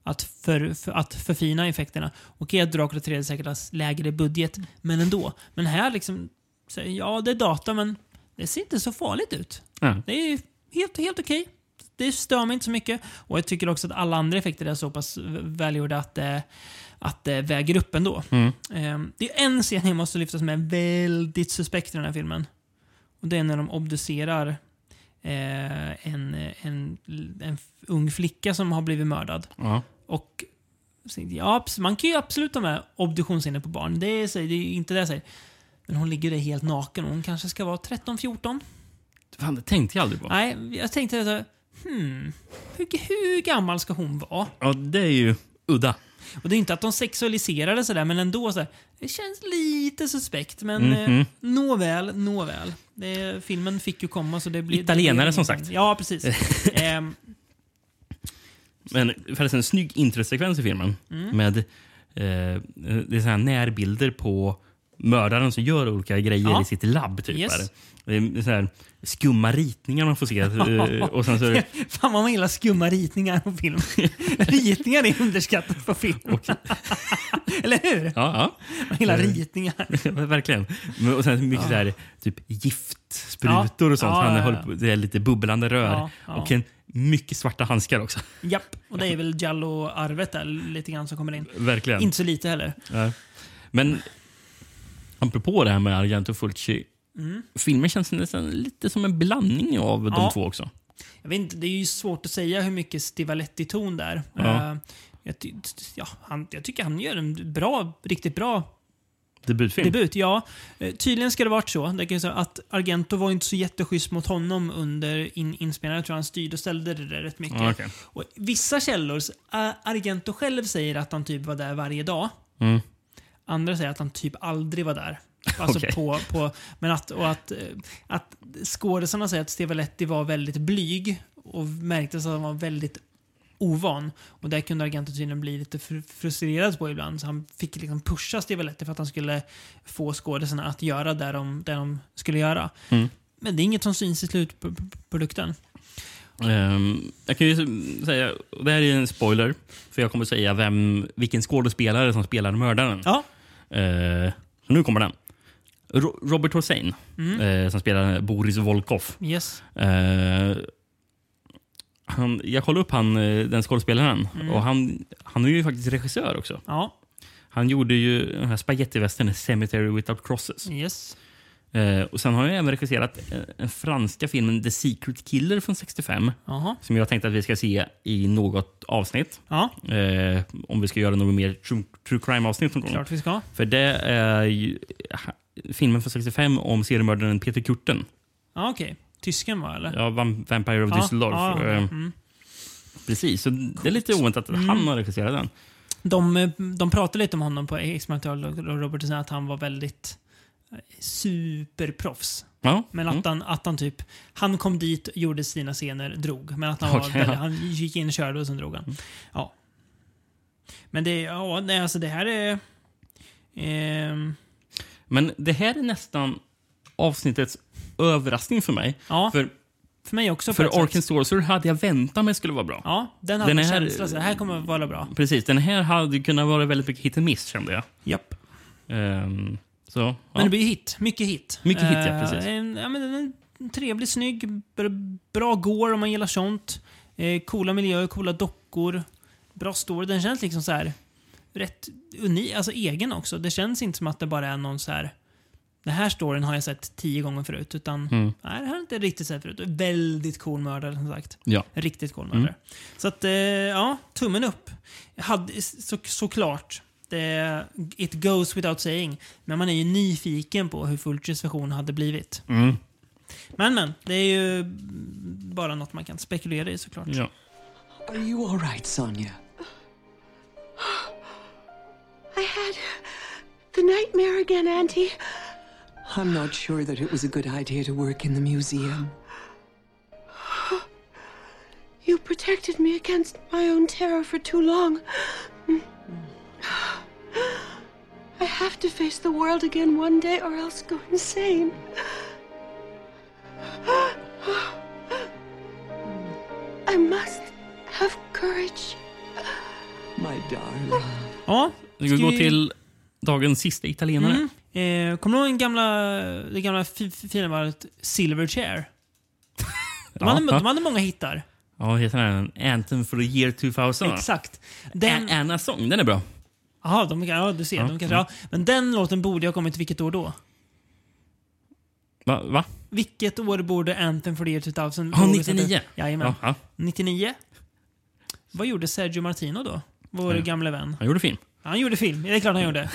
Speaker 1: att, för, för, att förfina effekterna. Okej att Dracula 3 säkert har lägre budget, men ändå. Men här liksom, så, ja det är data men det ser inte så farligt ut.
Speaker 2: Ja.
Speaker 1: Det är helt, helt okej. Det stör mig inte så mycket. Och jag tycker också att alla andra effekter är så pass v- välgjorda att det, att det väger upp ändå. Ehm, Det är en scen jag måste lyfta som är väldigt suspekt i den här filmen. Och det är när de obducerar eh, en, en, en f- ung flicka som har blivit mördad.
Speaker 2: Ja.
Speaker 1: Och så tänkte jag, ja, abs- man kan ju absolut ta med obduktionsscener på barn. Det är, så- det är inte det jag säger. Men hon ligger där helt naken och hon kanske ska vara 13-14.
Speaker 2: Fan, det tänkte jag aldrig på.
Speaker 1: Nej, jag tänkte så här, hmm, hur, hur gammal ska hon vara?
Speaker 2: Ja, det är ju... udda.
Speaker 1: Och det är inte att de sexualiserar det sådär, men ändå sådär. Det känns lite suspekt, men
Speaker 2: Mhm.
Speaker 1: eh, nåväl, nåväl. Det, filmen fick ju komma så det blir...
Speaker 2: Italienare,
Speaker 1: det blir
Speaker 2: som
Speaker 1: ingenting.
Speaker 2: sagt.
Speaker 1: Ja, precis. Ehm,
Speaker 2: Men förresten, en snygg introsekvens i filmen.
Speaker 1: Mm.
Speaker 2: Med eh, det är så här närbilder på mördaren som gör olika grejer
Speaker 1: Ja.
Speaker 2: i sitt labb. Typ,
Speaker 1: Yes.
Speaker 2: yes. Det är så här skumma ritningar man får se. eh, och sen så är det
Speaker 1: Fan vad man gillar skumma ritningar på film. ritningar är underskattat på film. Eller hur?
Speaker 2: Ja,
Speaker 1: Man gillar
Speaker 2: Mm.
Speaker 1: ritningar.
Speaker 2: ja. verkligen. Men- Och sen mycket så här, typ giftsprutor och sånt.
Speaker 1: Ja,
Speaker 2: Han
Speaker 1: ja, ja.
Speaker 2: håller på, det är lite bubblande rör.
Speaker 1: Ja, ja.
Speaker 2: Och en, mycket svarta handskar också.
Speaker 1: Japp, och det är väl Giallo-arvet där lite grann som kommer in.
Speaker 2: Verkligen.
Speaker 1: Inte så lite heller.
Speaker 2: Nej. Men apropå det här med Argento Fulci. Filmen känns nästan lite som en blandning av
Speaker 1: Ja.
Speaker 2: de två också.
Speaker 1: Jag vet inte, det är ju svårt att säga hur mycket Stivaletti-ton där.
Speaker 2: Ja.
Speaker 1: Eh, jag, ty- ja, han, jag tycker han gör en bra, riktigt bra
Speaker 2: Debutfilm.
Speaker 1: debut. Ja, Eh, tydligen ska det varit så. Det kan jag säga att Argento var inte så jätteschysst mot honom under in, inspelningen. Jag tror han styrde och ställde det där rätt mycket.
Speaker 2: Ja, okej.
Speaker 1: Och vissa källor, s- Ä- Argento själv säger att han typ var där varje dag.
Speaker 2: Mm.
Speaker 1: Andra säger att han typ aldrig var där. Alltså
Speaker 2: Okej.
Speaker 1: på, på, men att, och att, eh, att skådisarna säger att Stivaletti var väldigt blyg och märktes att han var väldigt ovan. Och där kunde Argento tydligen bli lite fr- frustrerad på ibland. Så han fick liksom pusha Stivaletti för att han skulle få skådisarna att göra det de, det de skulle göra.
Speaker 2: Mm.
Speaker 1: Men det är inget som syns i slutprodukten.
Speaker 2: Ehm, jag kan ju säga, och det här är en spoiler, för jag kommer säga vem, vilken skådespelare som spelar mördaren.
Speaker 1: Ja,
Speaker 2: Ehm, så nu kommer den. Ro Robert Hossein,
Speaker 1: Mm.
Speaker 2: eh, som spelar Boris Volkov.
Speaker 1: yes.
Speaker 2: Eh, han, jag kollade upp han, eh, den skådespelaren
Speaker 1: Mm.
Speaker 2: och han, han är ju faktiskt regissör också.
Speaker 1: Ja,
Speaker 2: Han gjorde ju den här spagettivästern Cemetery Without Crosses.
Speaker 1: yes.
Speaker 2: Eh, och Sen har han ju även regisserat eh, den franska filmen The Secret Killer från 65
Speaker 1: Jaha.
Speaker 2: som jag tänkte att vi ska se i något avsnitt.
Speaker 1: Ja,
Speaker 2: Eh, om vi ska göra något mer true, true crime-avsnitt någon gång.
Speaker 1: klart vi ska.
Speaker 2: För det är ju, ha- filmen från 65 om seriemördaren Peter Kurten.
Speaker 1: Ja, okej. Tysken var eller?
Speaker 2: Ja, Vam- Vampire of
Speaker 1: Ja,
Speaker 2: Düsseldorf.
Speaker 1: ja, ja,
Speaker 2: Eh,
Speaker 1: mm.
Speaker 2: Precis, så det är lite oväntat att han har regisserat den.
Speaker 1: De, eh, de pratade lite om honom på X-Material och Robertson att han var väldigt eh, superproffs.
Speaker 2: Ja.
Speaker 1: Men att, han, att han typ, han kom dit, gjorde sina scener, drog. Men att han, var
Speaker 2: Okej,
Speaker 1: väldigt,
Speaker 2: ja. Mm.
Speaker 1: han gick in, körde och sen drog han. Ja. Men det, ja, nej, alltså det här är... ehm,
Speaker 2: Men det här är nästan avsnittets överraskning för mig.
Speaker 1: ja, för,
Speaker 2: För,
Speaker 1: mig också. på ett
Speaker 2: för
Speaker 1: sätt.
Speaker 2: Arken Sorcerer hade jag väntat mig skulle vara bra.
Speaker 1: Ja, den hade
Speaker 2: Den
Speaker 1: en
Speaker 2: här-
Speaker 1: känsla. Så det här kommer att vara bra.
Speaker 2: Precis, den här hade ju kunnat vara väldigt mycket hit and miss kände jag.
Speaker 1: Japp.
Speaker 2: Ehm, så, ja.
Speaker 1: Men det blir ju hit. Mycket hit.
Speaker 2: Mycket hit, ja,
Speaker 1: Eh,
Speaker 2: precis.
Speaker 1: En, ja, men en- en trevlig, snygg, br- bra går om man gillar sånt. Eh, coola miljöer, coola dockor. Bra story. Den känns liksom så här rätt unik, alltså egen också. Det känns inte som att det bara är någon så här den här storyn har jag sett tio gånger förut. Utan,
Speaker 2: Mm.
Speaker 1: Nej, det här har jag inte riktigt sett förut. Väldigt cool mördare som sagt.
Speaker 2: Ja.
Speaker 1: Riktigt cool
Speaker 2: Mm.
Speaker 1: mördare. Så att, eh, ja, tummen upp. Jag hade, så, såklart, det, it goes without saying. Men man är ju nyfiken på hur Fulcis version hade blivit.
Speaker 2: Mm.
Speaker 1: Men men, det är ju bara något man kan spekulera i såklart.
Speaker 2: ja.
Speaker 9: Are you all right, Sonia?
Speaker 10: I had the nightmare again, Auntie.
Speaker 9: I'm not sure that it was a good idea to work in the museum.
Speaker 10: You protected me against my own terror for too long. I have to face the world again one day or else go insane. I must have courage.
Speaker 9: My darling.
Speaker 1: Ja,
Speaker 2: Vi ska
Speaker 1: ska
Speaker 2: gå
Speaker 1: vi-
Speaker 2: till dagens sista italienare.
Speaker 1: Mm. Eh, kommer du ihåg den gamla, det gamla fi- fi- fina valet Silverchair? De,
Speaker 2: Ja,
Speaker 1: hade,
Speaker 2: ja.
Speaker 1: de hade många hittar.
Speaker 2: Ja, heter den Anthem for the year 2000? va?
Speaker 1: Exakt.
Speaker 2: Den...
Speaker 1: Den,
Speaker 2: Anna Song, den är bra.
Speaker 1: aha, de, ja, du ser.
Speaker 2: Ja,
Speaker 1: De kanske,
Speaker 2: mm.
Speaker 1: ja. Men den låten borde ha kommit vilket år då?
Speaker 2: Va? va?
Speaker 1: Vilket år borde Anthem for the year 2000?
Speaker 2: Ja,
Speaker 1: borde sätta-
Speaker 2: 99.
Speaker 1: Jajamän.
Speaker 2: Ja, ja.
Speaker 1: 99. Vad gjorde Sergio Martino då? Vår
Speaker 2: Ja.
Speaker 1: gamla vän.
Speaker 2: Han gjorde film.
Speaker 1: Han gjorde film, det är klart han gjorde.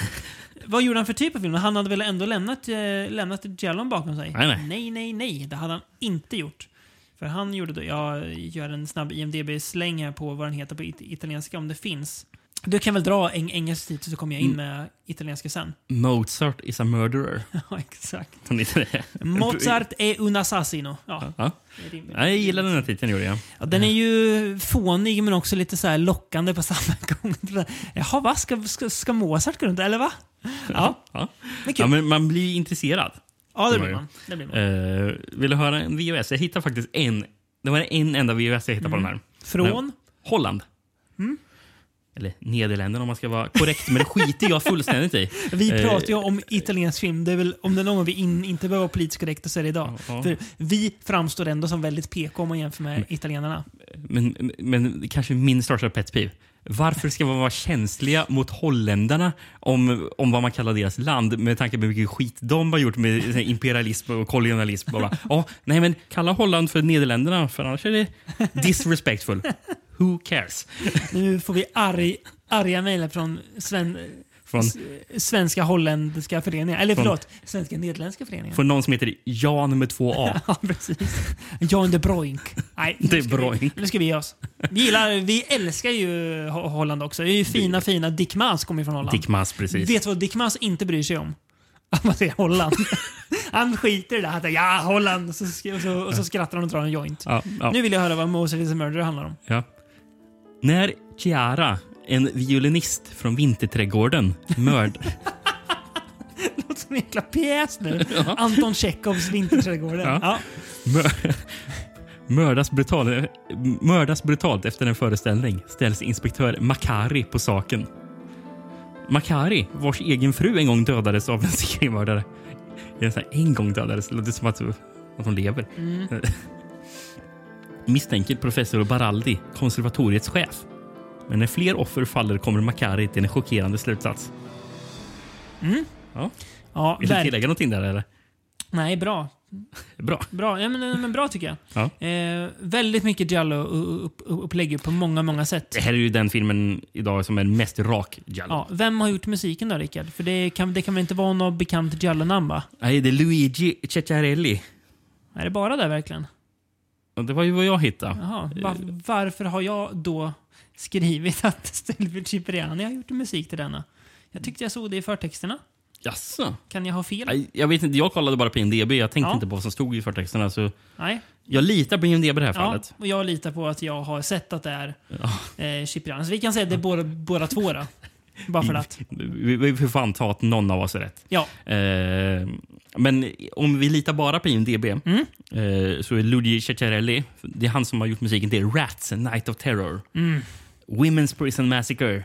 Speaker 1: Vad gjorde han för typ av film? Han hade väl ändå lämnat, eh, lämnat Jallon bakom sig?
Speaker 2: Nej, nej.
Speaker 1: nej, nej, nej. Det hade han inte gjort. För han gjorde då, jag gör en snabb IMDB-släng här på vad den heter på it- italienska om det finns. Du kan väl dra en engelsk titel så kommer jag in
Speaker 2: Mm.
Speaker 1: med italienska sen.
Speaker 2: Mozart is a murderer.
Speaker 1: Ja, exakt.
Speaker 2: Som heter det.
Speaker 1: Mozart är un assassino. Ja.
Speaker 2: Ja. Ja, jag gillade den här titeln, gjorde jag.
Speaker 1: Ja, den är ju fånig men också lite så här lockande på samma gång. Jaha, va? Ska, ska, ska Mozart gå runt eller va? Ja,
Speaker 2: Ja.
Speaker 1: Men kul.
Speaker 2: Ja, men man blir ju intresserad.
Speaker 1: ja det
Speaker 2: var
Speaker 1: blir
Speaker 2: ju.
Speaker 1: man. Det blir man.
Speaker 2: Eh, vill du höra en VHS? Jag hittade faktiskt en. Det var en enda VHS jag hittade på den här.
Speaker 1: Mm. Från? Mm.
Speaker 2: Men, Holland. Eller Nederländerna om man ska vara korrekt, men det skiter jag fullständigt i.
Speaker 1: Vi
Speaker 2: Eh,
Speaker 1: pratar ju om italiensk film. Det är väl, om det är någon gång vi in, inte behöver vara politiskt korrekta så är det idag.
Speaker 2: Ja. Mm.
Speaker 1: För vi framstår ändå som väldigt PK om man jämför med italienarna.
Speaker 2: men, men kanske min största pet peeve. Varför ska man vara känsliga mot holländarna om, om vad man kallar deras land med tanke på hur mycket skit de har gjort med så här, imperialism och kolonialism? Och bara, ja, nej, men kalla Holland för Nederländerna för annars är det disrespectful. Who cares?
Speaker 1: Nu får vi arg, arga mejl från sven,
Speaker 2: Från,
Speaker 1: svenska holländska föreningar. Eller
Speaker 2: Från-
Speaker 1: förlåt, svenska nederländska föreningar.
Speaker 2: från någon som heter Jan med två A.
Speaker 1: Ja, precis. Jan de Broink. Nej, nu
Speaker 2: Det är
Speaker 1: ska vi-
Speaker 2: Broink.
Speaker 1: Nu ska vi ge oss. Vi, gillar, vi älskar ju Ho- Holland också. Det är ju fina, fina... Dick Maas kommer ju från Holland.
Speaker 2: Dick Maas, precis.
Speaker 1: Vet du vad Dick Maas inte bryr sig om? Att man säger Holland. Han skiter i det. Han säger ja, Holland. Och så, sk- och så, och så skrattar han och drar en joint.
Speaker 2: Ja, ja.
Speaker 1: Nu vill jag höra vad Moses is a Murderer handlar om.
Speaker 2: Ja. När Chiara, en violinist från Vinterträdgården, mörd...
Speaker 1: Det låter som en jäkla pjäs nu. Anton Tjechovs Vinterträdgården.
Speaker 2: Ja.
Speaker 1: Ja.
Speaker 2: Mör- Mördas brutalt, mördas brutalt efter en föreställning ställs inspektör Makari på saken. Makari, vars egen fru en gång dödades av en seriemördare. Jag säger, En gång dödades, det låter som att, att hon lever. Misstänker professor Baraldi, konservatoriets chef. Men när fler offer faller kommer Makari till en chockerande slutsats. Ja.
Speaker 1: Ja,
Speaker 2: Vill du
Speaker 1: verk-
Speaker 2: tillägga någonting där eller?
Speaker 1: Nej, bra.
Speaker 2: Bra.
Speaker 1: Bra, ja, men, men bra tycker jag.
Speaker 2: Ja.
Speaker 1: Eh, väldigt mycket Giallo-upplägg på många, många sätt.
Speaker 2: Det här är ju den filmen idag som är mest rak Giallo.
Speaker 1: Ja, vem har gjort musiken då, Rickard? För det kan, det kan väl inte vara något bekant Giallo-namn, va?
Speaker 2: Nej, det är Luigi Ceccarelli.
Speaker 1: Är det bara det verkligen?
Speaker 2: Och det var ju vad jag hittade.
Speaker 1: Jaha, va, varför har jag då skrivit att Sylvia Cipriani har gjort musik till denna? Jag tyckte jag såg det i förtexterna.
Speaker 2: Jaså?
Speaker 1: Kan jag ha fel? Nej.
Speaker 2: Nej, Jag vet inte, jag kollade bara på IMDB. Jag tänkte
Speaker 1: Ja.
Speaker 2: inte på vad som stod i förtexterna. Så jag litar på IMDB i det här
Speaker 1: Ja,
Speaker 2: fallet.
Speaker 1: och jag litar på att jag har sett att det är eh, Cipriani. Så vi kan säga att det är båda, båda två då. Bara för att.
Speaker 2: Vi, vi får fan ta att någon av oss är rätt.
Speaker 1: Ja,
Speaker 2: Eh, men om vi litar bara på IMDB
Speaker 1: Mm.
Speaker 2: eh, så är Luigi Ceccarelli, det är han som har gjort musiken till Rats, Night of Terror.
Speaker 1: Mm.
Speaker 2: Women's Prison Massacre.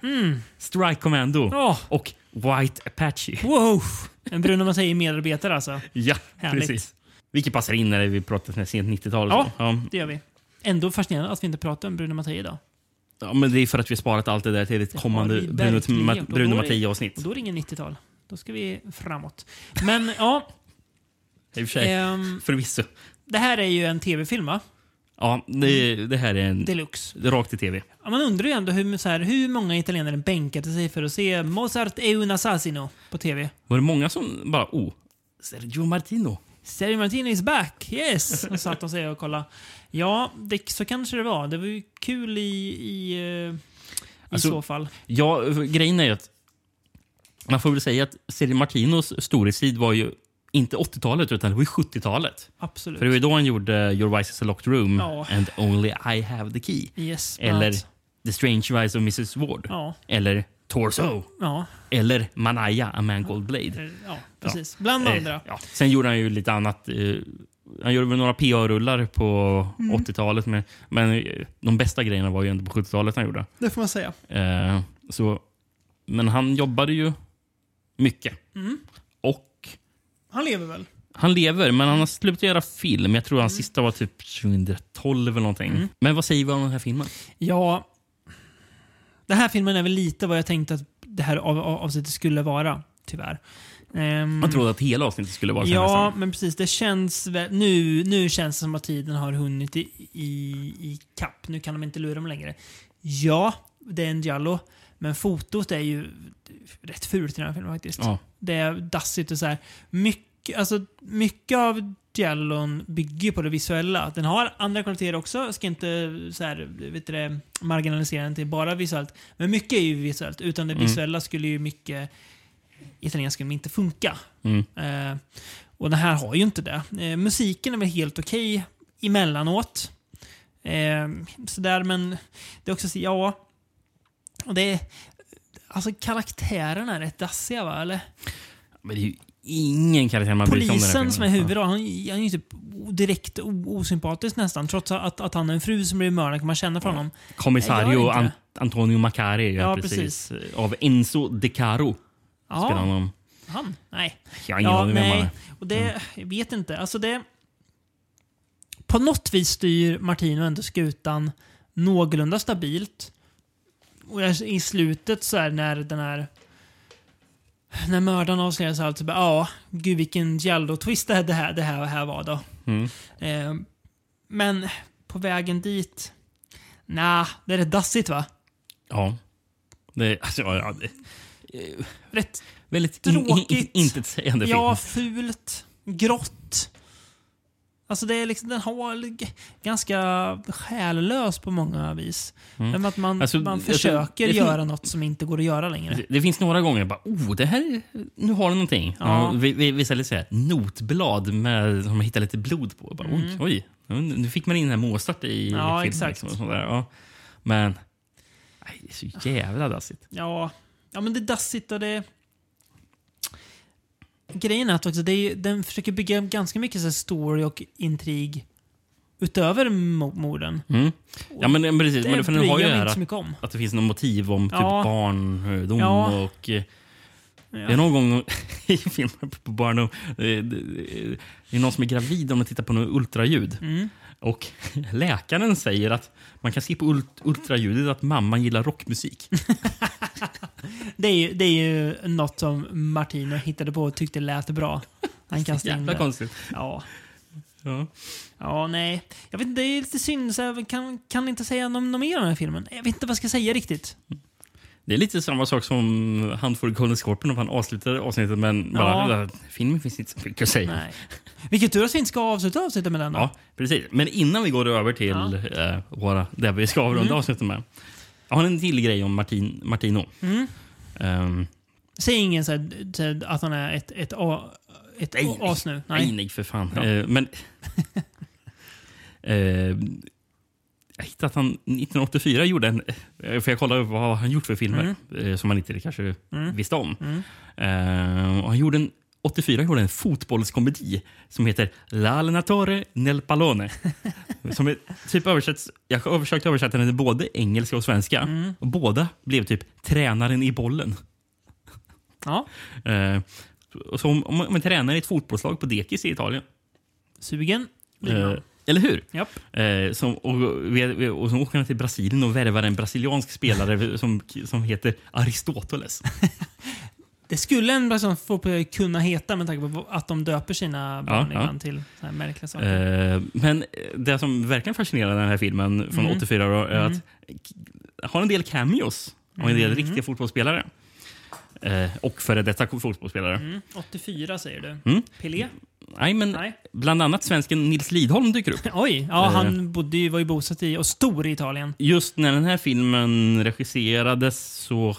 Speaker 2: Strike Commando.
Speaker 1: Åh.
Speaker 2: Och White Apache.
Speaker 1: wow! En Bruno Mattei medarbetare alltså.
Speaker 2: Ja,
Speaker 1: Härligt.
Speaker 2: precis. Vilket passar in när vi pratar sån här sent 90-tal. och
Speaker 1: Ja.
Speaker 2: så. Ja.
Speaker 1: Det gör vi. Ändå fascinerande att vi inte pratar om Bruno Mattei idag.
Speaker 2: Ja, men det är för att vi har sparat allt det där till ett
Speaker 1: har
Speaker 2: kommande
Speaker 1: vi
Speaker 2: Bruno,
Speaker 1: verkligen
Speaker 2: Ma-
Speaker 1: gjort. Och då
Speaker 2: Bruno
Speaker 1: är-
Speaker 2: Mattei-avsnitt.
Speaker 1: Och då är det ingen 90-tal. Då ska vi framåt. Men ja,
Speaker 2: I och för sig.
Speaker 1: ehm,
Speaker 2: Förvisso.
Speaker 1: det här är ju en tv-film va?
Speaker 2: Ja, det, det här är en...
Speaker 1: Deluxe.
Speaker 2: Rakt i tv.
Speaker 1: Ja, man undrar ju ändå hur, så här, hur många italienare bänkade sig för att se Mozart e un assassino på tv.
Speaker 2: Var det många som bara oh, Sergio Martino?
Speaker 1: Sergio Martino is back! Yes! Och satt de sig och kollade. Ja, det, så kanske det var. Det var ju kul i, i, eh, i
Speaker 2: Alltså,
Speaker 1: så fall.
Speaker 2: Ja, grejen är ju att man får väl säga att Sergio Martinos storhetstid var ju inte 80-talet utan det var ju 70-talet.
Speaker 1: Absolut.
Speaker 2: För det var ju då han gjorde Your Vice is a Locked Room
Speaker 1: Ja.
Speaker 2: and Only I Have the Key.
Speaker 1: yes, bland
Speaker 2: Eller
Speaker 1: annat.
Speaker 2: The Strange Rise of Mrs Ward.
Speaker 1: Ja.
Speaker 2: Eller Torso.
Speaker 1: Ja,
Speaker 2: Eller Manaya, A Man Called Blade.
Speaker 1: eller- ja precis. Bland
Speaker 2: Eh,
Speaker 1: andra.
Speaker 2: Ja. Sen gjorde han ju lite annat. eh, Han gjorde väl några PA-rullar på
Speaker 1: Mm.
Speaker 2: 80-talet, men, men eh, de bästa grejerna var ju inte på 70-talet han gjorde.
Speaker 1: Det får man säga.
Speaker 2: Eh, Så, men han jobbade ju mycket.
Speaker 1: Mm.
Speaker 2: Och
Speaker 1: Han lever väl?
Speaker 2: han lever, men han har slutat göra film. Jag tror hans
Speaker 1: Mm.
Speaker 2: sista var typ 2012 eller någonting. Men vad säger vi om den här filmen?
Speaker 1: Ja. Den här filmen är väl lite vad jag tänkte att det här av, av, avsnittet skulle vara, tyvärr. Ehm,
Speaker 2: Man trodde att hela avsnittet skulle vara så här
Speaker 1: Ja,
Speaker 2: nästan.
Speaker 1: men precis. Det känns väl, nu, nu känns det som att tiden har hunnit i, i, i kapp. Nu kan de inte lura dem längre. Ja, det är en giallo, men fotot är ju rätt fult i den här filmen faktiskt.
Speaker 2: Ja.
Speaker 1: Det är dassigt och så här. Mycket, alltså, mycket av Jallon bygger på det visuella. Den har andra kvaliteter också. Jag ska inte så här, vet du, det, marginalisera den till bara visuellt. Men mycket är ju visuellt. Utan det
Speaker 2: Mm.
Speaker 1: visuella skulle ju mycket italienska skulle inte funka.
Speaker 2: Mm.
Speaker 1: Eh, och den här har ju inte det. Eh, musiken är väl helt okej emellanåt. Eh, sådär, men det är också så, ja... och Det är, alltså karaktärerna är rätt dassiga va, eller?
Speaker 2: Men det är ju ingen karaktär man bryr sig om i den här
Speaker 1: Polisen
Speaker 2: filmen.
Speaker 1: som är huvudrollen, han, han är ju typ o- direkt o- osympatisk nästan. Trots att, att han är en fru som blir mördad kan man känna för honom. Nej, jag
Speaker 2: Kommissario
Speaker 1: gör inte
Speaker 2: An-
Speaker 1: det.
Speaker 2: Antonio Macari, ja,
Speaker 1: Ja,
Speaker 2: precis. Av Enzo De Caro.
Speaker 1: Ja.
Speaker 2: Spelar honom.
Speaker 1: Han? Nej.
Speaker 2: Jag har ingen aning vem han är.
Speaker 1: Och det,
Speaker 2: Mm.
Speaker 1: Jag vet inte. Alltså det... På något vis styr Martino ändå skutan någorlunda stabilt. Och jag, i slutet så här när den här... När mördaren avslöjas och allt så bara ja, gud vilken Giallo-twist det här, det här, det här, det här var då.
Speaker 2: Mm.
Speaker 1: Eh, men på vägen dit... Nja, det är rätt dassigt va?
Speaker 2: Ja. Det, alltså, ja, ja, det,
Speaker 1: Rätt
Speaker 2: väldigt in- in-
Speaker 1: tråkigt.
Speaker 2: in- intetsägande film.
Speaker 1: Ja, fult. Grått. Alltså det är liksom, den har g- ganska själlös på många vis.
Speaker 2: Mm.
Speaker 1: Men att man,
Speaker 2: Alltså,
Speaker 1: man
Speaker 2: jag tror-
Speaker 1: försöker
Speaker 2: det fin-
Speaker 1: göra något som inte går att göra längre.
Speaker 2: Det- Det finns några gånger jag bara, oh, det här, nu har du någonting.
Speaker 1: Ja.
Speaker 2: Ja. vi, vi, vi säljer så här, notblad med, som man hittar lite blod på. Jag Bara,
Speaker 1: Mm.
Speaker 2: Oj, oj. Ja, nu- Nu fick man in den här Mozart i
Speaker 1: Ja,
Speaker 2: filmen.
Speaker 1: exakt.
Speaker 2: liksom, och sånt där, ja. Men, nej, det är så jävla dassigt.
Speaker 1: Ja, ja men det är dassigt och det... Grejen är att också, det är, ju- den försöker bygga ganska mycket så här story och intrig utöver mo- morden.
Speaker 2: Mm. Ja, men, men precis.
Speaker 1: Det
Speaker 2: men, för den
Speaker 1: bryr
Speaker 2: har ju
Speaker 1: jag mig
Speaker 2: det här
Speaker 1: inte
Speaker 2: att,
Speaker 1: så mycket om.
Speaker 2: att det finns något motiv om typ
Speaker 1: Ja.
Speaker 2: barndom
Speaker 1: Ja.
Speaker 2: och... eh,
Speaker 1: Ja.
Speaker 2: Det är någon gång i filmen på barndom, eh, det- det det är någon som är gravid om man tittar på något ultraljud.
Speaker 1: Mm.
Speaker 2: Och läkaren säger att man kan se på ult- ultraljudet att mamman gillar rockmusik.
Speaker 1: Det är, ju, det är ju något som Martino hittade på och tyckte lät bra. Han kastade in
Speaker 2: Jävla
Speaker 1: det.
Speaker 2: konstigt.
Speaker 1: Ja.
Speaker 2: Ja.
Speaker 1: Ja, nej. Jag vet inte, det är lite synd. Så jag kan, kan inte säga något något mer om den här filmen. Jag vet inte vad jag ska säga riktigt.
Speaker 2: Det är lite samma sak som han får Golden Scorpion om han avslutade avsnittet men bara,
Speaker 1: Ja.
Speaker 2: filmen finns inte så mycket att säga.
Speaker 1: Nej. Vilket tur att vi inte ska avsluta avsnittet med den då.
Speaker 2: Ja, precis. Men innan vi går över till eh, våra, där vi ska avrunda
Speaker 1: Mm.
Speaker 2: avsnittet med. Jag har en till grej om Martin, Martino.
Speaker 1: Mm.
Speaker 2: Ehm,
Speaker 1: Säg ingen så här, så här, att han är ett, ett, a, ett
Speaker 2: Nej,
Speaker 1: as nu.
Speaker 2: Nej,
Speaker 1: Nej.
Speaker 2: nej för fan.
Speaker 1: Ja.
Speaker 2: Eh, men... eh, jag hittade att han 1984 gjorde en... eh, För jag kollade upp vad han gjort för filmer eh, som han inte kanske
Speaker 1: Mm.
Speaker 2: visste om.
Speaker 1: Mm.
Speaker 2: Eh, och han gjorde en... 84 gjorde en fotbollskomedi som heter L'allenatore nel pallone. som är typ översätts, jag har försökt översätta den till både engelska och svenska.
Speaker 1: Mm.
Speaker 2: Och båda blev typ tränaren i bollen.
Speaker 1: Ja,
Speaker 2: Eh, och så om, om man tränar i ett fotbollslag på dekis i Italien.
Speaker 1: sugen. blir
Speaker 2: Eh,
Speaker 1: man.
Speaker 2: eller hur?
Speaker 1: Japp.
Speaker 2: Eh, som, och, vi- vi- och så åker han till Brasilien och värvar en brasiliansk spelare som, som heter Aristoteles.
Speaker 1: Det skulle en person fotboll kunna heta med tanke på att de döper sina barn
Speaker 2: ja.
Speaker 1: ibland till så här märkliga saker.
Speaker 2: Eh, men det som verkligen fascinerar den här filmen från
Speaker 1: Mm.
Speaker 2: 84 då, är
Speaker 1: Mm.
Speaker 2: att den har en del cameos och en del riktiga fotbollsspelare. Eh, och före detta fotbollsspelare.
Speaker 1: Mm. 84 säger du.
Speaker 2: Mm.
Speaker 1: Pelé?
Speaker 2: Nej, men
Speaker 1: Nej.
Speaker 2: bland annat svensken Nils Lidholm dyker upp.
Speaker 1: Oj, ja,
Speaker 2: Eh.
Speaker 1: han bodde ju, var ju bosatt i och stor i Italien.
Speaker 2: Just när den här filmen regisserades så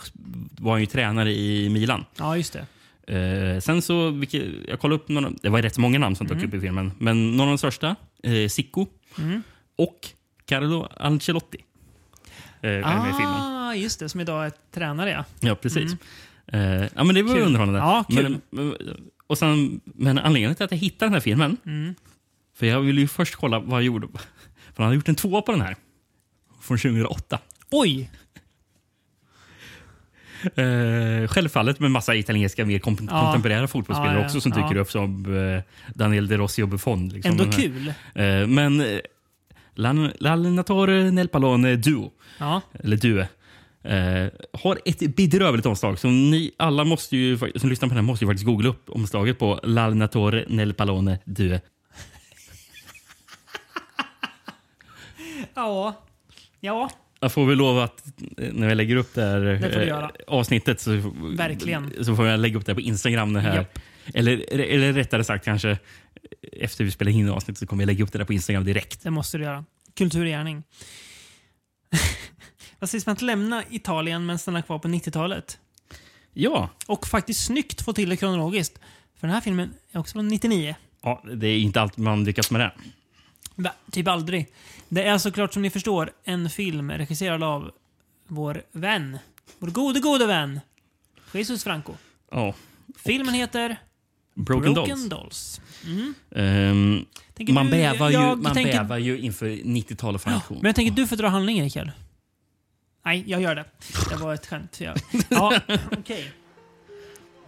Speaker 2: var han ju tränare i Milan.
Speaker 1: Ja, just det.
Speaker 2: Eh, sen så, vilket, jag kollade upp några, det var rätt många namn som dök upp i filmen, men några av de största, eh, Sicko
Speaker 1: Mm.
Speaker 2: och Carlo Ancelotti. Eh, är med i filmen.
Speaker 1: Ah, just det. Som idag är tränare, ja.
Speaker 2: Ja, precis. Eh, ja, men det var
Speaker 1: Kul.
Speaker 2: underhållande.
Speaker 1: Ja, kul.
Speaker 2: men, men- och sen, men anledningen till att jag hittade den här filmen,
Speaker 1: Mm.
Speaker 2: för jag ville ju först kolla vad jag gjorde, för han hade gjort en tvåa på den här. Från 2008.
Speaker 1: Oj!
Speaker 2: Eh, självfallet med massa italienska mer kom-
Speaker 1: Ja.
Speaker 2: kontemporära fotbollsspelare
Speaker 1: Ja, ja,
Speaker 2: också som dyker
Speaker 1: ja.
Speaker 2: upp som eh, Daniel De Rossi och Buffon. Liksom,
Speaker 1: Ändå
Speaker 2: Den här-
Speaker 1: kul.
Speaker 2: Eh, men eh, Lan- L'Allenatore nel Pallone Duo,
Speaker 1: Ja.
Speaker 2: eller Due, eh, har ett bedrövligt omslag. Så ni alla måste ju, fa- som lyssnar på den här måste ju faktiskt googla upp omslaget på L'Allenatore nel Pallone Due.
Speaker 1: Ja. Ja.
Speaker 2: Jag får väl lova att eh, när jag lägger upp det här
Speaker 1: Det får du
Speaker 2: eh,
Speaker 1: göra.
Speaker 2: avsnittet så,
Speaker 1: Verkligen.
Speaker 2: så får jag lägga upp det här på Instagram. Det här.
Speaker 1: Japp.
Speaker 2: Eller, eller rättare sagt kanske efter vi spelar in avsnittet så kommer jag lägga upp det där på Instagram direkt.
Speaker 1: Det måste du göra. Kulturgärning. Vad sägs om att lämna Italien men stanna kvar på 90-talet?
Speaker 2: Ja.
Speaker 1: Och faktiskt snyggt få till det kronologiskt. För den här filmen är också från 99.
Speaker 2: Ja, det är inte allt man lyckas med det.
Speaker 1: Va? Typ aldrig. Det är såklart som ni förstår en film regisserad av vår vän. Vår gode, gode vän. Jesus Franco.
Speaker 2: Ja.
Speaker 1: Filmen heter
Speaker 2: Broken,
Speaker 1: Dolls.
Speaker 2: Dolls.
Speaker 1: Mm.
Speaker 2: Ehm,
Speaker 1: Tänker
Speaker 2: man
Speaker 1: du-
Speaker 2: bävar, ju,
Speaker 1: jag
Speaker 2: man
Speaker 1: tänker-
Speaker 2: bävar ju inför 90-talet för
Speaker 1: Men
Speaker 2: auktion.
Speaker 1: jag tänker att du får dra handlingen Rickard. Nej, jag gör det. Det var ett skämt. Jag... Ja, okej.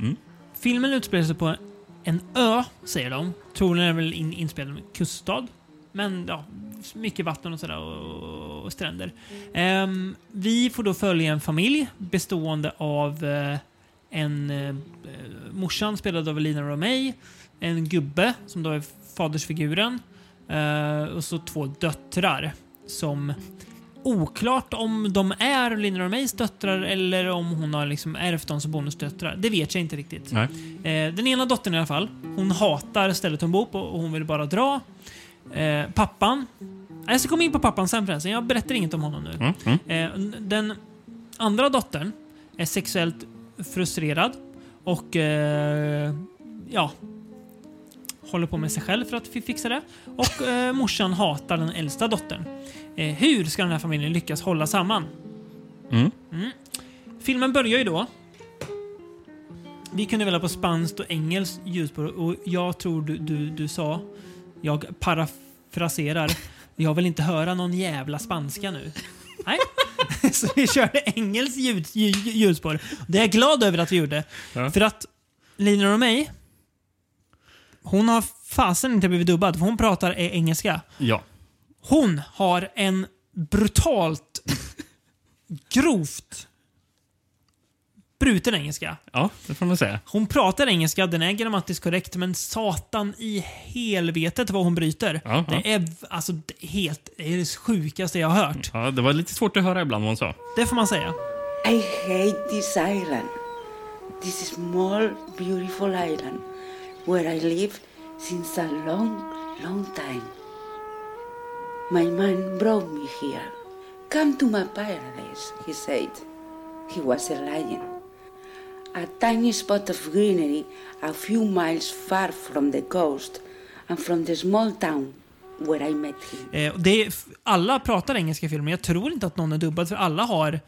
Speaker 2: Mm.
Speaker 1: Filmen utspelar sig på en ö, säger de. Troligen är väl in, inspelad med kuststad. Men ja, mycket vatten och sådär och, och stränder. Ehm, vi får då följa en familj bestående av eh, en eh, morsan spelad av Elina Romay, en gubbe som då är fadersfiguren eh, och så två döttrar som Oklart om de är Linda Romays döttrar eller om hon har liksom ärvt dem som bonusdöttrar. Det vet jag inte riktigt.
Speaker 2: Nej. Mm,
Speaker 1: Eh, den ena dottern i alla fall, hon hatar stället hon bor på och hon vill bara dra. Eh, pappan. Jag ska komma in på pappan sen förresten. Jag berättar inget om honom nu.
Speaker 2: Mm, mm.
Speaker 1: Eh, n- Den andra dottern är sexuellt frustrerad och eh, ja, håller på med sig själv för att fi- fixa det. Och eh, morsan hatar den äldsta dottern. Eh, hur ska den här familjen lyckas hålla samman?
Speaker 2: Mm.
Speaker 1: Filmen börjar ju då. Vi kunde välja på spanskt och engelskt ljudspår och jag tror du, du, du sa, jag parafraserar, jag vill inte höra någon jävla spanska nu. Nej. Så vi körde engelskt ljud, ljud, ljudspår. Det är jag glad över att vi gjorde.
Speaker 2: Ja.
Speaker 1: För att Lina och mig, hon har fasen inte blivit dubbad för hon pratar eh, engelska.
Speaker 2: Ja.
Speaker 1: Hon har en brutalt grovt bruten engelska.
Speaker 2: ja, det får man säga.
Speaker 1: Hon pratar engelska, den är grammatiskt korrekt, men satan i helvetet vad hon bryter.
Speaker 2: Ja, ja.
Speaker 1: Det är v- alltså det är helt, det är det sjukaste jag har hört.
Speaker 2: Ja, det var lite svårt att höra ibland vad hon sa.
Speaker 1: Det får man säga.
Speaker 11: I hate this island, this small, beautiful island where I live since a long, long time. My man brought me here. Come to my paradise, he said. He was a lion. A tiny spot of greenery a few miles far from the coast and from the small town where I met him.
Speaker 1: Eh, och det är, f- alla pratar engelska i filmen. Jag tror inte att någon är dubbad, för alla har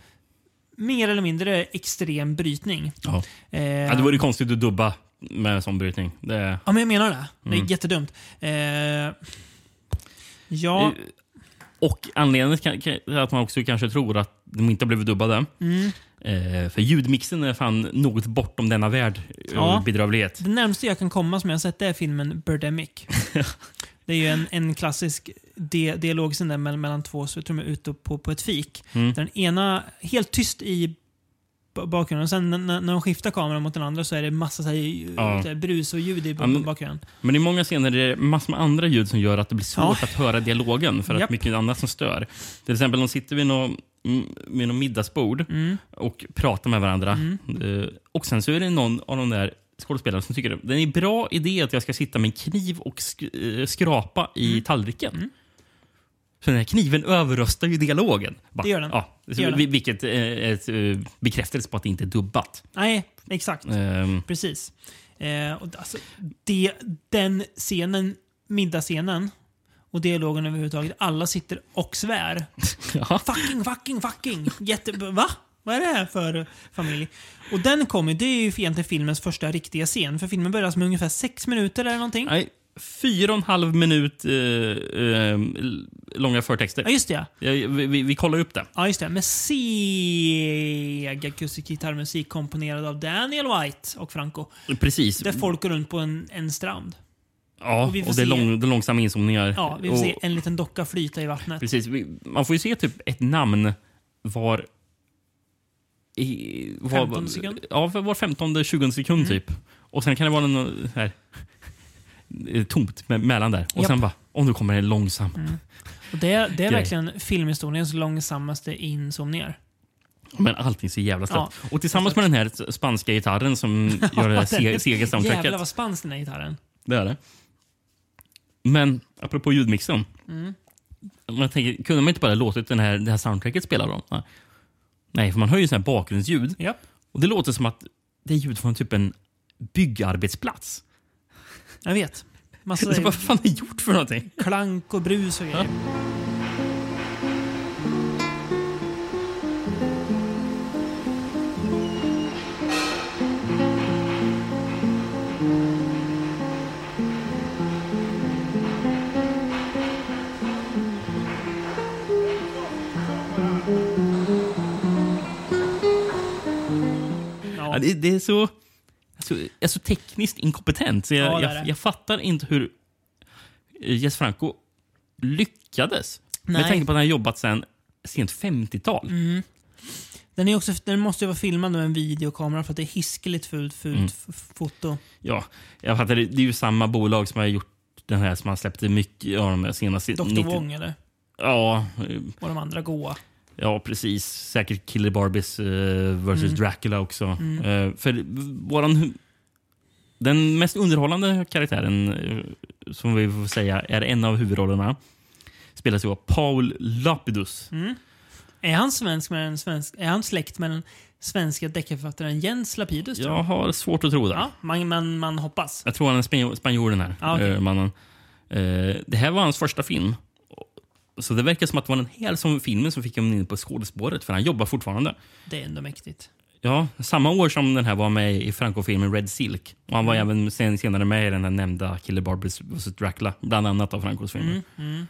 Speaker 1: mer eller mindre extrem brytning.
Speaker 2: Ja.
Speaker 1: Eh,
Speaker 2: Ja, det vore konstigt att dubba med en sån brytning. Det...
Speaker 1: Ja, men jag menar det. Det är
Speaker 2: Mm.
Speaker 1: jättedumt. Eh, ja,
Speaker 2: Eh, Och anledningen kan- kan- är att man också kanske tror att de inte har blivit dubbade.
Speaker 1: Mm.
Speaker 2: Eh, för ljudmixen är fan något bortom denna värld eh,
Speaker 1: Ja.
Speaker 2: ja. bedrövlighet.
Speaker 1: det närmaste jag kan komma som jag har sett det är filmen Birdemic. det är ju en, en klassisk di dialog sen där mellan, mellan två, så jag tror de är ute på, på ett fik.
Speaker 2: Mm.
Speaker 1: Där den ena, helt tyst i ba- bakgrunden, och sen när, när de skiftar kameran mot den andra så är det massa så här,
Speaker 2: Ja.
Speaker 1: så här, brus och ljud i
Speaker 2: Ja, men-
Speaker 1: bakgrunden.
Speaker 2: Men i många scener är det massor med andra ljud som gör att det blir svårt
Speaker 1: Ja.
Speaker 2: att höra dialogen för att
Speaker 1: Japp.
Speaker 2: mycket annat som stör. Till exempel de sitter vid något med någon middagsbord
Speaker 1: Mm.
Speaker 2: och pratar med varandra. Eh, och sen så är det någon av de där skådespelarna som tycker att det är en bra idé att jag ska sitta med en kniv och sk eh, skrapa i
Speaker 1: Mm.
Speaker 2: tallriken. Så den här kniven överröstar ju dialogen. Bara,
Speaker 1: Det gör den.
Speaker 2: Ja,
Speaker 1: Det
Speaker 2: så
Speaker 1: gör den.
Speaker 2: vi- Vilket eh, är ett eh, bekräftelse på att det inte är dubbat.
Speaker 1: Nej, exakt.
Speaker 2: Ehm,
Speaker 1: Precis. Eh, och alltså, det, den scenen, middagsscenen och dialogen överhuvudtaget, alla sitter och svär. Fucking, fucking, fucking! Jätte... Va? Vad är det här för familj? Och den kommer, det är ju egentligen filmens första riktiga scen. För filmen börjar med ungefär sex minuter eller någonting.
Speaker 2: Nej, fyra och en halv minut eh, eh, l- långa förtexter.
Speaker 1: Ja, just det.
Speaker 2: Ja, vi, vi, vi kollar upp det.
Speaker 1: Ja, just det. Med seg akustisk gitarrmusik komponerad av Daniel White och Franco.
Speaker 2: Precis.
Speaker 1: Där folk går runt på en, en strand.
Speaker 2: ja,
Speaker 1: och
Speaker 2: och,
Speaker 1: vi får
Speaker 2: det är
Speaker 1: se-
Speaker 2: lång, det är långsamma inzoomningar.
Speaker 1: Ja, vi får
Speaker 2: och,
Speaker 1: se en liten docka flyta i vattnet.
Speaker 2: Precis. Vi, man får ju se typ ett namn var... I, var
Speaker 1: 15 sekund?
Speaker 2: Ja, var- var 15 20 sekund typ. Och sen kan det vara någon här, eh, tomt me- mellan där. Och
Speaker 1: Japp.
Speaker 2: sen bara, om nu kommer en långsam.
Speaker 1: Och det, det är
Speaker 2: Grej.
Speaker 1: verkligen filmhistoriens långsammaste insomningar.
Speaker 2: Men allting så jävla snabbt.
Speaker 1: Ja.
Speaker 2: Och tillsammans med den här spanska gitarren som gör det här se- sega soundtracket.
Speaker 1: Jävlar vad spansk den här gitarren.
Speaker 2: Det är det. Men apropå ljudmixen.
Speaker 1: Mm.
Speaker 2: Men Jag tänker, kunde man inte bara låtit den här, det här soundtracket spela då? Nej. Nej, för man hör ju sån här bakgrundsljud. Och det låter som att det är ljud från typ en byggarbetsplats.
Speaker 1: Jag vet.
Speaker 2: Så vad fan har gjort för någonting?
Speaker 1: Klank och brus och grejer.
Speaker 2: Ja. Det, det är så... Alltså, jag är så tekniskt inkompetent. Så jag,
Speaker 1: Ja, det är det.
Speaker 2: jag, jag fattar inte hur eh, Jess Franco lyckades.
Speaker 1: Nej.
Speaker 2: Med tanke på att han har jobbat sedan sent 50-tal.
Speaker 1: Mm. Den, är också, den måste ju vara filmad med en videokamera för att det är hiskeligt fult, fult
Speaker 2: Mm.
Speaker 1: f- foto.
Speaker 2: Ja, jag fattar. Det det är ju samma bolag som har gjort den här som har släppt mycket av de senaste...
Speaker 1: Dr.
Speaker 2: 90
Speaker 1: Wong eller?
Speaker 2: Ja. eh,
Speaker 1: Och de andra goa.
Speaker 2: Ja, precis. Säkert Killer Barbies eh, versus
Speaker 1: Mm.
Speaker 2: Dracula också.
Speaker 1: Mm.
Speaker 2: Eh, för våran... Den mest underhållande karaktären, eh, som vi får säga, är en av huvudrollerna. Spelas ju av Paul Lapidus.
Speaker 1: Mm. Är han svensk med den svensk, Är han släkt med den svenska deckarförfattaren Jens Lapidus? tror
Speaker 2: Jag har svårt att tro det.
Speaker 1: Ja, man, man, man hoppas.
Speaker 2: Jag tror han är spanjor, spanjor den här
Speaker 1: Ja, Ah, okej.
Speaker 2: eh, mannen. Eh, det här var hans första film. Så det verkar som att det var den här som filmen som fick honom in på skådespåret, för han jobbar fortfarande.
Speaker 1: Det är ändå mäktigt.
Speaker 2: Ja, samma år som den här var med i Franco-filmen Red Silk. Och han var
Speaker 1: Mm.
Speaker 2: även sen, senare med i den här nämnda Killer Barbies vs Dracula, bland annat av Francos filmer.
Speaker 1: Mm, mm.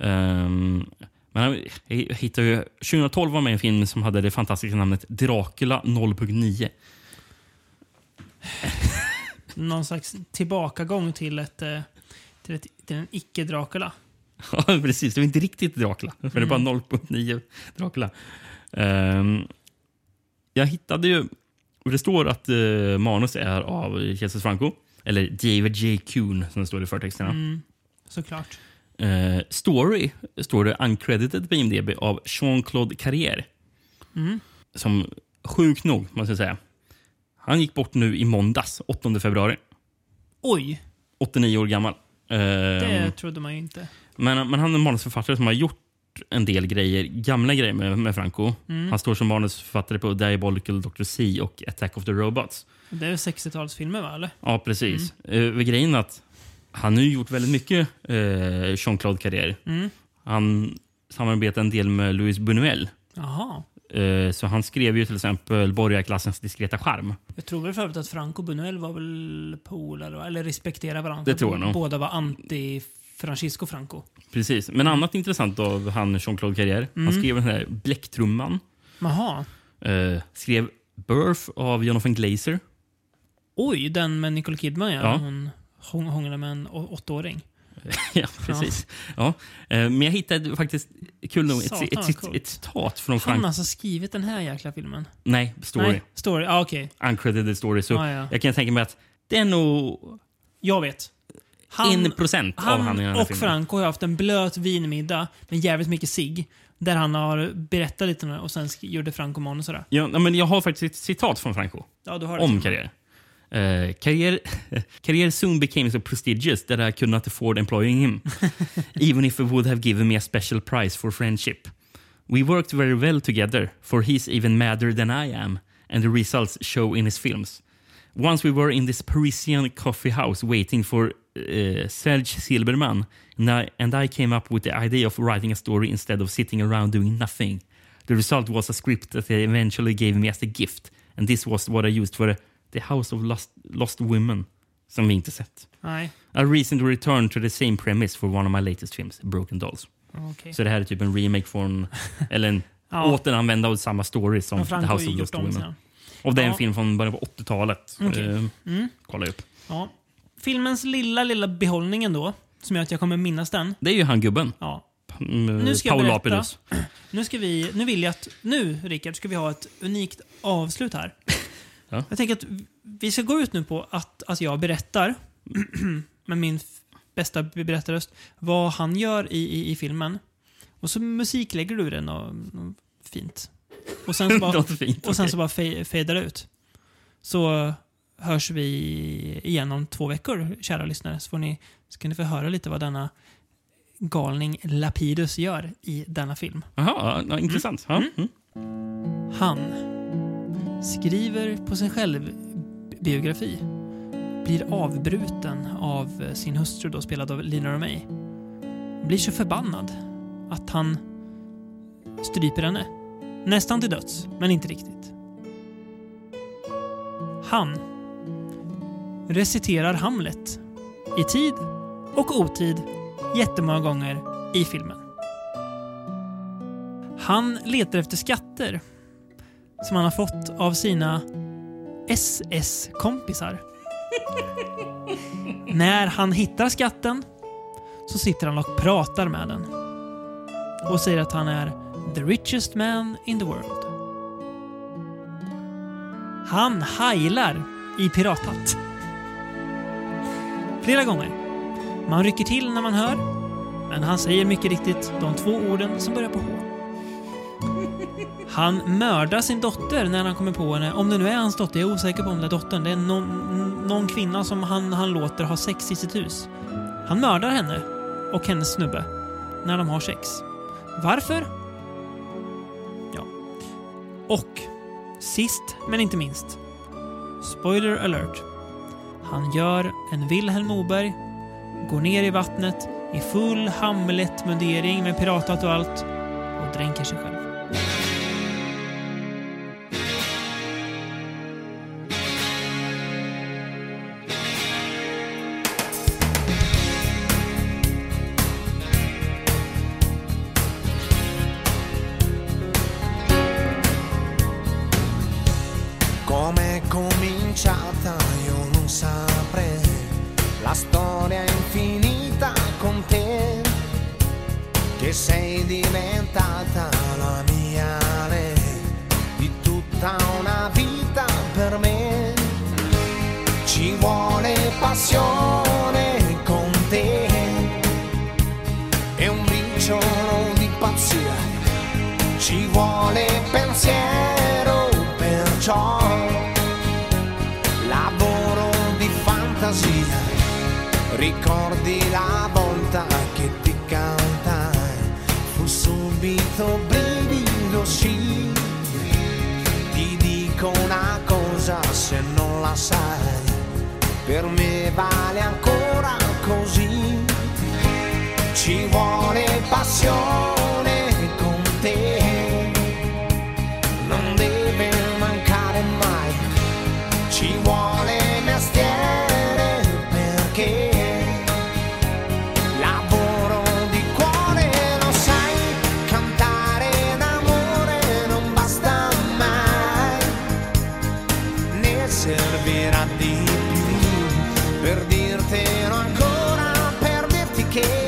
Speaker 2: Ehm, men han jag hittade ju... 2012 var med i en film som hade det fantastiska namnet Dracula 0.9.
Speaker 1: Någon slags tillbakagång till, ett, eh, till, ett, till en icke-Dracula.
Speaker 2: Ja, precis. Det var inte riktigt Dracula, för det
Speaker 1: Mm.
Speaker 2: var 0.9 Dracula. Ehm, jag hittade ju... Och det står att eh, manus är av Jesus Franco, eller David J. Kuhn som det står i förtexterna.
Speaker 1: Mm, såklart.
Speaker 2: Eh, story står det uncredited på IMDB av Jean-Claude Carrière.
Speaker 1: Mm.
Speaker 2: Som sjukt nog, man ska säga. Han gick bort nu i måndags, 8 februari.
Speaker 1: Oj,
Speaker 2: 89 år gammal. Eh,
Speaker 1: det trodde man ju inte.
Speaker 2: men, men han är en manusförfattare som har gjort en del grejer, gamla grejer med, med Franco.
Speaker 1: Mm.
Speaker 2: Han står som manusförfattare på Diabolical Dr. C och Attack of the Robots.
Speaker 1: Det är väl 60-talsfilmer va, eller?
Speaker 2: Ja, precis. Mm. grejen är att han har ju gjort väldigt mycket eh, Jean-Claude Carrière.
Speaker 1: Mm.
Speaker 2: Han samarbetar en del med Louis Buñuel.
Speaker 1: Jaha.
Speaker 2: Eh, så han skrev ju till exempel Borgarklassens diskreta charm.
Speaker 1: Jag tror väl för övrigt att Franco Bunuel var väl polare, va? eller respekterade varandra.
Speaker 2: Det tror jag nog.
Speaker 1: Båda var anti-Francisco Franco.
Speaker 2: Precis. Men annat intressant av han Jean-Claude Carrière.
Speaker 1: Mm.
Speaker 2: Han skrev den här Bläcktrumman.
Speaker 1: Jaha.
Speaker 2: Eh, skrev Birth av Jonathan Glazer.
Speaker 1: Oj, den med Nicole Kidman ja.
Speaker 2: Ja.
Speaker 1: Hon hång- hånglade med en å- åttaåring.
Speaker 2: ja, precis. Ja. Eh, men jag hittade faktiskt, kul nog, ett,
Speaker 1: Satan,
Speaker 2: ett,
Speaker 1: vad
Speaker 2: ett,
Speaker 1: coolt.
Speaker 2: ett citat från
Speaker 1: Han har
Speaker 2: Frank...
Speaker 1: alltså skrivit den här jäkla filmen?
Speaker 2: Nej, story.
Speaker 1: Nej, story. Ah, okej.
Speaker 2: Uncredited story. Så
Speaker 1: Ah, ja.
Speaker 2: jag kan tänka mig att det är nog
Speaker 1: Jag vet.
Speaker 2: en procent av han i den här
Speaker 1: och
Speaker 2: filmen.
Speaker 1: Franco har haft en blöt vinmiddag med jävligt mycket cigg. Där han har berättat lite om det och sen sk- gjorde Franco manus och det.
Speaker 2: Ja, nej, men jag har faktiskt ett citat från Franco.
Speaker 1: Ja, du har det.
Speaker 2: om karriär. Uh, karriär, karriär soon became so prestigious that I could not afford employing him. even if it would have given me a special prize for friendship. We worked very well together, for he's even madder than I am, and the results show in his films. Once we were in this Parisian coffee house waiting for uh, Serge Silberman, and I, and I came up with the idea of writing a story instead of sitting around doing nothing. The result was a script that they eventually gave me as a gift, and this was what I used for eh, The House of Lost, Lost Women, som vi inte sett.
Speaker 1: Nej.
Speaker 2: A recent return to the same premise for one of my latest films, Broken Dolls.
Speaker 1: Okej.
Speaker 2: Så det här är typ en remake från, eller en
Speaker 1: Ja.
Speaker 2: återanvända av samma story som
Speaker 1: Men
Speaker 2: The
Speaker 1: Franco har
Speaker 2: House
Speaker 1: ju
Speaker 2: of
Speaker 1: gjort
Speaker 2: Lost
Speaker 1: om
Speaker 2: Women.
Speaker 1: sen.
Speaker 2: Och det är en
Speaker 1: Ja.
Speaker 2: film från början på 80-talet.
Speaker 1: Okej.
Speaker 2: Eh,
Speaker 1: Mm.
Speaker 2: kolla upp.
Speaker 1: Ja. Filmens lilla, lilla behållning ändå, som gör att jag kommer minnas den.
Speaker 2: Det är ju han gubben.
Speaker 1: Ja.
Speaker 2: Nu
Speaker 1: Nu ska jag
Speaker 2: Paul
Speaker 1: berätta.
Speaker 2: Lapidus.
Speaker 1: Nu ska vi, nu vill jag att, nu Rickard, ska vi ha ett unikt avslut här.
Speaker 2: Ja.
Speaker 1: Jag tänker att vi ska gå ut nu på att, att jag berättar, med min f- bästa berättarröst, vad han gör i, i, i filmen. Och så musiklägger du den och, och fint. Och sen så bara,
Speaker 2: Något fint,
Speaker 1: och sen
Speaker 2: okej.
Speaker 1: så bara fe- fejdar det ut. Så hörs vi igen om två veckor, kära lyssnare. Så, får ni, så kan ni få höra lite vad denna galning Lapidus gör i denna film.
Speaker 2: Jaha, ja, intressant. Ja. Mm.
Speaker 1: Han skriver på sin självbiografi. Blir avbruten av sin hustru, då spelad av Lina Romay. Blir så förbannad att han stryper henne. Nästan till döds, men inte riktigt. Han reciterar Hamlet i tid och otid jättemånga gånger i filmen. Han letar efter skatter som han har fått av sina SS-kompisar. När han hittar skatten så sitter han och pratar med den och säger att han är the richest man in the world. Han heilar i pirathatt. Flera gånger. Man rycker till när man hör, men han säger mycket riktigt de två orden som börjar på H. Han mördar sin dotter när han kommer på henne, om det nu är hans dotter, jag är osäker på om det är dottern. Det är någon, någon kvinna som han, han låter ha sex i sitt hus. Han mördar henne och hennes snubbe när de har sex. Varför? Ja. Och sist men inte minst. Spoiler alert. Han gör en Vilhelm Moberg, går ner i vattnet i full Hamlet-mundering med pirathatt och allt och dränker sig själv.
Speaker 3: Com'è cominciata io non saprei, la storia è infinita con te, che sei diventata la mia re, di tutta una vita per me. Ci vuole passione con te e un briciolo di pazzia ci vuole pensiero perciò lavoro di fantasia ricordi la volta che ti cantai fu subito brivido sì ti dico una cosa se non la sai per me vale ancora così ci vuole passione con te. Non deve mancare mai, ci vuole mestiere perché lavoro di cuore lo sai, cantare d'amore non basta mai, ne servirà di più per dirtelo ancora, per dirti che